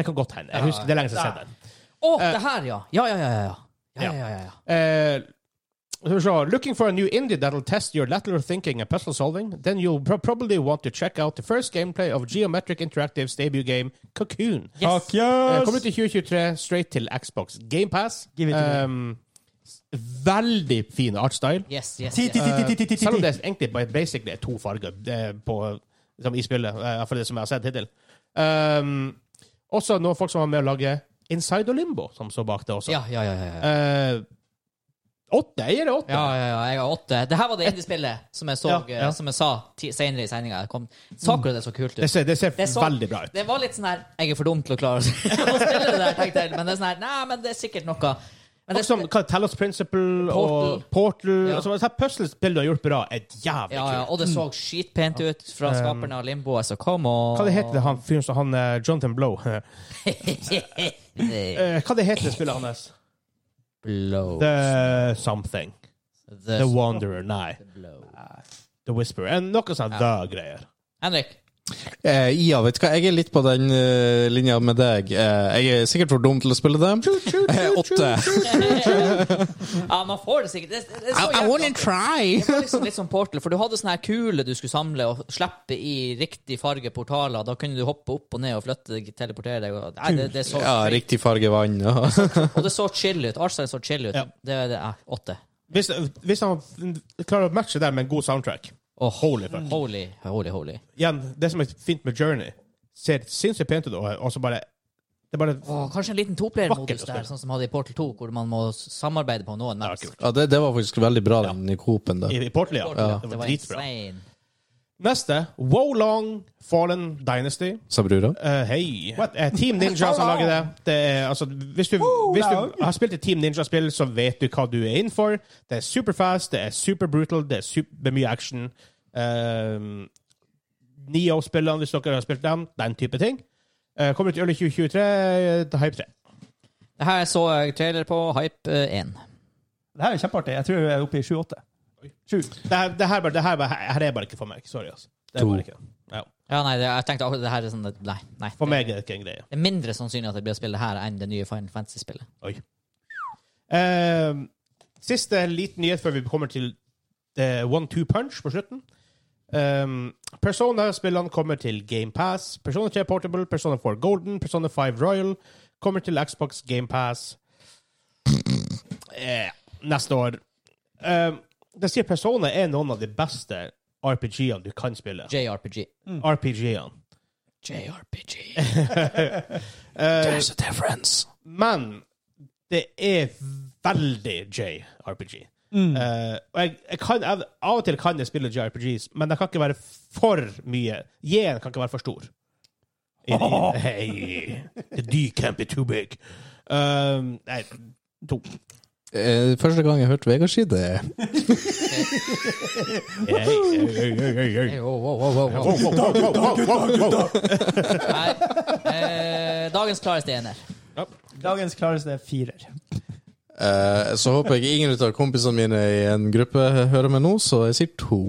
Det kan godt hende. Jeg husker, det er lenge siden jeg har sett den. Å, det her, ja. Ja, ja, ja. ja. Ja, ja, ja, ja, ja. Eh, skal vi se. looking for a new indie that'll test your lateral thinking and puzzle solving, then you'll pro- probably want to check out the first gameplay of Geometric Interactive's debut game, Cocoon. Yes. Eh, Kommer ut i 2023, straight til Xbox GamePass. Give it to me. veldig fin artstyle. Yes, yes, Ti, yes. ti, ti, ti, ti, ti, ti, Selv om ti. det egentlig bare basically er to farger eh, på, som i spillet, eh, for det som jeg har sett hittil. Um, også noen folk som var med å lage Inside og Limbo, som så bak det også. Ja, ja, ja. ja, ja. Eh, åtte? Jeg gir det åtte. Ja, ja, ja, jeg har åtte. Det her var det indiespillet som jeg så, Ja, ja. eh, som jeg sa ti- senere i sendinga. Sakura, det så kult Det ut. ser, det ser Det så- veldig bra ut. Det var litt sånn her Jeg er for dum til å klare å spille det der, tenkte jeg. Men det er sånn her Nei, men det er sikkert noe. Men det, Som hva, Talos Principle Portal. og Portal Ja. altså, det her Puzzlespill du har gjort bra, er jævlig ja, ja, kult. og det så skitpent ut fra skaperne av Limbo. altså, Så kom og Mm. Hva det heter det han fyren som han eh, Jonathan Blow eh, The Hva det heter det spillet hans? Blow. The Something. The The Wanderer. Nei. Blow. The Whisperer. En- Noe sånt da greier. Henrik. Eh, ja, vet du hva, jeg er litt på den eh, linja med deg. Eh, jeg er sikkert for dum til å spille det. Eh, åtte. Ja, man får det sikkert. Det, det, det så I, I jævlig wanna artig. try! Det var liksom litt sånn Portal, for du hadde sånne her kuler du skulle samle og slippe i riktig farge portaler. Da kunne du hoppe opp og ned og flytte deg, teleportere deg. Og, nei, det, det så, Ja, riktig farge vann. Ja. og det så chill ut. Artstyle så chill ut. Ja. Det er ja, åtte. Hvis, hvis han f- klarer å matche det med en god soundtrack Åh. Holy fuck. Holy, holy, holy. Igjen, det som er fint med Journey, ser sinnssykt pent ut, og og så bare Det er bare Åh, kanskje en liten Vakkert toplayer-modus å der, spille. sånn som hadde i Portal 2, hvor man må samarbeide på noen maps. Ja, kult. Ja, det, det var faktisk veldig bra, den i Coop-en der. I, i Portal, ja. Portal, Det Det var var dritbra. insane. Neste. Wolong Fallen Dynasty. Sa brura. Eh, Hei. Eh, Team Ninja som Wow. lager det. det er, altså, hvis du, hvis du wow. har spilt et Team Ninja-spill, så vet du hva du er inn for. Det er superfast, det er superbrutal, det er super, det er mye action. Um, Neo-spillene, hvis dere har spilt dem. Den type ting. Eh, kommer ut i early 2023 eh, til Hype 3. Det her så jeg trailer på Hype eh, 1. Det her er kjempeartig. Jeg tror jeg er oppe i sju-åtte. Sju. Det her, det her, bare- det her, bare- her er bare ikke for meg. Sorry, altså. Det er To. bare ikke. Ja. Ja, nei, det, jeg tenkte akkurat det her er sånn Nei. nei For meg er det ikke en greie. Det er mindre sannsynlig at jeg blir å spille det her enn det nye Final Fantasy-spillet. Oi. Eh, siste liten nyhet før vi kommer til eh, One Two Punch på slutten. Um, Persona-spillene kommer til GamePass. Persona 3 Portable, Persona 4 Golden, Persona 5 Royal kommer til Xbox GamePass eh, neste år. Um, det sier Persona er noen av de beste RPG-ene du kan spille. JRPG. RPG-ene. JRPG. There's a difference. Men det er veldig JRPG. Eh, og jeg, jeg kan, jeg, av og til kan jeg spille JRPGs, men de kan ikke være for mye. J-en kan ikke være for stor. I- i- Hey, the D can't be too big. Um, nei, to. Eh, Første gang jeg hørte Vegard si det Hey, wow, wow, wow, wow, wow. Nei. Eh, dagens klareste ener. Dagens klareste er firer. eh, Så håper jeg ingen av kompisene mine i en gruppe hører meg nå, så jeg sier to.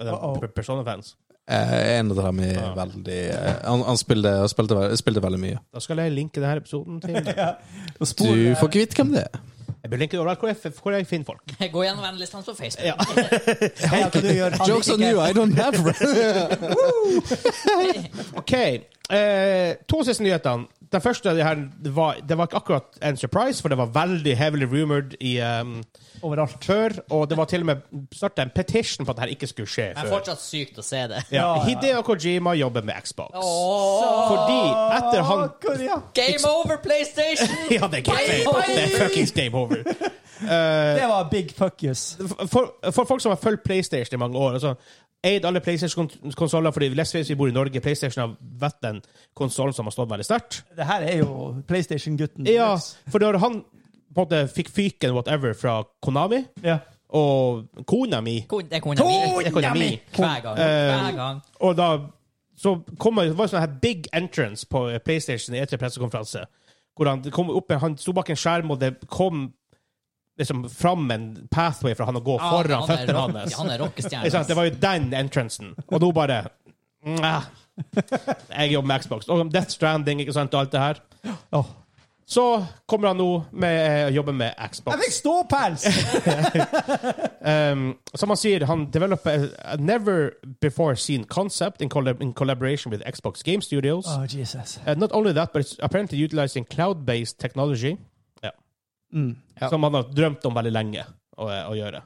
Uh-oh. Persona-fans. Eh, en av dem er veldig eh, Han, han spilte, spilte, ve- spilte veldig mye. Da skal jeg linke denne episoden til Jeg Og Du spor, får ikke vite hvem det er. blir linket overalt hvor jeg, hvor jeg finner folk. Gå gjennom vennelistene på Facebook. Ja. Hva du gjør? Han Jokes on liker you, ikke- I don't have OK. Eh, to siste nyhetene. Den første av de her var, det var ikke akkurat en surprise, for det var veldig heavily rumored i, um, Overalt. før. Og det var til og med startet en petition på at dette ikke skulle skje Men før. fortsatt sykt å se det. Ja, Ja, ja, ja. Hideo Kojima jobber med Xbox. Åh, Fordi etter han Å, ja. game over, PlayStation! Ja, det er game over. Det er fuckings game over. Det var big fuck yous. For, for folk som har fulgt PlayStation i mange år altså, Eid alle PlayStation-konsoller fordi let's face it, vi bor i Norge. PlayStation har vært den konsollen som har stått veldig sterkt. Det her er jo PlayStation-gutten. Ja, for når han på en måte fikk fyken whatever fra Konami ja. og kona mi Kon- Det er kona mi. Konami! Hver gang. Eh, Hver gang. Og da så kom, det var det sånn her big entrance på PlayStation i etter pressekonferanse. Hvor han, det kom opp, han sto bak en skjerm, og det kom liksom fram en pathway for han å gå Ja, foran Ah, han er føttene rock- hans. Han er Ikke sant? Det rockestjerne. var jo den entrancen. Og nå bare Mwah. Jeg jobber med Xbox. Og Death Stranding ikke sant, og alt det her. Åh. Så kommer han nå med å jobbe med Jeg Xbox. fikk ståpels! Um, som han sier, han developer a never before seen concept in, collab in collaboration with Xbox Game Studios. Oh, Jesus. Uh, not only that, but it's apparently utilizing cloud-based technology. Ja. Mm. Som han har drømt om veldig lenge å, å gjøre.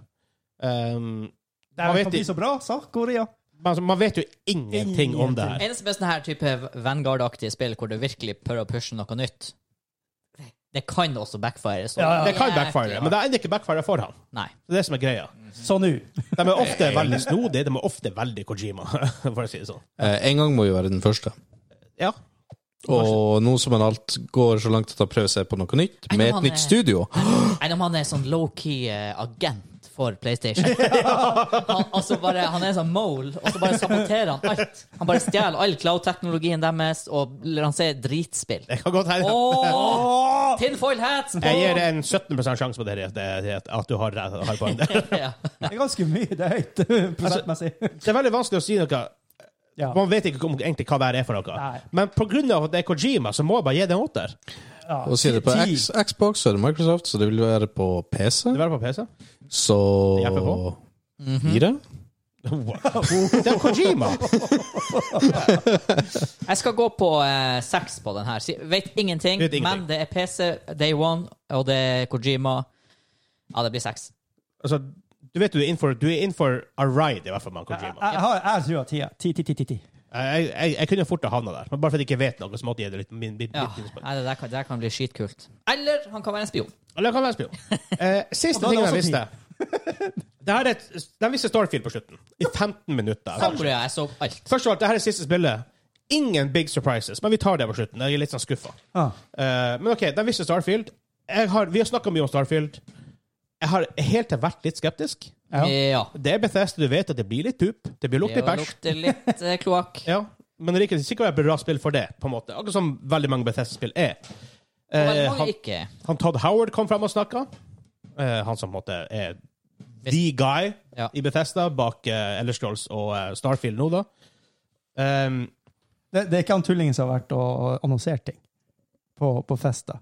Um, Det Man her vet kan bli ikke. så bra, sa Korea. men altså, man vet jo ingenting om det her. Eneste med sånne her type Vanguard-aktige spill hvor du virkelig prøver å pushe noe nytt, det kan også backfire. Så. Ja, ja. Det kan backfire, men det er ikke backfire for han. Nei. Det er det som er greia. Så nå. De er ofte veldig snodige, de er ofte veldig Kojima, for å si det sånn. Eh, En gang må jo være den første. Ja. Og nå som en alt går så langt at han prøver seg på noe nytt, med et nytt studio Enn om han er sånn low-key eh, agent for PlayStation. Han, altså bare, han er sånn mole, og så bare saboterer han alt. Han bare stjeler all cloud-teknologien deres og lanserer dritspill. Det kan godt hende. Åh, Åh! tinfoil hats på! Jeg gir det en 17 sjanse på det, det- det- at du har rett. Har poeng der. Ja. Det er ganske mye. Det er høyt prosentmessig. det er veldig vanskelig å si noe. Ja. Man vet ikke om, egentlig hva det her er for noe. Nei. Men på grunn av at det er Kojima, så må jeg bare gi det en åtter. Ja. Og sier det på Ti. X, Xbox, så er det Microsoft, så det vil være på PC. Det var på PC. Så Mhm. Det er FFH. Fire? Det er Kojima! Jeg skal gå på eh, seks på den her. Si- Vet ingenting, Vet ingenting. men det er PC Day One, og det er Kojima. Ja, det blir seks. Altså, du vet du er innenfor, du er innenfor a ride, i hvert fall med Jeg, Kojima. jeg, har- jeg tror at ti, ti, ti, ti, ti, ti. Jeg, jeg, jeg kunne fort ha havna der, men bare fordi jeg ikke vet noe, så måtte jeg gi det litt min, min, Ja, mitt innspill. nei, det, der kan, det der kan bli skitkult. Eller han kan være en spion. Eller det kan være spion. Eh, siste Og da er det tingen jeg også visste det her er et, De viste Starfield på slutten. I 15 minutter. Da tror jeg jeg så alt. Først av alt, det her er siste spillet. Ingen big surprises, men vi tar det på slutten. Jeg er litt sånn skuffa. Ah. Eh, men OK, de viste Starfield. Jeg har, vi har snakka mye om Starfield. Jeg har helt til vært litt skeptisk. Ja. Ja. Det er Bethesda, du vet at det blir litt tup. Det blir lukte Det bæsj. lukter litt eh, kloakk. Ja, men det er ikke sikkert det er bra spill for det, på en måte. Akkurat som veldig mange Bethesda-spill er. Og Eh, veldig mange han, ikke. han Todd Howard kom frem og snakka. Eh, han som på en måte er the guy Ja. i Bethesda bak eh, Elder Scrolls og eh, Starfield nå, da. Um, Det, det er ikke han tullingen som har vært og annonsert ting på, på festa.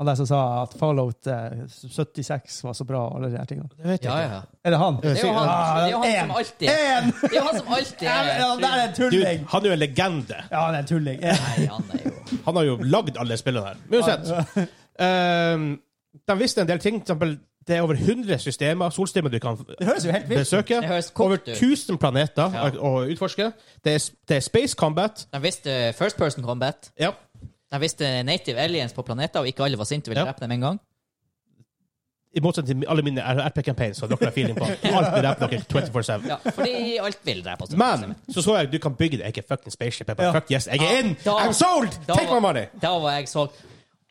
Han der som sa at Fallout eh, 76 var så bra, og alle de her tingene. det vet jeg Ja, ikke. ja. Er det han? Ah, Det er jo han, det er jo han som En! alltid En! Det er jo han som alltid Ja, men han der er en Du, tulling! han er jo en legende. Ja, han er en tulling. En. Nei, han er jo Han har jo lagd alle spillene her. Men Uansett. Um, de visste en del ting. For eksempel, det er over 100 systemer, solsystemer du kan Det høres jo helt vilt ut. besøke. Det høres Over kort ut. 1000 planeter Ja. å å utforske. Det er, det er space combat. De visste First Person Combat. Ja. De visste Native Aliens på planeter, og ikke alle var sinte og ville Ja. drepe dem en gang. I motsetning til alle mine RP-campaigns, så dere har feeling på alt det der på dere 24-7. Ja, fordi alt vil drepe oss. Men så så jeg at du kan bygge det. Jeg er ikke fucking spaceship. Jeg bare, Ja. fuck yes, jeg er in! Da- I'm sold! da Take my var- money! Da var jeg solgt.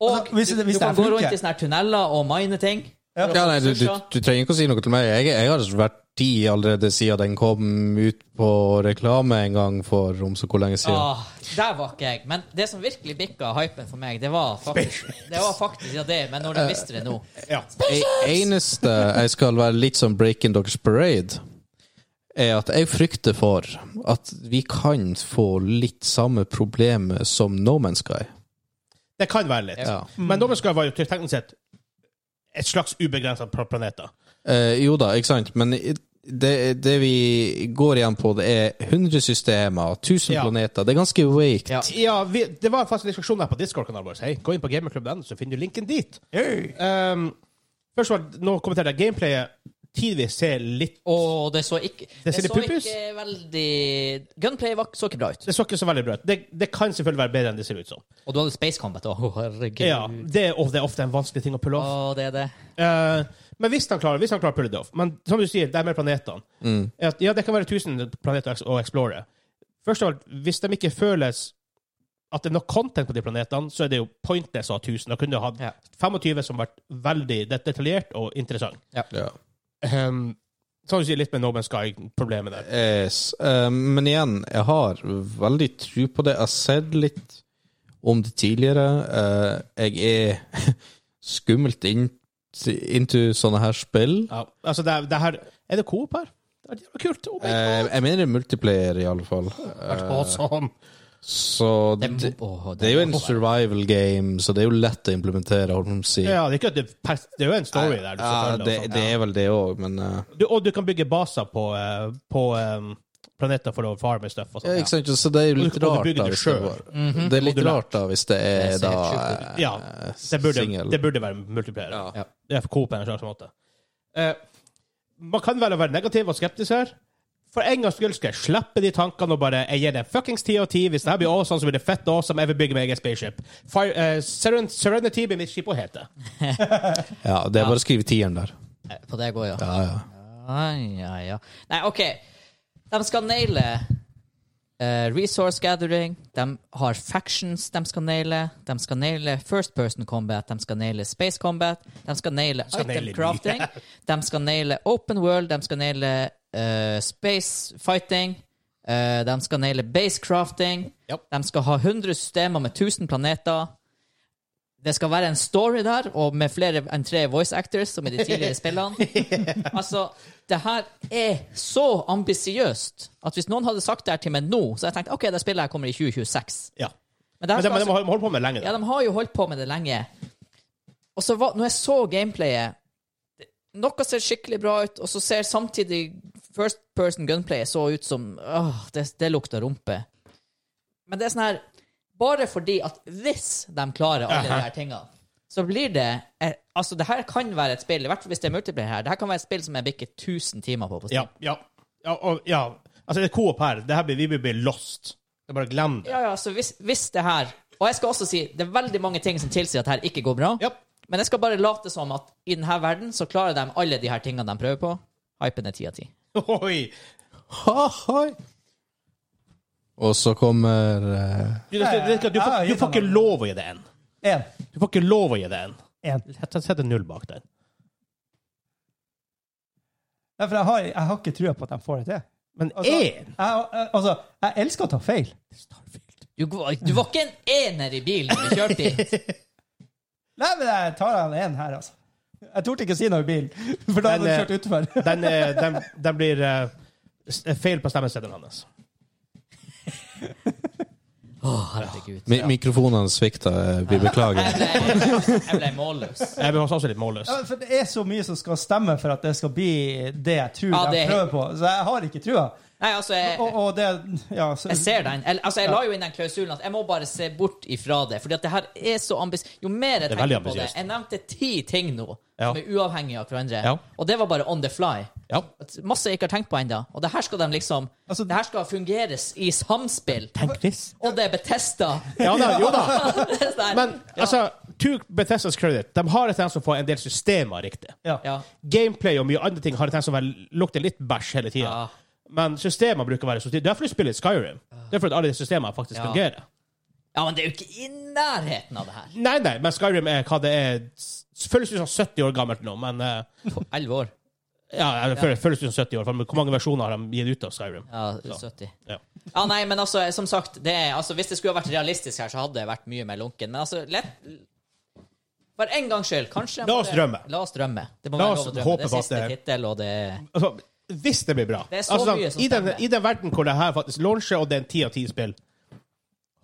Og Altså, hvis det- du, hvis du det her kan gå rundt funker. i sånne her tunneler og mine ting. Ja. Ja, nei, du, du, du trenger ikke å si noe til meg. Jeg, jeg har vært ti allerede siden den kom ut på reklame en gang for om så hvor lenge siden. Ah, der var ikke jeg. Men det som virkelig bikka hypen for meg, det var faktisk, det var faktisk ja, det, men når de visste det nå Ja. Det eneste jeg skal være litt sånn som Breaking Dogs Parade, er at jeg frykter for at vi kan få litt samme problemet som No Man's Sky. Det kan være litt. Ja. Men Dobbeltsky var jo til teknisk sett et slags ubegrensa planeter. Eh, jo da, ikke sant, men i- det, det vi går igjen på, det er 100 systemer, 1000 Ja. planeter. Det er ganske wake. Ja. Ja, vi, det var faktisk en diskusjon her på Discord-kanalen vår. Hei, gå inn på gamerklubben, så finner du linken dit. Um, først var nå kommenterer jeg gameplayet. Tidvis ser litt Og det så ikke Det, ser litt så puppus. ikke veldig Gunplay var, så ikke bra ut. Det så ikke så veldig bra ut. Det, det kan selvfølgelig være bedre enn det ser ut som. Og du hadde Space Combat òg. herregud. Ja, det, er- og det er ofte en vanskelig ting å Å, pulle off. det er det. Eh, men hvis han klarer hvis han klarer å pulle det off Men som du sier, det er med planetene. Mm. Er At, ja, det kan være 1000 planeter å eks- å explore. Først av alt, hvis de ikke føles at det er nok content på de planetene, så er det jo pointless å ha 1000. Da kunne du hatt Ja. 25 som vært veldig det- detaljert og interessant. Ja. Um, sånn du sier litt med No Man's Sky-problemet der. Yes. Eh, men igjen, jeg har veldig tro på det. Jeg har sett litt om det tidligere. Eh, jeg er skummelt inn, into sånne her spill. Ja, altså, det er, det her, er det coop her? Det er jævla kult. Oh my Eh, god! jeg mener det er multiplayer, i alle fall. Vært sånn. Eh, awesome. så Det, det, må- å, det det er jo en må- survival game, så det er jo lett å implementere, holdt jeg på å si. Ja, det er ikke at det, er pers- det er jo en story der. Du altså. skal Ja, følge og det, sånt. det er vel det òg, men eh, Du, og du kan bygge baser på, eh, på eh, planeter for å farme stuff og sånn, ja, sånt. ikke sant? Så det er jo Og du litt kan rart, bygge da, det hvis det, selv. var, det er litt Modulært. rart da, hvis det er Det ser da helt sjukt eh, Ja, det burde, single. det burde være multiplier. Ja. Ja. Det er for Coop en slags måte. Eh, man kan vel være negativ og skeptisk her. For en gangs skyld skal jeg slippe de tankene og bare Jeg gir det fuckings ti av ti. Hvis det her blir awesome, så blir det fett awesome. Jeg vil bygge meg eget spaceship. Fire, eh, Seren Serenity blir mitt skip å hete. Ja, det er bare å skrive tieren der. Eh, På det går, ja. Ja, ja. Ja, ja, ja. Nei, OK. De skal naile eh, resource gathering. De har factions de skal naile. De skal naile first person combat. De skal naile space combat. De skal naile skal item naile mye. crafting. De skal naile open world. De skal naile eh, space fighting. Eh, de skal naile base crafting. Ja. De skal ha 100 systemer med 1000 planeter. Det skal være en story der, og med flere enn tre voice actors, som i de tidligere spillene. Altså, det her er så ambisiøst at hvis noen hadde sagt det her til meg nå, så hadde jeg tenkt OK, det spillet her kommer i 2026. Ja. Men det her Men det, skal men de altså, må holde på med det lenge. ja, Da. de har jo holdt på med det lenge. Og så var, når jeg så gameplayet det- Noe ser skikkelig bra ut, og så ser samtidig first person gunplayet så ut som Åh, det, det lukter rumpe. Men det er sånn her Bare fordi at hvis de klarer alle de her tingene, så blir det eh, Altså, det her kan være et spill, i hvert fall hvis det er multiplayer her, det her kan være et spill som jeg bikker 1000 timer på. på Steam. Ja, ja. ja, og, ja. Altså, det er Coop her. Det her blir, vi blir- blir lost. Det er bare glem det. Ja, ja, så hvis, hvis det her Og jeg skal også si det er veldig mange ting som tilsier at det her ikke går bra. Ja. Men jeg skal bare late som at i denne verden så klarer de alle de her tingene de prøver på. Hypen er ti av ti. Oi. Og så kommer eh, Du, det- det- det- du, får- du får ikke lov å gi det en. Én. Du får ikke lov å gi det en. Én. Sett en null bak den. Ja, for jeg har, jeg har ikke trua på at de får det til. Men Altså, Jeg, én? jeg- altså, jeg elsker å ta feil. Du, var- du var ikke en ener i bilen når vi kjørte i. Nei, men jeg tar han én her, altså. Jeg torde ikke si noe i bilen, for da hadde Men, jeg kjørt utfor. Den, eh, den, den blir eh, s- feil på stemmeseddelen hans. Å, herregud. mi Mikrofonene svikta. eh, Vi beklager. Jeg ble, jeg ble målløs. Jeg blir også litt målløs. Ja, men for det er så mye som skal stemme for at det skal bli det jeg tror Ja, det de er- prøver på, så jeg har ikke trua. Nei, altså, Og, jeg, og det Ja, så, jeg ser den. Jeg, altså, jeg la jo inn den klausulen at jeg må bare se bort ifra det. Fordi at det her er så ambis... Jo mer jeg Det er veldig tenker på det ambisiøst. Jeg nevnte ti ting nå Ja. som er uavhengige av hverandre. Ja. Og det var bare on the fly. Ja. At Masse jeg ikke har tenkt på ennå. Og det her skal de liksom Altså- Det her skal fungeres i samspill. Tenk hvis. Og det er Betesta. Ja da, jo da. Det er sånn her. Men altså, to Bethesdas credit, de har en tendens til å få en del systemer riktig. ja. ja. Gameplay og mye andre ting har en tendens til å være- lukte litt bæsj hele tida. Ja. Men systemer bruker å være så Det er derfor du spiller Skyrim. Det er for at alle de systemene faktisk Ja. fungerer. ja, Ja, men det er jo ikke i nærheten av det her. Nei, nei, men Skyrim er hva det er s- Føles jo som 70 år gammelt nå, men eh, På 11 år. Ja, det føles- føles jo som 70 år. For hvor mange versjoner har de gitt ut av Skyrim? Ja, Ja. 70. Ja. Ja, nei, men altså, som sagt, det er, altså, hvis det skulle ha vært realistisk her, så hadde det vært mye mer lunken. Men altså, lett For en gangs skyld, kanskje. La oss drømme. La oss drømme. Det må La være oss lov å drømme. håpe Det er på at siste det- tittel, og det er Altså, hvis det blir bra. Det er så altså, mye som i, den, stemmer. I den verden hvor det her faktisk launcher, og det er en ti av ti spill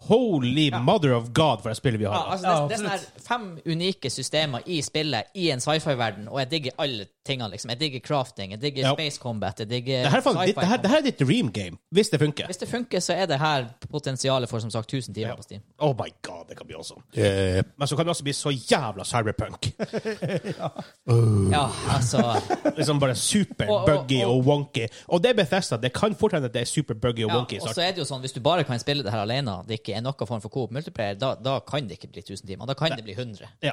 Holy mother of god, for det spillet vi har. ja, da. altså, det, Ja, det er sånn her fem unike systemer i spillet, i en sci-fi-verden, og jeg digger alle tingene, liksom. Jeg digger crafting, jeg digger Ja. space combat, jeg digger det, her er faen- ditt- det, her, combat. det her er ditt dream game, hvis det funker. Hvis det funker, så er det her potensialet for som sagt 1000 timer på Steam. Oh my god, det kan bli awesome. Yep. Men så kan det også bli så jævla cyberpunk. Ja, altså liksom bare super Og- og- buggy og- og wonky. Og det er Bethesda. Det kan fort hende at det er super buggy og ja, wonky. i Og så starten. er det jo sånn, hvis du bare kan spille det her alene, det ikke er noen form for coop multiplayer, da, da kan det ikke bli 1000 timer. Da kan det bli 100. Ja.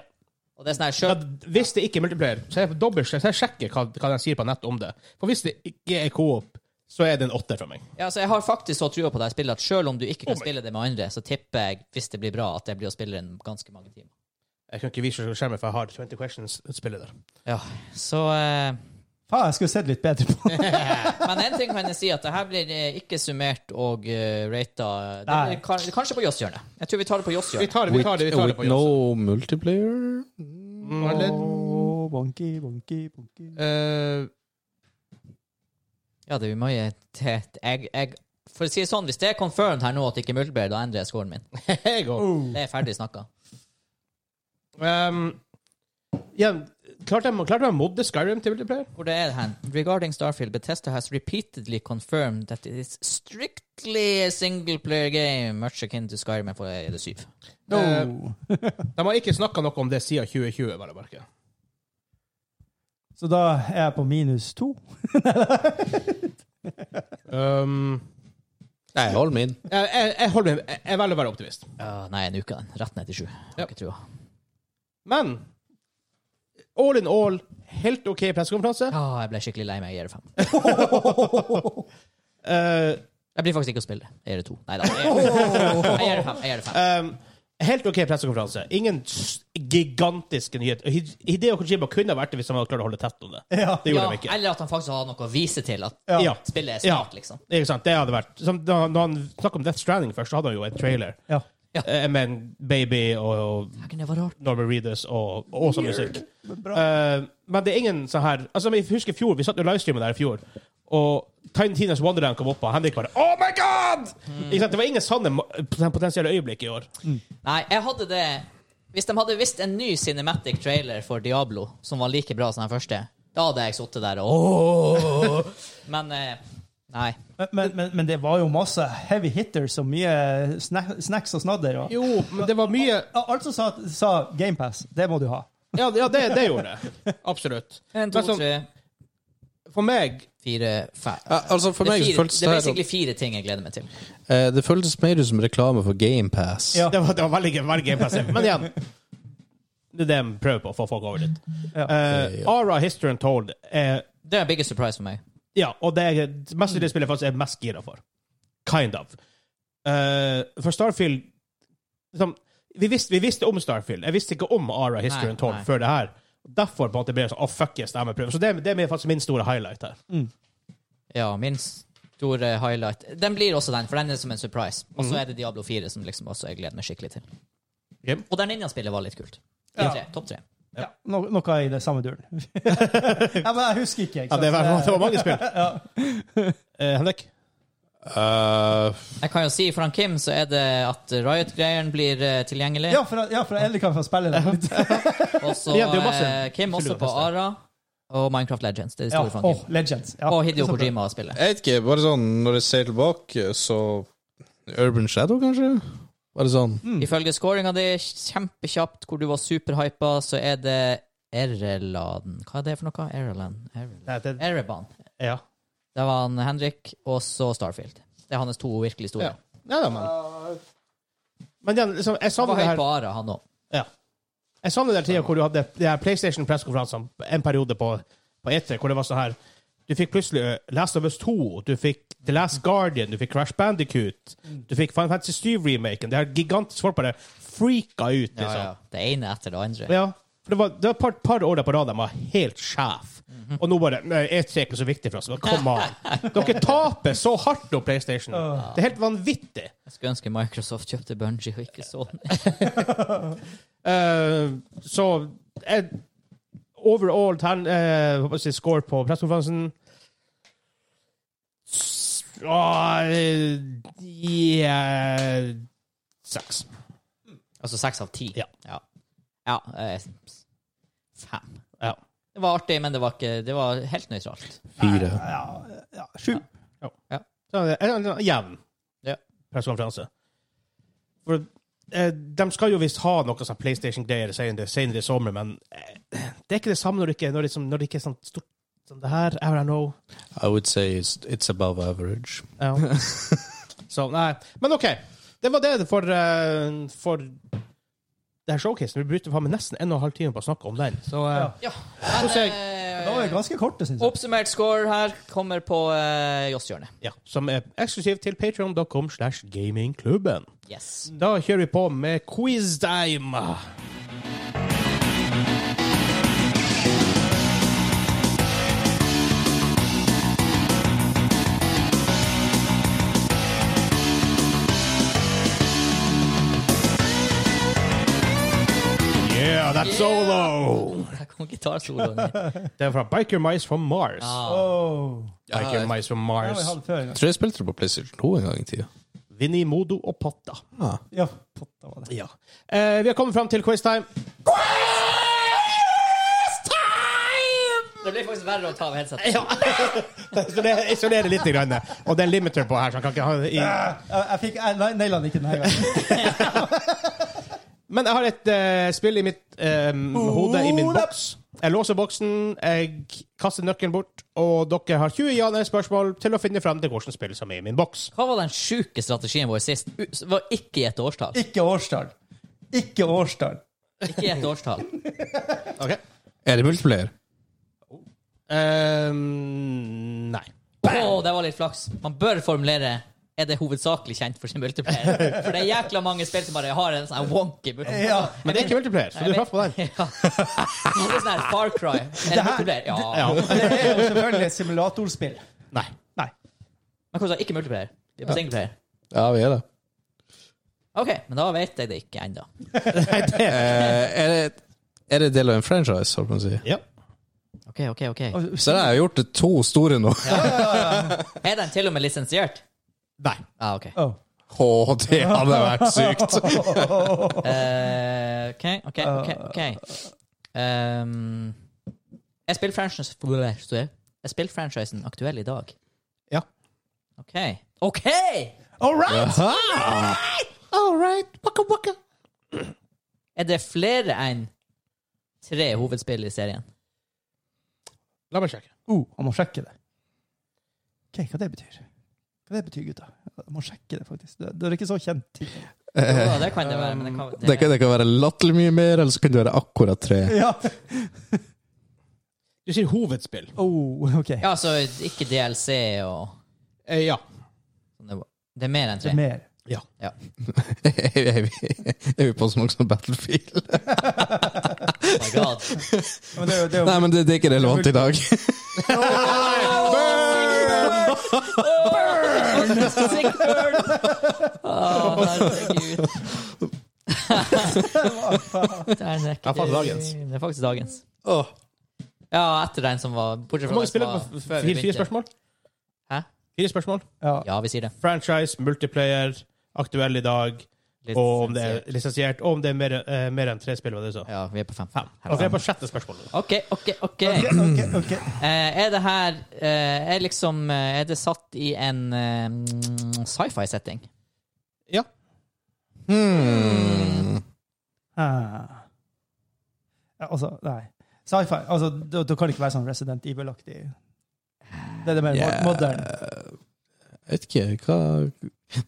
Og det er sånn her Ja, selv, hvis det ikke er multiplayer, så er jeg dobbelt, så jeg sjekker hva, hva de sier på nettet om det. For hvis det ikke er co-op, så er det en åtter for meg. ja, så Jeg har faktisk så trua på det her spillet at selv om du ikke kan Oh my- spille det med andre, så tipper jeg, hvis det blir bra, at det blir å spille den ganske mange timer. Jeg kan ikke vise skjermen, for jeg har 20 Questions-spillet der. Ja, så eh, Faen, jeg skulle sett litt bedre på det. Men en ting kan jeg si, at det her blir eh, ikke summert og uh, rata det Nei. blir kan, Kanskje på Joss-hjørnet. Jeg tror vi tar det på Vi Joss-hjørnet. tar det, vi tar det, vi tar det på With Joss. no multiplayer? Mm. Åh, bonky, bonky, bonky. Eh, Ja, det vi må gi til jeg, jeg, For å si det sånn, hvis det er confirmed her nå at det ikke er multiplayer, da endrer jeg scoren min. jeg går. Det er ferdig snakka. Ehm, igjen, klarte jeg, klarte jeg å modde Skyrim til multiplayer? Hvor det er det hen? Regarding Starfield, Bethesda has repeatedly confirmed that it is strictly a single player game, much akin to Skyrim for det syv. No. Eh, Eh. De har ikke snakka noe om det siden 2020, bare merke. Så da er jeg på minus to. Ehm, Nei, hold min. jeg, jeg, jeg, holder, med- jeg, jeg velger å være optimist. Ja, nei, en uke, den. Rett ned til sju. Har Ja. ikke trua. Men all in all, helt OK pressekonferanse. Ja, jeg ble skikkelig lei meg. Jeg gir det fem. Eh, Jeg blir faktisk ikke å spille. Jeg gjør det to. Nei da. Jeg gjør det fem. Jeg gjør det fem. Jeg gjør det fem. Um, helt OK pressekonferanse. Ingen s- gigantiske nyheter. Hi- Hideo Kojima kunne ha vært det hvis han hadde klart å holde tett om det. Ja. Det gjorde Ja, de ikke. eller at han faktisk har noe å vise til at Ja. Ja. spillet er Ja. smart, liksom. Ikke sant? Det hadde vært som da, Når han snakket om Death Stranding først, så hadde han jo en trailer Ja. Ja. Eh, med en baby og, og Herregud, det var rart. Norman Reedus og og awesome musikk. Bra. Eh, men det er ingen sånn her Altså, men jeg husker i fjor, Vi satt jo livestreamet der i fjor, og Tiny Tinas Wonderland kom opp, og Henrik bare Oh my God! Ikke sant? Det var ingen sanne ma- potensielle øyeblikk i år. Nei, jeg hadde det Hvis de hadde visst en ny cinematic trailer for Diablo som var like bra som den første, da hadde jeg sittet der og Åh! Men eh, nei. Men, men, men, men det var jo masse heavy hitters og mye snack, snacks og snadder. Og. Jo, men det var mye Ja, Alt som sa, sa GamePass, det må du ha. Ja, ja det, det gjorde det. Absolutt. En, to, Men sånn- tre, For meg fire, fem. Ja, altså, for det, meg er så fire, føltes det er det her basically fire ting jeg gleder meg til. eh, Det føltes mer ut som reklame for GamePass. Ja. Det var, det var veldig, veldig gameplassert. Men igjen Det er det de prøver på, å få folk over dit. Ja. Eh, Ara History Untold er Det er en biggest surprise for meg. Ja, og det er mest av det spillet jeg faktisk er mest gira for. Kind of. Eh, for Starfield liksom, vi, visste, vi visste om Starfield. Jeg visste ikke om Ara History Nei, Untold nei. før det her. Derfor på en måte ble det sånn Å, fuck yes, det her må jeg prøve. Så det, det er faktisk min store highlight her. Ja, min store highlight Den blir også den, for den er som en surprise. Og Mhm. så er det Diablo 4 som liksom også jeg gleder meg skikkelig til. Jim? Og der ninjaspillet var litt kult. De Ja. tre, Topp tre. Ja. No, noe i det samme duren. ja, men jeg husker ikke. ikke Ja, det, var, sant? det var mange spill. Eh, Henrik? Eh, Jeg kan jo si for han Kim så er det at Riot-greiene blir eh, tilgjengelig. ja, for, ja, for endelig kan jeg få spille det. litt. Og så Ja, det er jo masse eh, Kim også kulere på fester. Ara. Og Minecraft Legends. Det er det Ja. store for han åh, Kim. Legends. Ja. Og Hidio Kojima-spillet. jeg vet ikke, bare sånn når jeg ser tilbake, så Urban Shadow, kanskje? Bare sånn Ifølge scoringa di, kjempekjapt, hvor du var superhypa, så er det Erelan Hva er det for noe? Erelan? Erelan. Nei, det, Ereban. ja. Det var han Henrik, og så Starfield. Det er hans to virkelig store. Ja. Nei da, men Men igjen, liksom, jeg Han savner var det høy her på Ara, han òg. ja. Jeg savner den tida hvor du hadde de her PlayStation-pressekonferansene en periode på, på E3, hvor E det var sånn her Du Du fikk plutselig eh, Last of Us 2, du fikk The Last Guardian, du fikk Crash Bandicoot, du fikk Final Fantasy 7-remaken. Det her gigantiske folk bare freaka ut, Ja, ja. liksom. Det ene etter det andre. Ja. For det var, det var et par, par år der på rad de var helt sjef. Mhm. Og nå bare Nei, E3 er ikke så viktig for oss. Men Come on. Dere taper så hardt nå, PlayStation. Det er helt vanvittig. Jeg skulle ønske Microsoft kjøpte Bungie og ikke Sony. Eh, så eh, overall tern, eh, hva skal jeg si, score på pressekonferansen S- ah, eh, yeah, Seks. Altså seks av ti. Ja. Ja. ja eh, fem. Ja. Det var artig, men det var, ikke, det var helt nøytralt. Fire. Ja, ja, sju. Så, eh, En en jevn Ja. pressekonferanse. For eh, de skal jo visst ha noe sånn PlayStation-greier senere, senere i sommer, men eh, det er ikke det samme når det ikke, når det, som- når det ikke er sånn stort som det her. I don't know. I would say it's, it's above average. Ja. Så, nei. Men OK. Det var det for, eh, for det her showcasen. Vi brukte faen meg nesten en og en halv time på å snakke om den. Så eh, Ja. eh, Så ser jeg- Det var jo ganske korte, syns jeg. Oppsummert score her kommer på eh, Jåsshjørnet. ja. Som er eksklusivt til patreon.com slash gamingklubben. Yes. Da kjører vi på med quiztime. Yeah, that's solo! Der kom gitarsoloen inn. Det er fra Biker Mice from Mars. Ah. Oh. Biker Mice from Det har vi Mars. hatt før. Jeg tror jeg spilte det på PlayStation 2 en gang i tida. Vinni Modo og Potta. Ja, potta var det. Ja. Eh, vi har kommet fram til quiztime. Det blir faktisk verre å ta av headsetet. Ja. så det isolerer litt, grann, og det er en limiter på her. Så han kan ikke ha det i. Eh, Jeg, jeg fikk jeg nei- naila den ikke denne gangen. Men jeg har et eh, spill i mitt eh, hode, i min boks. Jeg låser boksen, jeg kaster nøkkelen bort, og dere har 20 ja-nei-spørsmål til å finne frem til hvilket spill som er i min boks. Hva var den sjuke strategien vår sist? U var ikke gjette årstall. Ikke årstall. Ikke årstall. Ikke gjette årstall. Okay. Er det multiplier? Eh, nei. Å, det var litt flaks. Man bør formulere er det hovedsakelig kjent for sin multiplayer. For det er jækla mange spill som bare har en sånn her wonky multiplayer. Ja. Men det er ikke multiplayer, så du traff på den. Ja. Det er sånn her Far Cry. Er det multiplayer? Ja. Ja. Det er jo selvfølgelig et simulatorspill. Nei. Nei. Men hvordan ikke multiplayer? Det er på singleplayer. Ja, vi er det. OK, men da vet jeg det ikke ennå. Eh, er det. Er det del av en franchise, holdt på å si? Ja. OK, OK, OK. Så jeg har gjort det to store nå. Er den til og med lisensiert? Nei. Ah, OK. Oh. Å, det hadde vært sykt! Eh, OK, OK, Ah. OK. ok. Ehm, er spillfranchisen Er spillfranchisen aktuell i dag? Ja. OK. OK! All right! All right. Waka, waka. Er det flere enn tre hovedspill i serien? La meg sjekke. Oh, han må sjekke det. Ok, Hva det betyr Hva det betyr, gutta? Jeg må sjekke det, faktisk. Det, det er ikke så kjent. ting. Eh, Jo, det kan det være, men det kan, Det kan, det kan være latterlig mye mer, eller så kan det være akkurat tre. Ja. Du sier hovedspill. Oh, OK. Ja, så ikke DLC og Eh, ja. sånne- Det er mer enn Det tre. er mer. Ja. Ja. Oh er, vi, er vi på som også Battlefield? Oh my god. Men det er jo, det er Nei, jo, men det, det er ikke relevant i dag. Sick burn! Å, herregud. Det er nekker- Ja, faktisk dagens. Det er faktisk dagens. Åh. Ja, etter den som var Bortsett fra Hvor mange den som spiller var før vi på fire, fire begynte. spørsmål? Hæ? Fire spørsmål. ja. Ja, vi sier det. Franchise, multiplayer, aktuell i dag, Litt og om det er sensitivt. lisensiert, og om det er mer, eh, mer enn tre spill, var det du sa. Ja, vi er på fem. Ok, jeg er på sjette spørsmål. nå. OK, OK, OK. OK, OK. ok. Eh, er det her eh, Er liksom eh, Er det satt i en eh, mm, sci-fi-setting? Ja. Hmm. Ah. Ja, altså, nei. Sci-fi. Altså, da, da kan det ikke være sånn Resident Evil-aktig. Det er det mer Yeah. moderne. Jeg vet ikke hva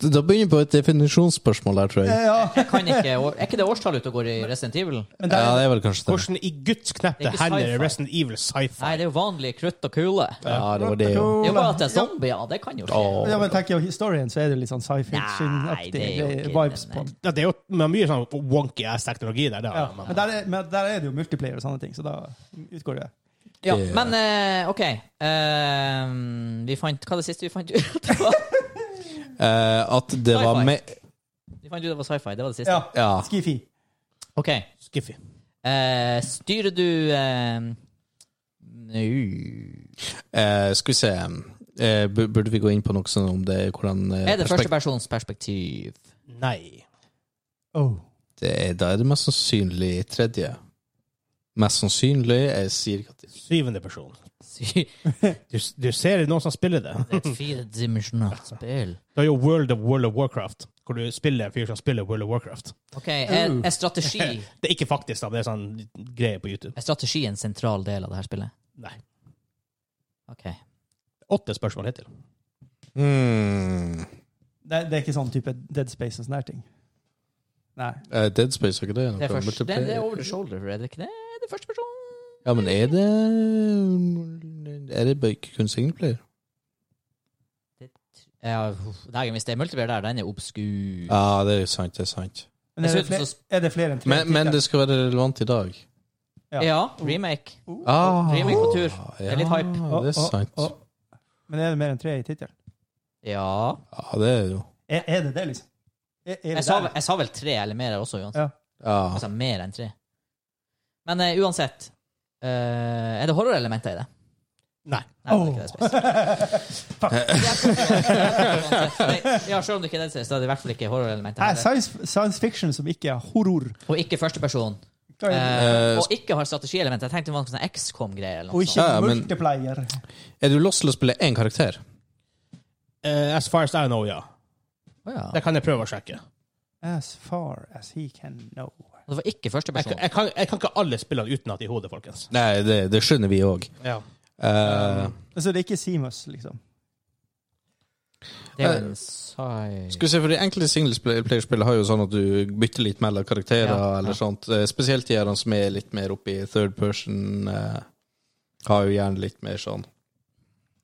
Da begynner vi på et definisjonsspørsmål her, tror jeg. Eh, Ja, Jeg kan ikke, og- Er ikke det årstallet ute og går i Resident Evil? men der, Ja, det er vel kanskje det. Hvordan i Guds knepte Det er ikke hender er sci-fi. Resident Evil sci-fi? Nei, det er jo vanlig krutt og kule. Ja, det var det jo. Det er jo bare at det er sånn. zombier. Det kan jo skje. Ja, men tenker jeg historien, så er det litt sånn Nei, det er jo sci-fiction-aktig ikke vibes det, på nei. den. Ja, det er jo men mye sånn wonky ass teknologi der. Det Ja, har man. men, der er, men der er det jo multiplayer og sånne ting, så da utgår det. Ja, Det- men eh, OK. Eh, vi fant Hva er det siste vi fant ut? Det var- Eh, at det var Sci-fi. med vi fant ut det var sci-fi. Det var det siste. Ja. Ja. Skifi. OK. Skiffy. Eh, styrer du eh, nu. eh, Skal vi se eh, bu- Burde vi gå inn på noe sånn om det hvordan eh, Er det perspekt- førstepersons perspektiv? Nei. Oh. Det er, da er det mest sannsynlig tredje. Mest sannsynlig Jeg sier ikke at det Syvende person. Sy- Du, du ser noen som spiller det. Det er et firedimensjonalt spill. Det er jo World of World of Warcraft, hvor du spiller en fyr som spiller World of Warcraft. OK. Er, er, strategi, Det er ikke faktisk, da. Det er sånn greie på YouTube. er strategi en sentral del av det her spillet? Nei. OK. Åtte spørsmål hittil. hmm. Det, det er ikke sånn type Dead Space og sånne her ting. Nei. eh, Dead Space er ikke det? Det er, noe først, det, multiplayer? det er over the shoulder, er det ikke det? Er det første person? Ja, men er det Er det bare kun singleplayer? Ja, uff, nei, hvis det er multiplayer der, den er obskur. Ja, Ah, det er sant, det er sant. Men er det, Dessuten flere, så- er det flere enn tre? Men, men det skal være relevant i dag. Ja, remake. Oh, Ah, Remake på tur. Det er litt hype. Det er sant. Men er det mer enn tre i tittelen? Ja. Ja, Ah, det er jo Er, er det det, liksom? Er, er det Jeg sa, der? vel- jeg sa vel tre eller mer også, Johan. Ja. Altså mer enn tre. Men eh, uansett eh, Er det horrorelementer i det? Nei. Nei, det er ikke det. Space. ja, selv om det ikke er det, så er det i hvert fall ikke horrorelementer. Nei, i det. science, science fiction som ikke er horror. Og ikke førsteperson. Hva er det? Eh, Eh, og ikke har strategielementer. Jeg tenkte det var noe sånn XCOM-greier eller Og noe sånt. ikke Ja, ja, men- multiplayer. Er du lost til å spille én karakter? Eh, as far as I know, ja. Å ja. Det kan jeg prøve å sjekke. As far as he can know. Det var ikke Jeg, kan- førsteperson. jeg, kan, jeg kan ikke alle spillene utenat i hodet, folkens. Nei, det, det skjønner vi Eh, òg. Ja. Um, Altså, det er ikke Seamus, liksom. Det er jo en sci... Skal vi se, for De enkelte singelplayerspillene har jo sånn at du bytter litt mellom karakterer. Ja. eller sånt. Eh, Spesielt de her som er litt mer oppe i third person, eh, har jo gjerne litt mer sånn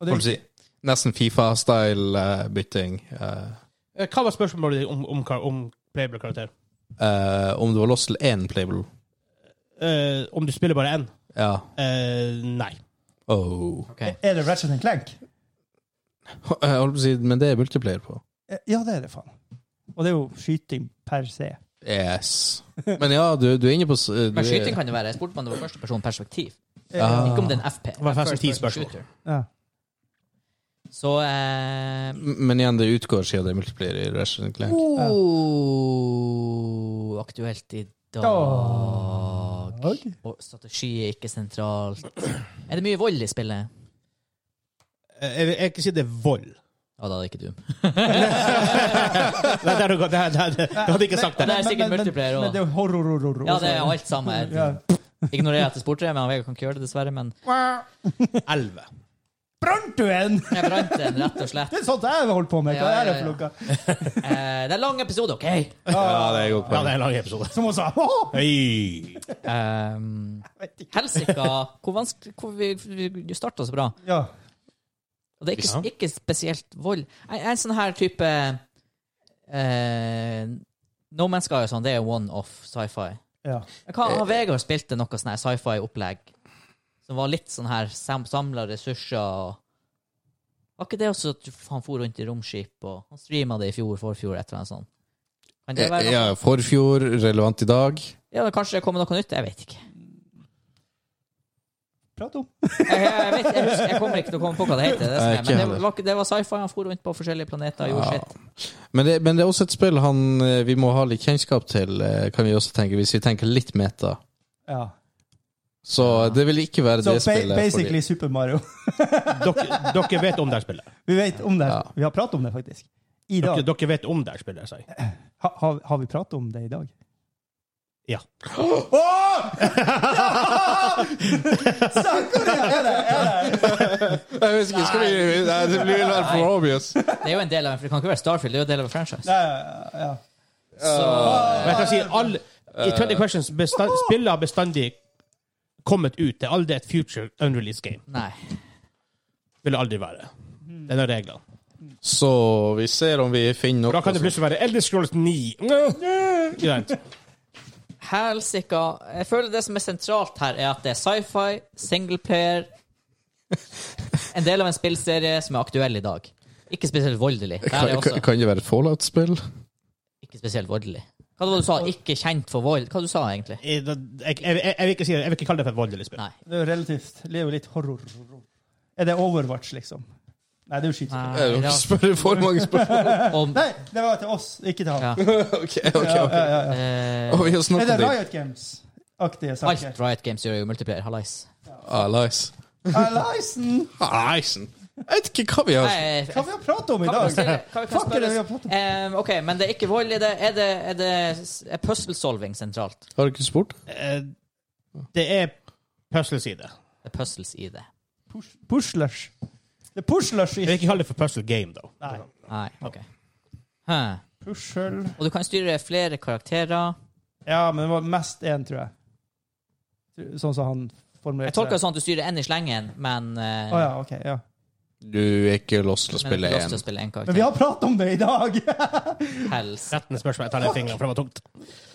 Og hva skal det, jeg si, Nesten Fifa-style-bytting. Eh, Hva var spørsmålet ditt om, om, kar- om playable karakter? eh, om du var lost til én playable Eh, om du spiller bare én? Ja. Eh, nei. Oh. Ok. er det Ratchet and Clank? Jeg holdt på å si, men det er multiplayer på. Eh, Ja, det er det, faen. Og det er jo skyting per se. Yes. Men ja, du, du er inne på s- du Men skyting er, kan jo være. Jeg spurte meg om det var førsteperson perspektiv. Eh, Ah. Ikke om det er en FP. Det var faktisk First ti person spørsmål. shooter. Ah. Ja. Så eh, Men igjen, det utgår siden det er multiplayer i Resident Clank. oh, Aktuelt i dag. Dag. Og strategi er ikke sentralt. Er det mye vold i spillet? Eh, jeg vil jeg vil ikke si det er vold. Ja, da er det ikke du. Nei, der, du går- der, der, der, du hadde ikke sagt det. det er sikkert multiplayer også. Men det er jo horror, horror, horror. Ja, det er alt sammen. Ja. Ignorerer at det spurte jeg, men Vegard kan ikke gjøre det, dessverre. Men Elleve. Brant du en?! jeg brant den, rett og slett. Det er sånt jeg holder på med. Hva Ja, er det ja, for ja. noe? Eh, det er en lang episode, OK? Ja, det er godt Ja, poeng. det er en lang episode. Som hun sa. «Åh!» Hei. Um, Jeg vet ikke. Helsika Hvor vanskelig hvor vi, vi starta så bra. Ja. Og det er ikke, Ja. ikke spesielt vold. Jeg jeg er en sånn her type eh, No Man's Sky og sånn, det er one-off sci-fi. ja. Hva Eh, har Vegard spilt til noe sånn her sci-fi-opplegg? Som var litt sånn her sam samla ressurser og Var ikke det også at du- han for rundt i romskip og Han streama det i fjor, forfjor, et eller annet sånt? Kan det være noe? Ja, Eh, Ja, forfjor, relevant i dag. men Kanskje det kommer noe nytt? Jeg vet ikke. Prat om. Jeg, jeg, vet, jeg, husker, jeg kommer ikke til å komme på hva det heter. Det er Nei, det som er, ikke men det heller. var, ikke- det var sci-fi. Han for rundt på forskjellige planeter og gjorde Ja. sitt. Men det, men det er også et spill han, eh, vi må ha litt kjennskap til, eh, kan vi også tenke, hvis vi tenker litt meta. Ja. Så det vil ikke være Så det ba spillet. basically Super Mario. Dere, dere vet om det her spillet. Vi vet om det. her. Ja. Vi har pratet om det, faktisk. I dag. Dere, dere vet om det her spillet, sier jeg. Ha, har- har vi pratet om det i dag? Ja. Jeg vet ikke, skal vi Nei, det blir vel for obvious. Det er jo en del av, for det kan ikke være Starfield, det er jo en del av en franchise. ja. Så, Men jeg kan si alle i Eh. 20 Questions bestand, spiller har bestandig kommet ut. Det er aldri et future unreleased game. nei. Vil det aldri være. Det er reglene. Så vi ser om vi finner Og da noe kan det plutselig være Elder Scrolls 9. Ikke sant? Helsika. Jeg føler det som er sentralt her, er at det er sci-fi, singleplayer En del av en spillserie som er aktuell i dag. Ikke spesielt voldelig. Det her er Kan, kan- også kan det være et Fallout-spill? ikke spesielt voldelig. Hva var det du sa? Ikke kjent for vold? Hva du sa egentlig? Jeg, jeg, jeg, jeg, vil ikke si, det. jeg vil ikke kalle det for et voldelig spill. Nei. Det er jo relativt. Det er jo litt horror. Er det Overwatch, liksom? Nei, det er jo skitt. Nei, Jeg det spør for mange spørsmål. var- om, Nei, det var til oss, ikke til han. ja, Ok, ok. Ja, ok. ja, ja. eh, Og vi Er har det snakket litt. Riot Games-aktige alt saker? Riot Games gjør jo multiplayer. Hallais. Ah, nice. Alaisen! Ah, nice. Jeg vet ikke hva vi har Nei, Hva vi har pratet om i dag? Fuck, er det vi har pratet om? Eh, OK, men det er ikke vold i det. Er det, er det er puzzle solving sentralt? Har du ikke spurt? Eh, Det er puzzle-side. Det er puzzles i det. Pus- Puslers. Det er puslers i Jeg vil ikke kalle det for puzzle game, da. Nei. Nei, OK. Huh. Pushel Og du kan styre flere karakterer. Ja, men det var mest én, tror jeg. Sånn som han formulerte Jeg tolker det sånn at du styrer én i slengen, men eh, Å ja, OK. ja. Du er ikke lost til å men spille du har lyst én. til å spille én Men vi karakter. har pratet om det i dag! Helst. Rettende spørsmål. Jeg tar den fingeren, for det var tungt.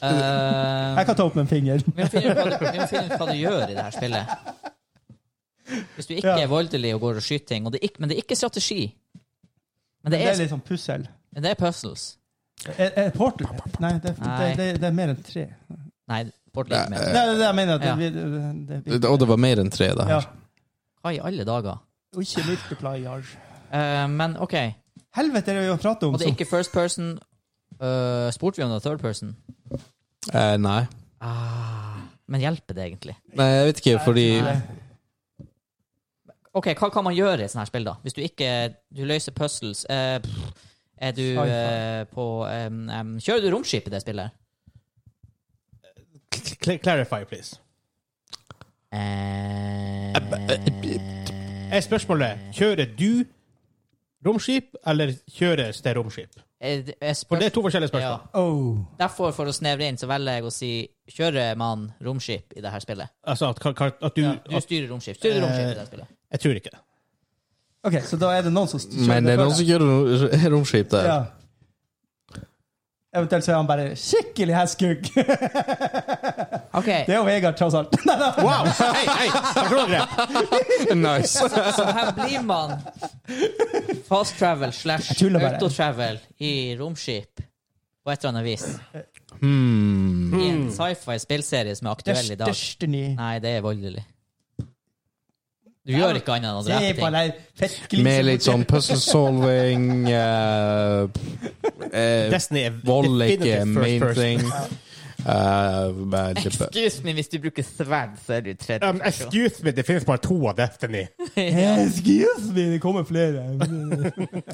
Eh, Jeg kan ta opp med en finger. vi må finne ut hva du- vi må finne ut hva du gjør i det her spillet. Hvis du ikke Ja. er voldelig og går og skyter ting, og det er ikke, men det er ikke strategi Men Det det er er, litt sånn pussel. men det er puzzles. Er, er Portal Nei, det, det, Nei. det, det er mer enn Eh. tre. Nei, Portal er ikke med. Nei, det er det jeg mener. at Ja. Det, det, det, det, Og det var mer enn tre, det ja. her. Hva i alle dager? Og ikke multiplier. Eh, men OK. Helvete, det er det vi har pratet om. Og det er Som, ikke first person. Eh, spurte vi om det var third person? Eh, nei. Ah, men hjelper det egentlig? Nei, jeg vet ikke, fordi Nei. OK, hva kan man gjøre i et sånt her spill, da? Hvis du ikke Du løser puzzles eh, pff, Er du Sci-fi. eh, på em, em, Kjører du romskip i det spillet? Cl- Clarify, please. Eh, Eh, Er spørsmålet kjører du romskip, eller kjøres det romskip? eh, det er For spørs- det er to forskjellige ja. spørsmål. Oh. Derfor, for å snevre inn, så velger jeg å si Kjører man romskip i det her spillet? Altså at, ka- ka- at du Du at, styrer romskip. Styrer romskip Eh, i det her spillet. Jeg tror ikke det. OK, så da er det noen som kjører Men det er for noen deg. som gjør ro- romskip der. Ja. Eventuelt så er han bare skikkelig hestkuk. OK. Det er jo Vegard, tross alt. Nei, nei. Wow! Hei, hei! Takk for dere. Nice. Så her blir man fast travel slash tuller bare. autotravel i romskip på et eller annet vis. Mm. Hmm. I en sci-fi spillserie som er aktuell i dag. Destiny. Nei, det er voldelig. Du gjør ikke annet enn å Se drepe på ting. den fettglisen. Med litt sånn puzzle solving eh, eh, Destiny er Vold er ikke definitivt first main person. thing. Eh, men det- Excuse me, hvis du bruker sverd, så er du tredje Um, excuse me, det finnes bare to av Destiny. Excuse me, det kommer flere.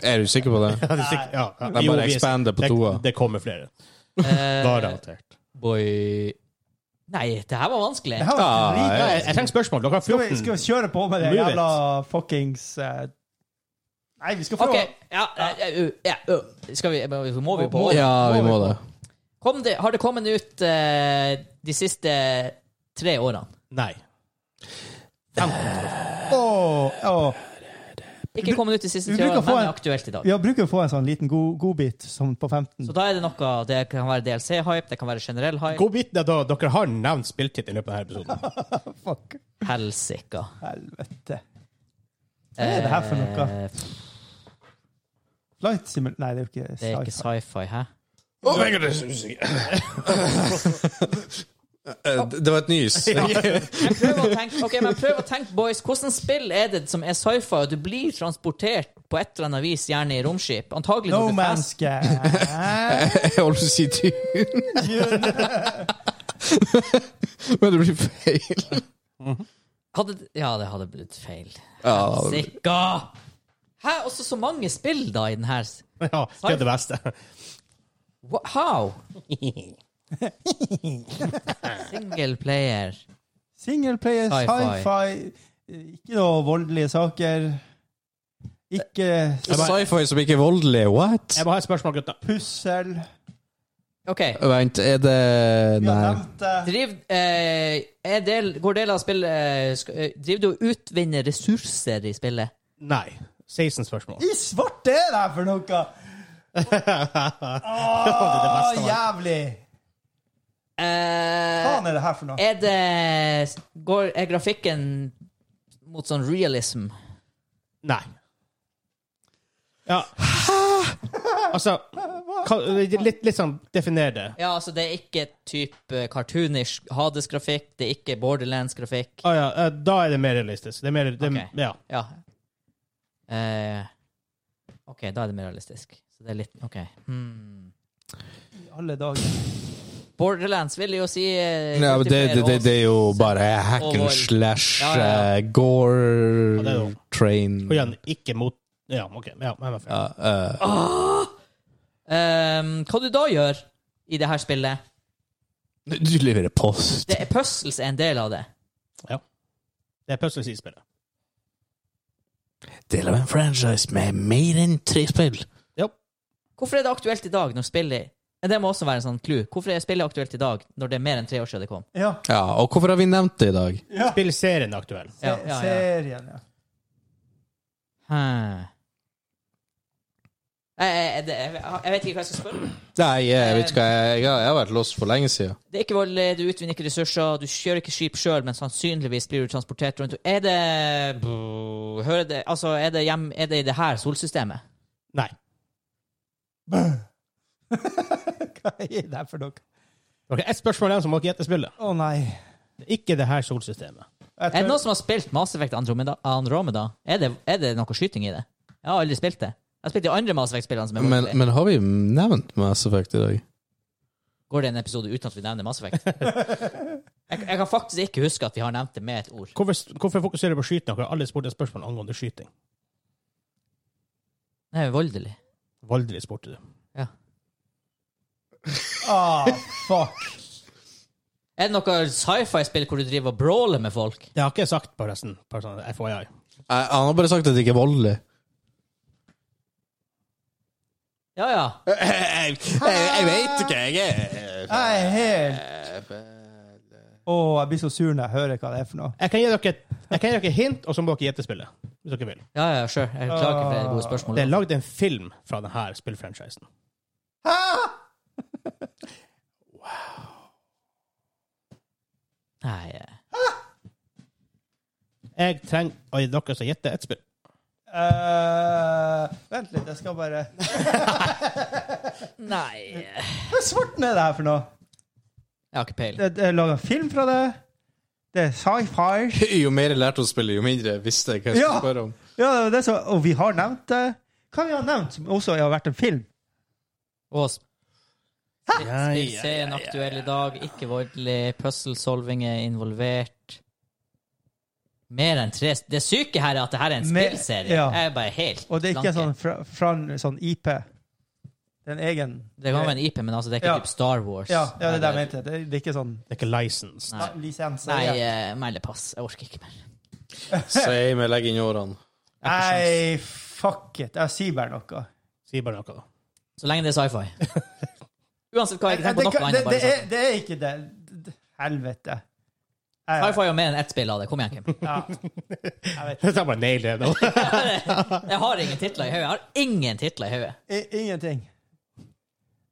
er du sikker på det? Ja, det er sikkert- ja, ja. De Jo, bare vi- expander på det- toa. Det kommer flere. Eh, Garantert. Boy. Nei, det her var vanskelig. Det her var Ah, dritbra. Jeg, jeg trenger spørsmål. Dere har Skal vi, 14. skal vi kjøre på med det Move jævla fuckings eh, Nei, vi skal få OK. Ja, ja, ja, ja. Skal vi, må vi på Ja, vi må det. Kom det, har det kommet ut eh, de siste tre årene? Nei. Åh, åh. Ikke kommet ut de siste Vi tre bruker årene, å få men en- aktuelt i dag. Ja, bruker å få en sånn liten god- godbit som på 15. Så da er det noe Det kan være DLC-hype, det kan være generell hype. Godbiten er da dere har nevnt spilltittelen i løpet av denne episoden. Fuck. Helsika. Helvete. Hva er det her for noe? Eh, Flight simul... Nei, det er jo ikke Det er ikke sci-fi. sci-fi, hæ? Oh my God, jeg er usikker. Eh, det- Det var et nys. Men Prøv å tenke, ok, men prøv å tenke, boys, hvordan spill er det som er sci-fi, og du blir transportert på et eller annet vis, gjerne i romskip? Antagelig No når du Man's fast- Sky. Jeg holdt på å si Dune, men det blir feil. Hadde, ja, det hadde blitt feil. Ja, det- Sikka! Hæ? Også så mange spill, da, i den her s- Ja, det er det beste. Wha- How? Single player. Single player, Sci-fi. sci-fi, eh, ikke noe voldelige saker. Ikke Sci-fi som ikke er voldelig, what? Jeg må ha et spørsmål, gutta. pussel. OK. Vent, er det Vi har Nei. nevnt det. Driv, eh, er del, går deler av spillet eh, sk- eh, Driver du og utvinner ressurser i spillet? Nei. 16 spørsmål. I svarte er det her for noe! Å, jævlig! Eh, Hva faen er det her for noe? er det går, Er grafikken mot sånn realism? Nei. Ja. Altså kan, litt, litt sånn Definer det. Ja, altså, det er ikke type cartoonish Hades-grafikk, det er ikke Borderlands-grafikk. Å ja, eh, da er det mer realistisk. Det er mer det, Ok. Ja. Ja. Eh, OK, da er det mer realistisk. Så det er litt OK. Hmm. I Eh, alle dager. Borderlands vil jo si eh, Ja, men det, det, det, det er jo bare Og hack and vold. slash Ja, ja, eh, gore Ja, det er jo- train Og igjen, ikke mot Ja, OK. Ja, jeg var ferdig. Ja, eh, Ehm, hva du da gjør i det her spillet Du leverer post. det er Puzzles er en del av det. Det er puzzles i spillet. Del av en franchise med mer enn tre spill. Hvorfor er det aktuelt i dag når spillet Men Det må også være en sånn clue. Hvorfor er spillet aktuelt i dag når det er mer enn tre år siden det kom? Ja. Ja, og hvorfor har vi nevnt det i dag? ja. Spillserien er aktuell. Ja, ja, ja. Serien, ja. Hmm. Jeg, jeg, det- jeg, jeg vet ikke hva jeg skal spørre om. Nei, jeg vet ikke hva jeg, jeg har- jeg har vært lost for lenge siden. Det er ikke voldelig, du utvinner ikke ressurser, du kjører ikke skip sjøl, men sannsynligvis blir du transportert rundt Er det Hører det Altså, er det, hjem, er det i det her solsystemet? Nei. Hva er det her for noe? Ok, Ett spørsmål igjen, så må dere gjette spillet. Å nei. Det er Ikke det her solsystemet. Jeg Er det tror- noen som har spilt Mass Effect Andromeda? Andromeda? Er, det, er det noe skyting i det? Jeg har aldri spilt det. Jeg har spilt de andre Mass Effect-spillene som er Men, voldelige. men har vi nevnt Mass Effect i dag? Går det en episode uten at vi nevner Mass Effect? jeg, jeg kan faktisk ikke huske at vi har nevnt det med et ord. Hvorfor, hvorfor fokuserer du på skyting? Dere har alle spurt et spørsmål angående skyting. Det er voldelig. Voldelig spurte du. Ja. Ah, fuck. Er det noe sci-fi-spill hvor du driver og brawler med folk? Det har ikke jeg sagt, forresten. Bare sånn FYI. Eh, Han har bare sagt at det ikke er voldelig. Ja, ja. Jeg, jeg vet ikke, jeg er Jeg er helt Å, jeg blir så sur når jeg hører hva det er for noe. Jeg kan gi dere, jeg kan gi dere hint, og så må dere gjette spillet. Hvis dere vil. Ja, ja, sure. Jeg klager ikke for det gode Det er Ah. spørsmålet. lagd en film fra denne spillfranchisen. Nei, eh. Jeg trenger å gi dere som gjetter ett spill. Eh, vent litt, jeg skal bare Nei. eh. Hva svarten er det her for noe? Jeg har ikke peiling. Det det er laga film fra det. Det er sci-fi. Jo mer jeg lærte å spille, jo mindre visste jeg hva jeg skulle Ja. spørre om. Ja, det er det som- og vi har nevnt det. Hva vi har nevnt som også har vært en film? Ås. Ja, ja, ja, Serien aktuell i dag, ikke voldelig, puzzle-solving er involvert. Mer enn tre Det syke her er at det her er en Mer- spillserie. ja. Jeg er bare helt Og det er ikke en blanke. sånn fra, fra en sånn IP. Det er en egen Det kan være en IP, men altså, det er ikke sånn- Ja. typ Star Wars. Ja, ja det er det jeg mente. Det er, det er ikke sånn Det er ikke license. Nei. lisens. Nei, ja. eh, meld pass. Jeg orker ikke mer. Same, jeg legger inn årene. Nei, fuck it. Jeg sier bare noe. Si bare noe, da. Så lenge det er sci-fi. Uansett hva, Det, jeg ikke tenker på noe det, annet. det, bare sånn. er, det er ikke det. Helvete. sci-fi. Jeg, Sci-fi er jo mer enn ett spill av det. Kom igjen, Kim. ja. jeg vet Jeg tar bare nail det nå. Jeg har ingen titler i hodet. Jeg har ingen titler i hodet. I- Ingenting.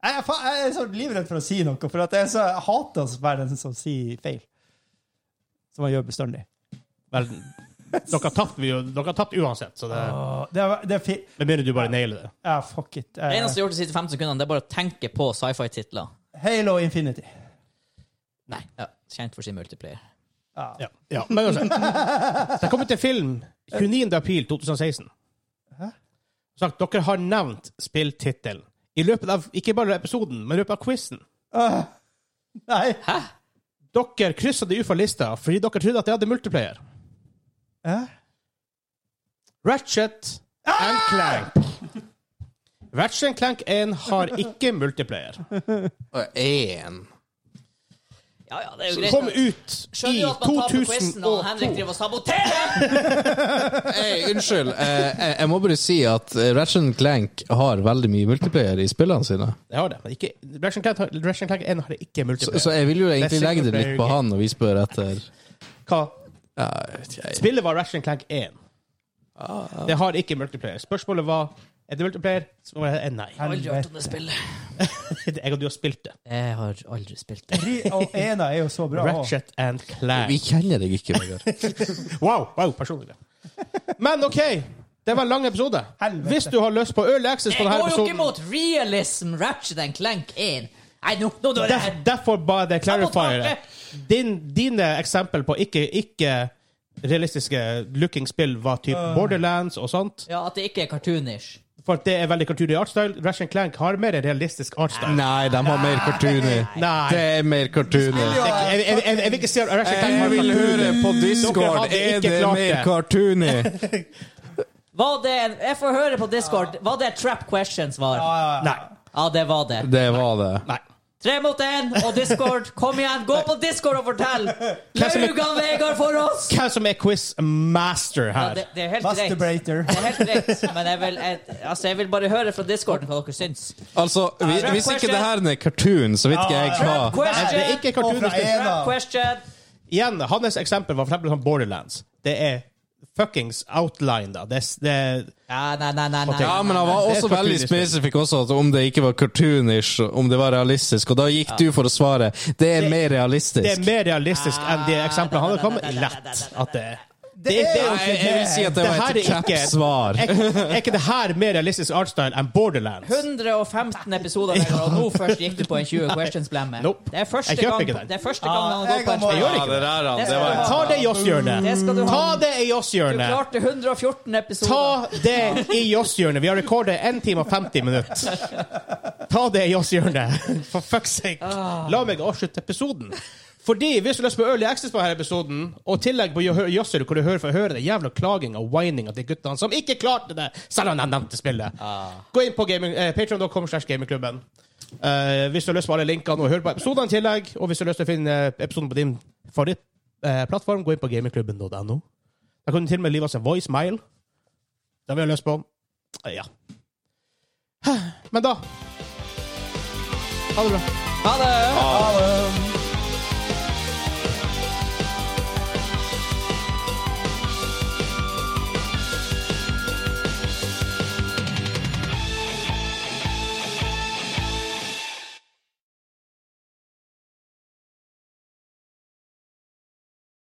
Jeg, er fa- jeg er så livredd for å si noe, for at jeg, er så, jeg hater å være den som sier feil. Som jeg gjør bestandig. Vel, dere tapte vi jo- dere har tapt uansett, så det Åh, Det er, det er fi... Med mindre du bare nailer det. Ja, fuck it. Eh, Det eneste jeg har gjort de siste 15 sekundene, det er bare å tenke på sci-fi-titler. Halo Infinity. Nei. Ja, kjent for sin multiplayer. Ja. ja. Men uansett. Så jeg kommer til film 29. april 2016. Sagt, dere har nevnt spilltittelen i løpet av ikke bare episoden, men i løpet av quizen. Åh, nei. Dere kryssa det ut fra lista fordi dere trodde at jeg hadde multiplayer. Hæ? Ratchet and Clank. Ratchet and Clank 1 har ikke multiplayer. Og én. Ja, ja, det er jo Som greit. kom nok. ut Skjønner i jo at man taper quizen når Henrik 2002. driver og saboterer! Hey, unnskyld, eh, jeg, jeg må bare si at eh, Ratchet Clank har veldig mye multiplayer i spillene sine. Det har det, men ikke Ratchet Clank har- Ratchet Clank 1 har det ikke Så, multiplayer. så jeg vil jo Det er egentlig legge det litt på singleplayer han når vi spør etter. Hva? Ja, jeg vet ikke, jeg- Spillet var Ratchet Clank 1. Det har ikke multiplayer. Spørsmålet var Er det multiplayer? Svaret er nei. Jeg har aldri hørt om det spillet. Jeg og du har spilt det. Jeg har aldri spilt det. Ri- Og ena er jo så bra. også. Ratchet and Clank. Vi kjenner deg ikke, Vegard. Wow, wow, personlig. Men OK, det var en lang episode. Helvete. Hvis du har lyst på early access på Jeg denne går jo ikke episoden mot realism, Ratchet and Clank 1. Nei, nå, nå, nå er det der, Derfor ba jeg deg clarify det. Sabotasje! Din, dine eksempel på ikke, ikke realistiske looking spill var typ Borderlands og sånt. Ja, at det ikke er cartoonish. For det er veldig kultur i artstyle. Ratchet Clank har mer en realistisk artstyle. Nei, de har mer cartoony. Nei. Det er mer Det cartoony. er ikke- Jeg, jeg, jeg, jeg vil ikke si at Ratchet Clank Jeg har vil cartoon. høre på Dere Discord. hadde Er ikke det klart mer det. cartoony? Var det en, Jeg får høre på Discord. Var det trap questions-svar? Ja, ja, ja. Nei. Ja, det var det. Det var det. Nei. Tre mot én og Discord. Kom igjen, gå på Discord og fortell! som er- Laug av Vegard for oss! Hvem som er quiz master Ja, her? det, det er helt greit. Masturbator. Det er helt greit, men jeg vil, jeg, altså, jeg vil bare høre fra discorden hva dere syns. Altså, hvis, Trap hvis ikke question. det her er cartoon, så vet ikke jeg Trap hva. Nei, det er question! ikke Og cartoon. fra en- Trap question! Igjen, hans eksempel var for eksempel sånn Borderlands. Det er fuckings outline, da. Det, er- det er Ja, nei, nei, nei. nei. Ja, men han var Det er også veldig cartoonish. spesifikk også at om det ikke var cartoonish, om det var realistisk, og da gikk du for å svare. Det er mer Det er realistisk. mer realistisk enn de Ah, eksemplene han har kommet med. Lett at det er. Det, det er jo Nei, ikke jeg vil si at Det det var her et er ikke- kjapt svar. Er ikke- er ikke det her mer realistisk artstyle enn Borderlands? 115 episoder, Vegard, og nå først gikk du på en 20 questions-blemme. Nope. Det er første Jeg kjøper gang, ikke den. det er første gang han har jeg gått på en må- smell. gjør Ja, det der, han. Det Det skal var du ha. Ta det i Det Joss-hjørnet. skal du ha. Ta det i Du Joss-hjørnet. klarte 114 episoder. Ta det i Joss-hjørnet. Vi har rekordet 1 time og 50 minutter. Ta det i Joss-hjørnet. For fuck's sake. La meg avslutte episoden. Fordi Hvis du har lyst på Early Access på denne episoden, og tillegg på Josser, hvor du hører, får høre det jævla klaging og whining av de guttene som ikke klarte det, selv om de nevnte spillet, gå inn på gaming- eh, patreon.com slash gamingklubben. Eh, hvis du har lyst på alle linkene og høre på episodene i tillegg, og hvis du har lyst til å finne eh, episoden på din favorittplattform, gå inn på gamingklubben.no. Da kan du til og med live oss en voicemail. Det har vi lyst på. Ja. Men da Ha det bra. Ta det! Ha det.